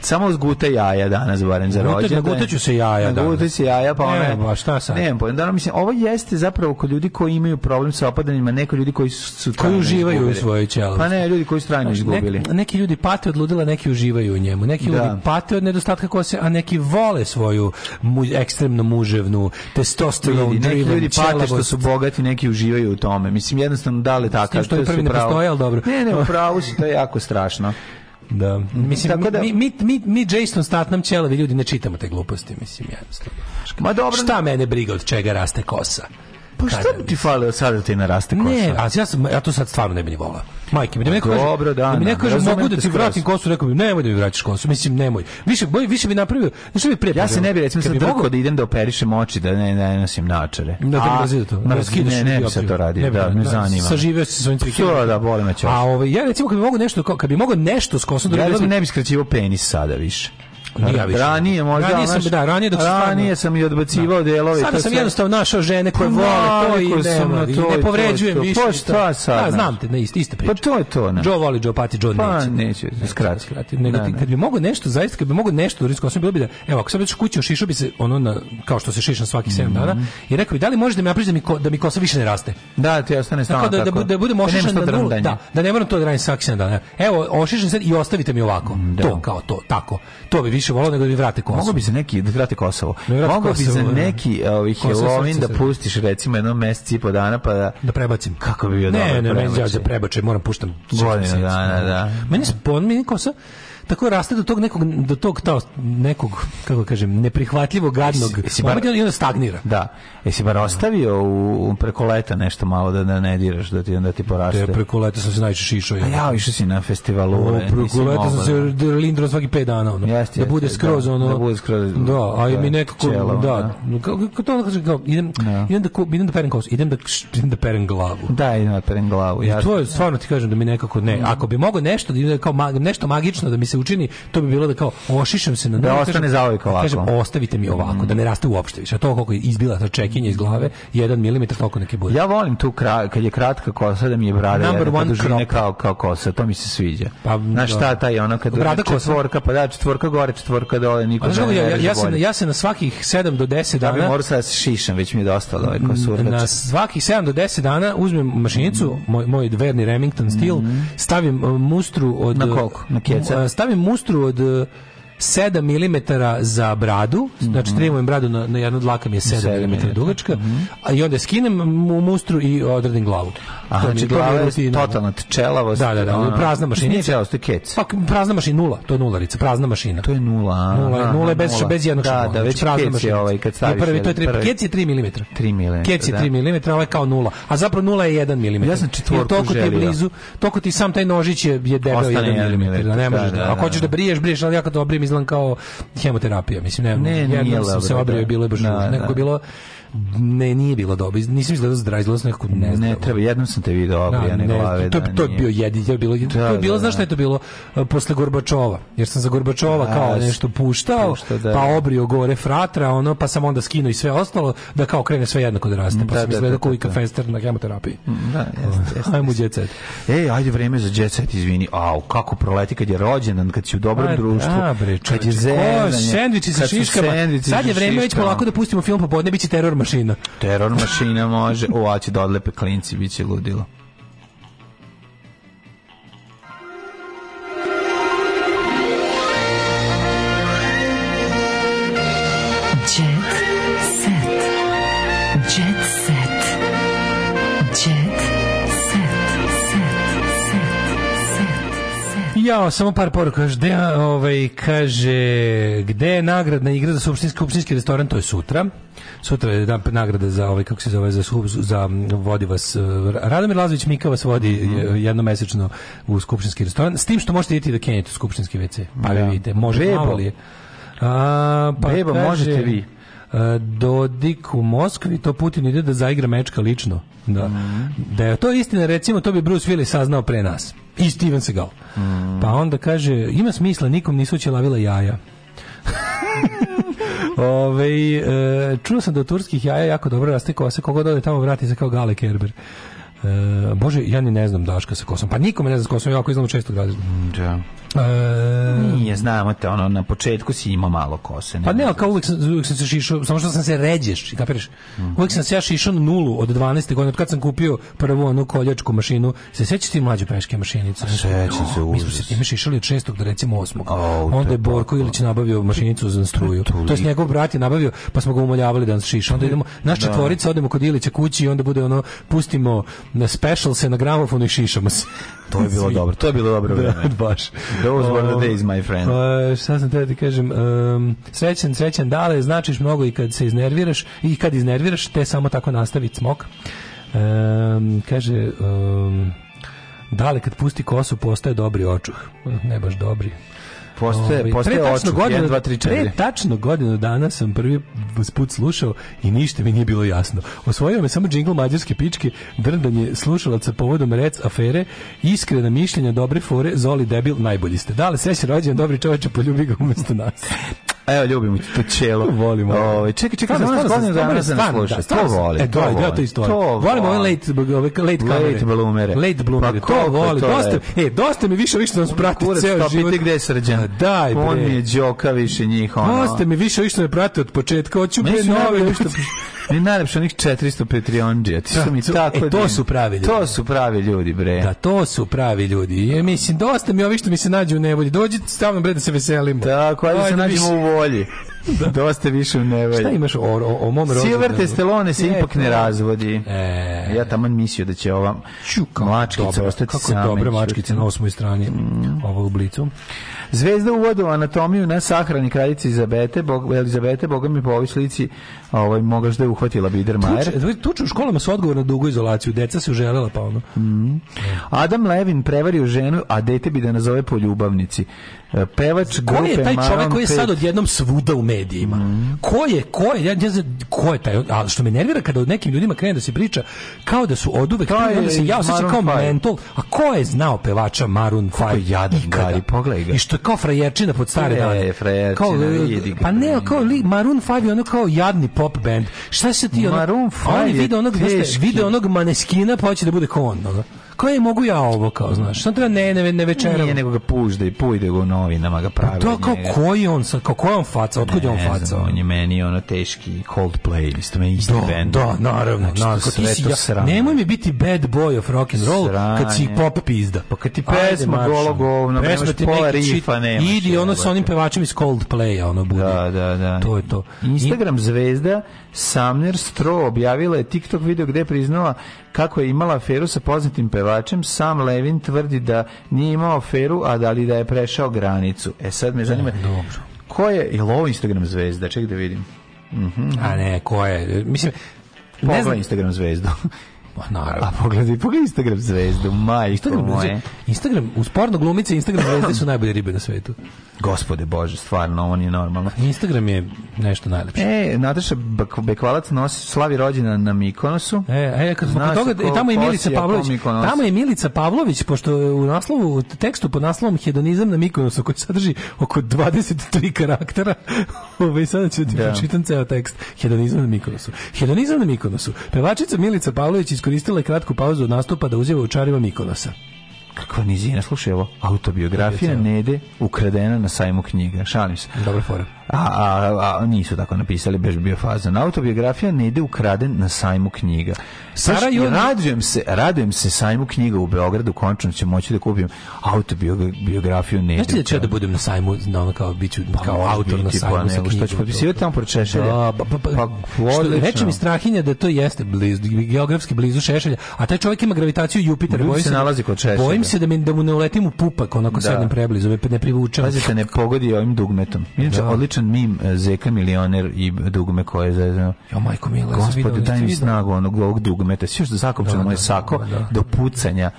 F: samo zguta jaja danas barem za
G: Nagutat-
F: rođendan.
G: nagutaću se jaja danas.
F: Nagutaću se jaja, pa
G: Ne,
F: ona...
G: ba, šta sad?
F: Nemam pojma. Naravno, mislim, ovo jeste zapravo kod ljudi koji imaju problem sa opadanjima, neko ljudi koji su- su...
G: Koji
F: trajno
G: uživaju
F: izgubili.
G: u svojoj ćelavosti.
F: Pa ne, ljudi koji su trajno izgubili.
G: Nek- neki ljudi pate od ludila, neki uživaju u njemu. Neki
F: Da.
G: ljudi pate od nedostatka kose, a neki vole svoju mu, ekstremno muževnu testosteron
F: Vidi, neki
G: driven
F: ljudi pate što
G: ćelavost.
F: su bogati, neki uživaju u tome. Mislim, jednostavno, da li
G: S tim
F: tako?
G: što ovi prvi ne postoje, ali dobro.
F: Ne, ne, u pravu si, to je jako strašno.
G: Da. Mislim,
F: Tako da-
G: mi, mi, mi, mi Jason Statnam ćelavi ljudi ne čitamo te gluposti, mislim, jednostavno.
F: Ma dobro,
G: Šta mene briga od čega raste kosa?
F: pa šta
G: Kada-
F: bi ti falilo sada da ti naraste kosa?
G: Ne, a ja, sam, ja to sad stvarno ne bi ni volao. Majke, mi da mi neko
F: Dobro,
G: kaže,
F: da,
G: da mi
F: da,
G: neko kaže,
F: razumem
G: mogu da
F: te
G: ti vratim
F: skroz.
G: kosu, rekao bi, nemoj da mi vraćaš kosu, mislim, nemoj. Više, boj, više bi napravio, znaš što bi prije
F: ja se ne bi recimo
G: Kad
F: sad
G: bi
F: drko
G: mogao-
F: da idem da operišem oči, da ne, ne nosim naočare.
G: Da, da
F: A,
G: mi razvija to.
F: ma,
G: Da, skidaš
F: ne, ne bi se
G: dioptriju.
F: to radio,
G: Ne bi,
F: da, ne
G: da,
F: zanima.
G: saživeo si sa svojim cvikićem.
F: To, da, boli me ćoš.
G: A ovaj, ja recimo kad bi mogao nešto, kao- kad bi mogao nešto s kosom da
F: Ja
G: bilo
F: recimo
G: bi-
F: ne bi skraćivao penis sada više.
G: Ni ja više.
F: Ranije možda,
G: Ranije sam,
F: znaš,
G: da, ranije dok sam
F: ranije
G: stvarno-
F: sam i odbacivao delove. i
G: Sada
F: to
G: sam
F: sve.
G: jednostavno našao žene koje
F: Pa
G: vole to i
F: navikao sam
G: nema,
F: na
G: i
F: to i to
G: ne
F: je
G: povređujem
F: to.
G: više.
F: Pa šta sad,
G: Da,
F: znaš?
G: znam te, ne, isto, ista priča.
F: Pa to je to, ne.
G: Joe voli Joe Pati, Joe
F: Pa
G: neće.
F: neće, skrati.
G: skrati. Nego
F: Ne,
G: ti,
F: ne.
G: kad bi mogao nešto, zaista kad bi mogao nešto da riskosam, bilo bi da, evo, ako sam već kuću šišao bi se ono na, kao što se šišam svakih 7
F: Mhm.
G: dana i rekao bi, da li možeš da mi napraviš da mi, ko, da mi kosa više ne raste?
F: Da, ti ostane
G: Tako
F: stalno
G: da, da, bu- da budem
F: nema
G: ošišan
F: šta
G: na nulu.
F: drndanje.
G: Da, da ne moram to da radim svaki 7 dana. Evo, ošišan sad i ostavite mi ovako. To, kao to, tako. To bi više volao nego da mi vrate kosu.
F: Mogao Mm, bi za neki, da vrati Kosovo,
G: Da vrati
F: mogao bi za
G: Kosovo, da.
F: neki ovaj,
G: Kosovo
F: Halloween
G: srce
F: da
G: se-
F: pustiš recimo jedno mesec i po dana pa da...
G: Da prebacim.
F: Kako bi bio
G: ne,
F: dobro
G: Ne, ne,
F: prebačaj.
G: ja za prebačaj moram puštam.
F: Godinu
G: šest meseci.
F: dana, da.
G: Meni spon, meni kosa tako raste do tog nekog, do tog tao, nekog, kako kažem, neprihvatljivog, gadnog.
F: Jesi- jesi bar-
G: Momentalno I onda stagnira.
F: Da. Jesi bar ostavio u, u preko leta nešto malo da, da ne diraš, da ti onda ti poraste?
G: Te preko leta sam se najviše šišao.
F: A ja, išao si na festivalu.
G: O,
F: e, nisi
G: preko leta Ono, sam
F: mogao
G: se
F: da-
G: lindro svaki 5 dana ono.
F: Jeste,
G: da bude
F: jeste,
G: skroz
F: da,
G: ono.
F: da bude skroz,
G: Da, a i
F: da,
G: mi nekako ono,
F: ćelavo,
G: da. Kako kako to ono kaže kao idem idem da ku- idem da perem kosu, idem da idem da perem glavu.
F: Da, idem da perem glavu.
G: I
F: Ja,
G: to je stvarno ti kažem da mi nekako
F: Mm.
G: ne. Ako bi mogao nešto da ide kao mag- nešto magično da mi se učini, to bi bilo da kao ošišem se na
F: Da
G: nogu,
F: ostane
G: kažem-
F: zauvijek
G: da Kažem
F: ovako. Mm.
G: ostavite mi ovako, da ne raste uopšte više. A to koliko je izbila ta čekinja iz glave, 1 mm toliko neki bude.
F: ja volim tu kra, kad je kratka kosa da mi je brada
G: Number
F: jednaka
G: one
F: dužine
G: crop.
F: kao, kao kosa, to mi se sviđa.
G: Pa,
F: Znaš
G: da.
F: šta taj ono kad
G: Brada kosa.
F: četvorka, pa da, četvorka gore, četvorka dole, niko
G: A Pa znaš
F: ne,
G: kako, ja,
F: ne
G: ja,
F: reže
G: ja, se,
F: bolje.
G: ja se na svakih 7 do 10
F: Da bi
G: dana
F: morao sad da se šišam, već mi je dosta od ove kosurdače.
G: na svakih 7 do 10 dana uzmem mašinicu,
F: Mhm.
G: moj, moj verni Remington stil, stavim uh, mustru od...
F: Na koliko? Na keca?
G: Uh, Stavim mustru od uh, 7 mm za bradu, znači trimujem bradu na, na jednu dlaka mi je 7
F: Mhm. Sedam Mhm.
G: mm
F: milimetara.
G: dugačka, a i onda skinem mu mustru i odradim glavu.
F: A,
G: To mi-
F: znači
G: to mi
F: glava je
G: rutina.
F: totalna čelavost.
G: Da, da, da, prazna mašinica.
F: Nije čelavost, to je kec.
G: Pa, prazna mašina, nula, to je nularica, prazna mašina.
F: To je nula. a?
G: Nula, je-
F: Aha,
G: nula je bez, bez jednog
F: Da,
G: šablona.
F: da,
G: znači
F: već
G: prazna
F: kec je
G: mašinica.
F: ovaj, kad staviš...
G: prvi, to je tri,
F: jedan prvi.
G: kec je 3 mm.
F: 3 mm,
G: Kec je
F: da.
G: 3 mm, ovo je kao nula. A zapravo nula je 1 mm.
F: Ja sam
G: Jer
F: četvorku
G: toliko ti je
F: želio.
G: blizu, toliko ti sam taj nožić je, je debel
F: Ostane
G: 1
F: jedan
G: mm. Da ne
F: milimetar,
G: možeš
F: da,
G: da.
F: da,
G: Ako hoćeš
F: da.
G: da briješ, briješ, ali ja kad obrijem izgledam kao hemoterapija, mislim, ne,
F: Ne,
G: ne,
F: nije
G: jednom sam se
F: dobro,
G: obrio
F: da.
G: i bilo je baš
F: Da,
G: ružno. Nekako
F: da.
G: je bilo ne, nije bilo dobro. Iz- Nisam izgledao zdravo, izgledao sam nekako
F: Ne
G: nezdravo.
F: treba, jednom sam te video obrijane
G: ne,
F: glave.
G: to,
F: da
G: to je
F: nije.
G: bio jedin, to je bilo, jedin-
F: Da,
G: to je bilo
F: da,
G: znaš šta je to bilo? E, Posle Gorbačova, jer sam za Gorbačova
F: Da,
G: kao
F: s-
G: nešto puštao,
F: puštao, da.
G: pa obrio gore fratra, ono, pa sam onda skinuo i sve ostalo, da kao krene sve jednako da raste, pa
F: Da,
G: sam
F: da,
G: izgledao
F: da,
G: kao
F: da,
G: Ika
F: da.
G: Fester na hemoterapiji.
F: Da, jeste, jeste.
G: Ajmo u jet set.
F: Ej, ajde vreme za jet set, izvini. Au, kako proleti kad je rođendan, kad si u dobrom
G: Pa
F: društvu.
G: Da, bre,
F: kad je
G: čovječe, ko,
F: zezanje,
G: sendviči sa
F: kad su
G: šiškama.
F: sendviči
G: Sad
F: sa
G: je vreme već
F: šiškama.
G: polako da pustimo film popodne, bit će teror mašina.
F: Teror mašina može. O, a će da odlepe klinci, bit će ludilo.
E: Jet set. Jet set. Jet set.
G: Ja, samo par poruka. Gde, a, ovaj, kaže, gde je nagradna igra za supštinski, kupštinski restoran? To je sutra. Sutra je dan nagrada za, ovaj, kako se zove, za, skup- za mm, vodi vas. e, Radomir Lazović Mika vas vodi
F: Mhm.
G: e, jednomesečno u skupštinski restoran. S tim što možete iditi da kenjete u skupštinski WC. Pa vi
F: Da.
G: vidite, može
F: Bebo.
G: malo li je. A, pa
F: Bebo,
G: kaže,
F: možete vi.
G: e, Dodik u Moskvi, to Putin ide da zaigra mečka lično. Da.
F: Mm.
G: da je to istina, recimo, to bi Bruce Willis saznao pre nas. I Steven Seagal.
F: Mm.
G: Pa onda kaže, ima smisla, nikom nisu ćelavila jaja. Ove, e, čuo sam da od turskih jaja jako dobro raste kosa, koga dode tamo vrati se kao Gale Kerber. E, Bože, ja ni ne znam Daška sa kosom. Pa nikome ne znam sa kosom, ja ako iznamo često E, građu.
F: Da. Nije, znamo te, ono, na početku si imao malo kose.
G: Pa ne, ali kao uvijek sam, uvijek sam se šišao, samo što sam se ređeš, kapiraš? Uvijek sam se ja šišao na nulu od 12. godine, od kad sam kupio prvu onu koljačku mašinu. Se sećaš ti mlađe peške mašinice?
F: Sećam se,
G: Mi smo se
F: užas.
G: time šišali od 6. do recimo 8.
F: Au, to
G: onda je
F: je
G: Borko Ilić nabavio mašinicu za struju. To jest njegov brat je nabavio, pa smo ga umoljavali da nas šiša. Onda idemo, naš
F: Da.
G: četvorica, odemo kod Ilića kući i onda bude ono, pustimo na special se na gramofonu i šišamo se.
F: To je bilo
G: Svi.
F: dobro, to je bilo dobro vreme.
G: baš.
F: Those were
G: O,
F: the days, my friend.
G: e, šta sam teo ti kažem, em, srećan, srećan dale, značiš mnogo i kad se iznerviraš, i kad iznerviraš, te samo tako nastavi cmok. Em, kaže, em, dale kad pusti kosu postaje dobri očuh. Ne baš dobri. Ovaj,
F: Postoje, postoje
G: pre tačno
F: očuk,
G: godinu-
F: 1, 2, 3, 4.
G: Pre tačno godinu dana sam prvi put slušao i ništa mi nije bilo jasno. Osvojio me samo džingl mađarske pičke, drndanje slušalaca povodom rec afere, iskrena mišljenja, dobre fore, zoli debil, najbolji ste. Dale, sve se rođen, dobri čoveče, poljubi ga umesto nas.
F: Evo, ljubimo to čelo.
G: Volimo.
F: Ovaj, čekaj, čekaj,
G: Stvarno,
F: znaš,
G: stvarno sam-
F: godinu dana
G: stvarno,
F: sam
G: stvarno,
F: slušao.
G: da, stvarno
F: To
G: sam-
F: volim,
G: E,
F: to
G: da, ja to
F: volim.
G: isto volim.
F: To
G: Volim ove
F: volim.
G: late, ove late kamere.
F: Late bloomere.
G: Late bloomere,
F: Pa
G: to
F: koliko je
G: volim.
F: to
G: Dosta,
F: lepo.
G: e, dosta mi više, više da nas prati
F: Kurac,
G: ceo
F: to
G: život. Pa
F: piti gde je srđan.
G: Daj, bre.
F: On mi je džoka više njih, ono.
G: Dosta mi više više ne prate od početka, hoću
F: Meni
G: pre
F: su najbolje
G: nove.
F: što Meni je najlepše onih 400 Patreonđija, ti su mi
G: Da,
F: tako...
G: e, to
F: divni.
G: su pravi ljudi.
F: To su pravi ljudi, bre.
G: Da, to su pravi ljudi. Ja mislim, dosta mi ovi što mi se nađu u nevolji. Dođi, stavno bre da se veselimo.
F: Tako, ajde se
G: Ajde,
F: nađemo
G: više.
F: u volji. Dosta više u nevolji.
G: Šta imaš o, o, o mom rođendanu?
F: Silver Testelone se
G: E,
F: ipak ne
G: to-
F: razvodi.
G: E.
F: Ja tamo mislio da će ova mlačkica
G: Dobro,
F: ostati
G: kako
F: sama.
G: je dobra mačkica na osmoj strani
F: Mm.
G: ovog blicu.
F: Zvezda u vodu anatomiju na sahrani kraljice Izabete, bog, Elizabete, boga mi po ovoj slici, ovaj, mogaš da je uhvatila Bidermajer.
G: Tuče, tuče u školama su odgovor na dugu izolaciju. Deca su želela pa ono.
F: Adam Levin prevario ženu, a dete bi da nazove po ljubavnici. E, Pevač
G: Ko
F: grupe
G: je taj čovjek
F: Maroon Mhm.
G: koji je sad
F: 5.
G: odjednom svuda u medijima? Ko je, ko je, ja ne znam, ko je taj, ali što me nervira kada od nekim ljudima krene da se priča kao da su oduvek,
F: To je
G: onda se ja osjećam
F: Maroon
G: kao
F: five.
G: mentol, a ko je znao pevača Maroon 5?
F: je jadan, Gari, pogledaj ga.
G: I što je kao frajerčina pod stare
F: E,
G: dane.
F: frajerčina,
G: Kao,
F: vidi ga,
G: pa ne, kao li, Maroon 5 je ono kao jadni pop band. Šta se ti ono?
F: Maroon
G: a Oni
F: five je
G: vide onog, znaš šta,
F: teški.
G: vide onog maneskina pa hoće da bude kao on. Ono. Kao je, mogu ja ovo, kao, znaš. Sam treba ne, ne, ne večeram.
F: Nije nego ga pužda i pujde ga u novinama, ga pravi.
G: Pa To
F: od
G: kao
F: njega.
G: koji je on sad, kao koja je on faca, otkud je on
F: Pa Ne
G: faca?
F: znam, on je meni ono teški Coldplay, isto meni isti
G: Da,
F: bend.
G: da, naravno,
F: Znači,
G: naravno,
F: to
G: ti
F: sve
G: si
F: to
G: ja-
F: sranje.
G: Nemoj mi biti bad boy of rock and roll kad si i
F: Sranje.
G: pop pizda.
F: Pa kad ti
G: Ajde,
F: pesma
G: maršom.
F: golo govno,
G: Pesma
F: nemaš
G: ti
F: pola
G: neki
F: rifa,
G: shit,
F: nemaš.
G: Idi ono sa
F: jebote.
G: onim pevačem iz Coldplaya, ono bude.
F: Da, da, da.
G: To je to.
F: Instagram zvezda Samner Stro objavila je TikTok video gde je priznala kako je imala aferu sa poznatim pevačem. Sam Levin tvrdi da nije imao aferu, a da li da je prešao granicu. E sad me zanima,
G: Dobro.
F: ko je, je li ovo Instagram zvezda? Ček da vidim.
G: A ne, ko je? Mislim, ne
F: Pogledaj
G: znam.
F: Instagram zvezdu.
G: Pa,
F: A
G: naravno.
F: pogledaj, pogledaj Instagram zvezdu, majko
G: Instagram,
F: moje.
G: Instagram, uz porno glumice Instagram zvezde su najbolje ribe na svetu.
F: Gospode Bože, stvarno, ovo nije normalno.
G: Instagram je nešto najlepše.
F: E, Nataša Bak- Bekvalac nosi, slavi rođena na Mikonosu.
G: E, e kad smo
F: Zna
G: kod
F: se
G: toga,
F: ko
G: i tamo je Milica
F: posija, ko
G: Pavlović.
F: Mikonos.
G: Tamo je Milica Pavlović, pošto je u naslovu, u tekstu pod naslovom Hedonizam na Mikonosu, koji sadrži oko 23 karaktera. Ove, sada ću ti
F: Da.
G: pročitam ceo tekst. Hedonizam na Mikonosu. Hedonizam na Mikonosu. Pevačica Milica Pavlović iskoristila je kratku pauzu od nastupa da uziva u čarima Mikonosa.
F: Kako nizina, slušaj ovo, autobiografija Nede ukradena na sajmu knjiga, šalim se.
G: Dobra fora.
F: A, a, a nisu tako napisali, baš bi bio fazan. Autobiografija Nede ukraden na sajmu knjiga.
G: Sara
F: Baš
G: Jun-
F: Radujem se, radujem se sajmu knjiga u Beogradu, končno ću moći da kupim autobiografiju Nede.
G: Znaš ti da ću ja da budem na sajmu, na ono kao, bit ću kao
F: može
G: autor na
F: biti,
G: sajmu
F: pa
G: sa
F: nego, šta
G: knjigom,
F: ću
G: to,
F: potpisivati
G: to.
F: tamo pored Šešelja?
G: Da, pa, pa,
F: Pa,
G: pa, što,
F: odlično.
G: reče mi Strahinja da to jeste bliz, geografski blizu Šešelja, a taj čovjek ima gravitaciju Jupitera.
F: Ljudi
G: Bojim
F: se
G: da-
F: nalazi kod Šešelja.
G: Bojim se da, mi, da mu ne uletim u pupak, onako
F: Da.
G: sednem preblizu, me ne privučem.
F: Pazite, ne pogodi ovim dugmetom. Inače,
G: Da.
F: odličan mim e, Zeka milioner i dugme koje je zezano.
G: Jo, majko mila, ja sam vidio,
F: Gospode,
G: jeste
F: daj mi
G: vidio?
F: snagu onog ovog dugmeta. Svi još da zakopčeno
G: Da,
F: moje
G: da,
F: sako
G: da, da.
F: do pucanja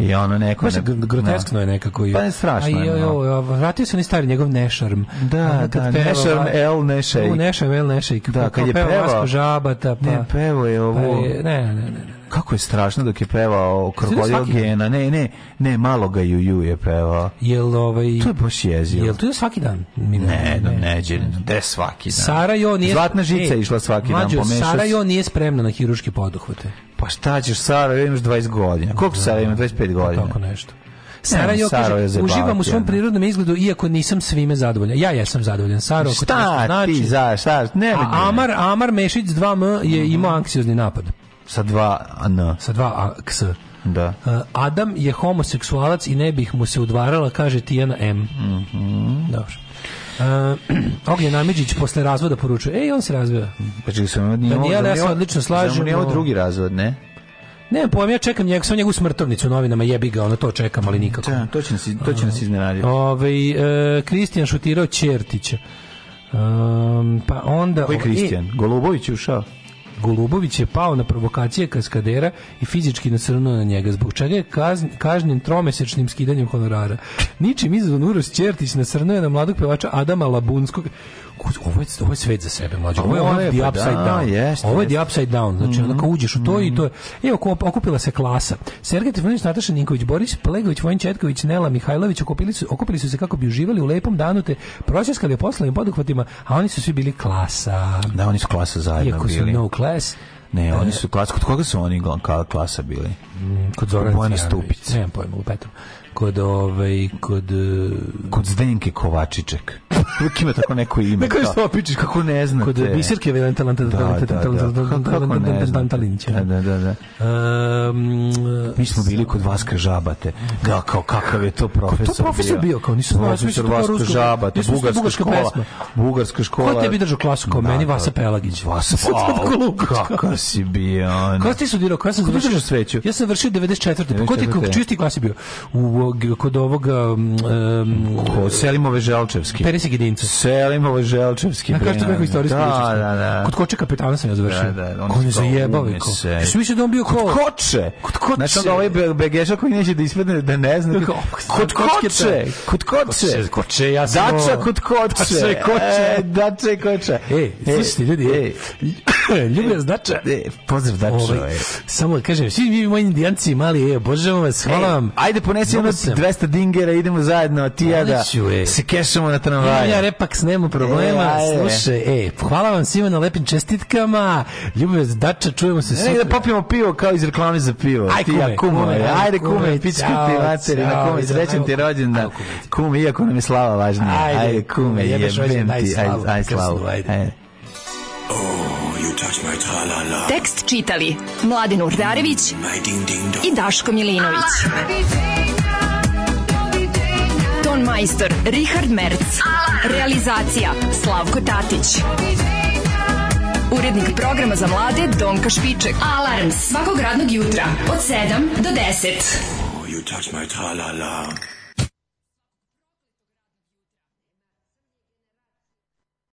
F: i ono neko...
G: Baš
F: ne-
G: gr- groteskno
F: da.
G: je nekako. i-
F: Pa je strašno.
G: Aj,
F: je,
G: joj,
F: no.
G: joj, joj, vratio se ni stari njegov nešarm.
F: Da,
G: Ono
F: da,
G: kad peva
F: Nešarm
G: Va-
F: El Nešejk.
G: U, Nešarm El Nešejk. pa
F: Da, kad je
G: peva
F: pevao-
G: Vasko Žabata, pa...
F: Ne, pevo je
G: pa
F: ovo...
G: je- ne, ne, ne, ne.
F: Kako je strašno dok je pevao Krokodil
G: svaki dan?
F: Gena. Ne, ne, ne, malo ga Juju je pevao.
G: Jel ovaj...
F: To je baš jezio.
G: Jel to je svaki dan? Mi
F: Ne, no, neđe, gde svaki dan.
G: Sara Jo nije...
F: Zlatna žica
G: Ej,
F: je išla svaki dan,
G: mlađo,
F: pomešao
G: Sara
F: se.
G: Jo nije spremna na hiruške poduhvate.
F: Pa šta ćeš, Sara, ja imaš 20 godina. Koliko Sara ima? 25 godina.
G: Pa Tako nešto. Sara Jo
F: Saro je
G: kaže,
F: zabavati,
G: uživam u svom
F: ono."
G: prirodnom izgledu, iako nisam svime zadovoljan. Ja jesam zadovoljan. Saro, ako to nešto
F: Šta ti,
G: znači...
F: za, Mhm. šta, ne, ne,
G: A Amar, Amar Mešić 2M je imao anksiozni napad.
F: Sa dva, a, n,
G: Sa 2AX.
F: da.
G: E, Adam je homoseksualac i ne bih mu se udvarala, kaže Tijana M.
F: Mhm.
G: Dobro. Uh, Ognjen Amidžić posle razvoda poručuje, ej, on se razveo.
F: Pa čekaj, sam imao...
G: Daniela, ja se odlično slažem,
F: Samo
G: no-
F: drugi razvod, ne?
G: Ne, pojma, ja čekam njeg, sam njegovu smrtovnicu u novinama, jebi ga, ono to čekam, ali nikako.
F: Da, to će nas, to će nas iznenaditi.
G: Ove, e, Kristijan šutirao Čertića. Um, pa onda...
F: Koji
G: e,
F: Kristijan? Golubović je ušao?
G: Golubović je pao na provokacije kaskadera i fizički nasrnuo na njega, zbog čega je kazn, kažnjen tromesečnim skidanjem honorara. Ničim izazvan Uroš Ćertić nasrnuo je na mladog pevača Adama Labunskog. Kus, Ovo je, ovo je svet za sebe, mlađe. Ovo je
F: Ovo
G: ono
F: je,
G: the
F: pa
G: upside
F: da,
G: down.
F: jeste,
G: ovo je the
F: jeste. Mhm,
G: upside down. Znači, onako uđeš u to i to je... Evo, ko- okupila se klasa. Sergej Trifonić, Nataša Ninković, Boris Plegović, Vojin Četković, Nela Mihajlović okupili su, okupili su se kako bi uživali u lepom danu te prosjeskali poslovnim poduhvatima, a oni su svi bili klasa.
F: Da, oni su klasa zajedno
G: Iako su
F: bili.
G: no class,
F: Ne, oni su klasa. Kod koga su oni gla- ka- klasa bili?
G: kod Zorana
F: Bojana
G: Cvijanovića.
F: Stupica.
G: Nemam pojma, lupetam. Kod ovaj kod eh,
F: Kod Zdenke Kovačiček. Uvijek ima tako neko ime.
G: Ne kažeš
F: kao-
G: to, opičiš.
F: Kako ne znate?
G: kod biserke Valentalanta
F: Da, da, da. Kako ne
G: Talinića.
F: znate? Da, da, da. da.
G: Ehm,
F: Mi smo bili kod Vaska Žabate. Da, kao kakav je to profesor
G: Kao to profesor bio, kao nisam znao, mislim,
F: Profesor
G: to je
F: Vaska
G: rusko-
F: Žabate,
G: mislim, to je
F: bugarska,
G: bugarska
F: škola.
G: pesma.
F: Bugarska škola.
G: Ko tebi držao klasu kao meni? Vasa Pelagić.
F: Vasa
G: Slatko Lukač.
F: Pelagić. Pa Kakav si bio. ono.
G: Kada ti studirao? Kada sam
F: Ko ti
G: završio
F: držao sveću?
G: Ja sam završio 94. Pa ko ti
F: 94..
G: čisti klas je bio? U ovog- kod ovoga um,
F: Ko, Selimove Želčevski.
G: Perisi Gedinca.
F: Selimove Želčevski. ono.
G: Na kažete kako istorijski
F: Da,
G: ličnost.
F: da, da.
G: Kod koče kapetana sam ja završio.
F: Da, da, oni
G: Ko ne
F: su kao
G: zajebao i
F: ume
G: ko.
F: se.
G: Jesu mislili da on bio ko?
F: Kod koče.
G: Kod koče.
F: Znači onda ovaj be- begeša koji neće da ispadne da ne zna.
G: Kako?
F: Kod koče. Kod koče.
G: Koče, koče, ja sam
F: Dača
G: ovo. Pa
F: kod koče.
G: Dača je koče.
F: E, dača je koče.
G: Ej, E, slušajte ljudi, e, ej. Ljubio znača.
F: E, pozdrav e. dača.
G: Ovaj, samo da kažem, svi mi moji indijanci mali, e, obožavam vas, hvala vam.
F: Ajde ponesi
G: Mnogo
F: ono
G: sam.
F: 200 dingera, idemo zajedno, a ti i ja da
G: Odlično, ej.
F: se kešamo na
G: Imam
F: tramvaju.
G: ja repaks, nema problema.
F: E, ajde.
G: Slušaj, e, hvala vam svima na lepim čestitkama. Ljubio vas dača, čujemo se
F: Ne,
G: sutra.
F: da popijemo pivo kao iz reklame za pivo.
G: Aj,
F: Ti,
G: kume,
F: ja, kume,
G: kume,
F: ajde
G: ajde,
F: kume,
G: kume,
F: pička
G: ćao,
F: ti materi, na
G: ćao,
F: kume,
G: idem,
F: srećen ti
G: ajde,
F: rođendan.
G: ajde, kume.
F: Kume, iako nam je slava važnija.
G: Ajde,
F: Ajde,
G: kume,
F: kume, jebem
G: jebeš
F: ti,
G: rođendan, aj,
F: ajde,
G: slavu,
F: aj,
G: krsnu,
F: slavu.
G: ajde.
F: Ajde.
E: Tekst čitali Mladin Urdarević i Daško Milinović. Ton majstor Richard Merc. Realizacija Slavko Tatić. Urednik programa za mlade Donka Špiček. Alarms svakog radnog jutra od 7 do 10.
L: Oh, you touch my tra-la-la.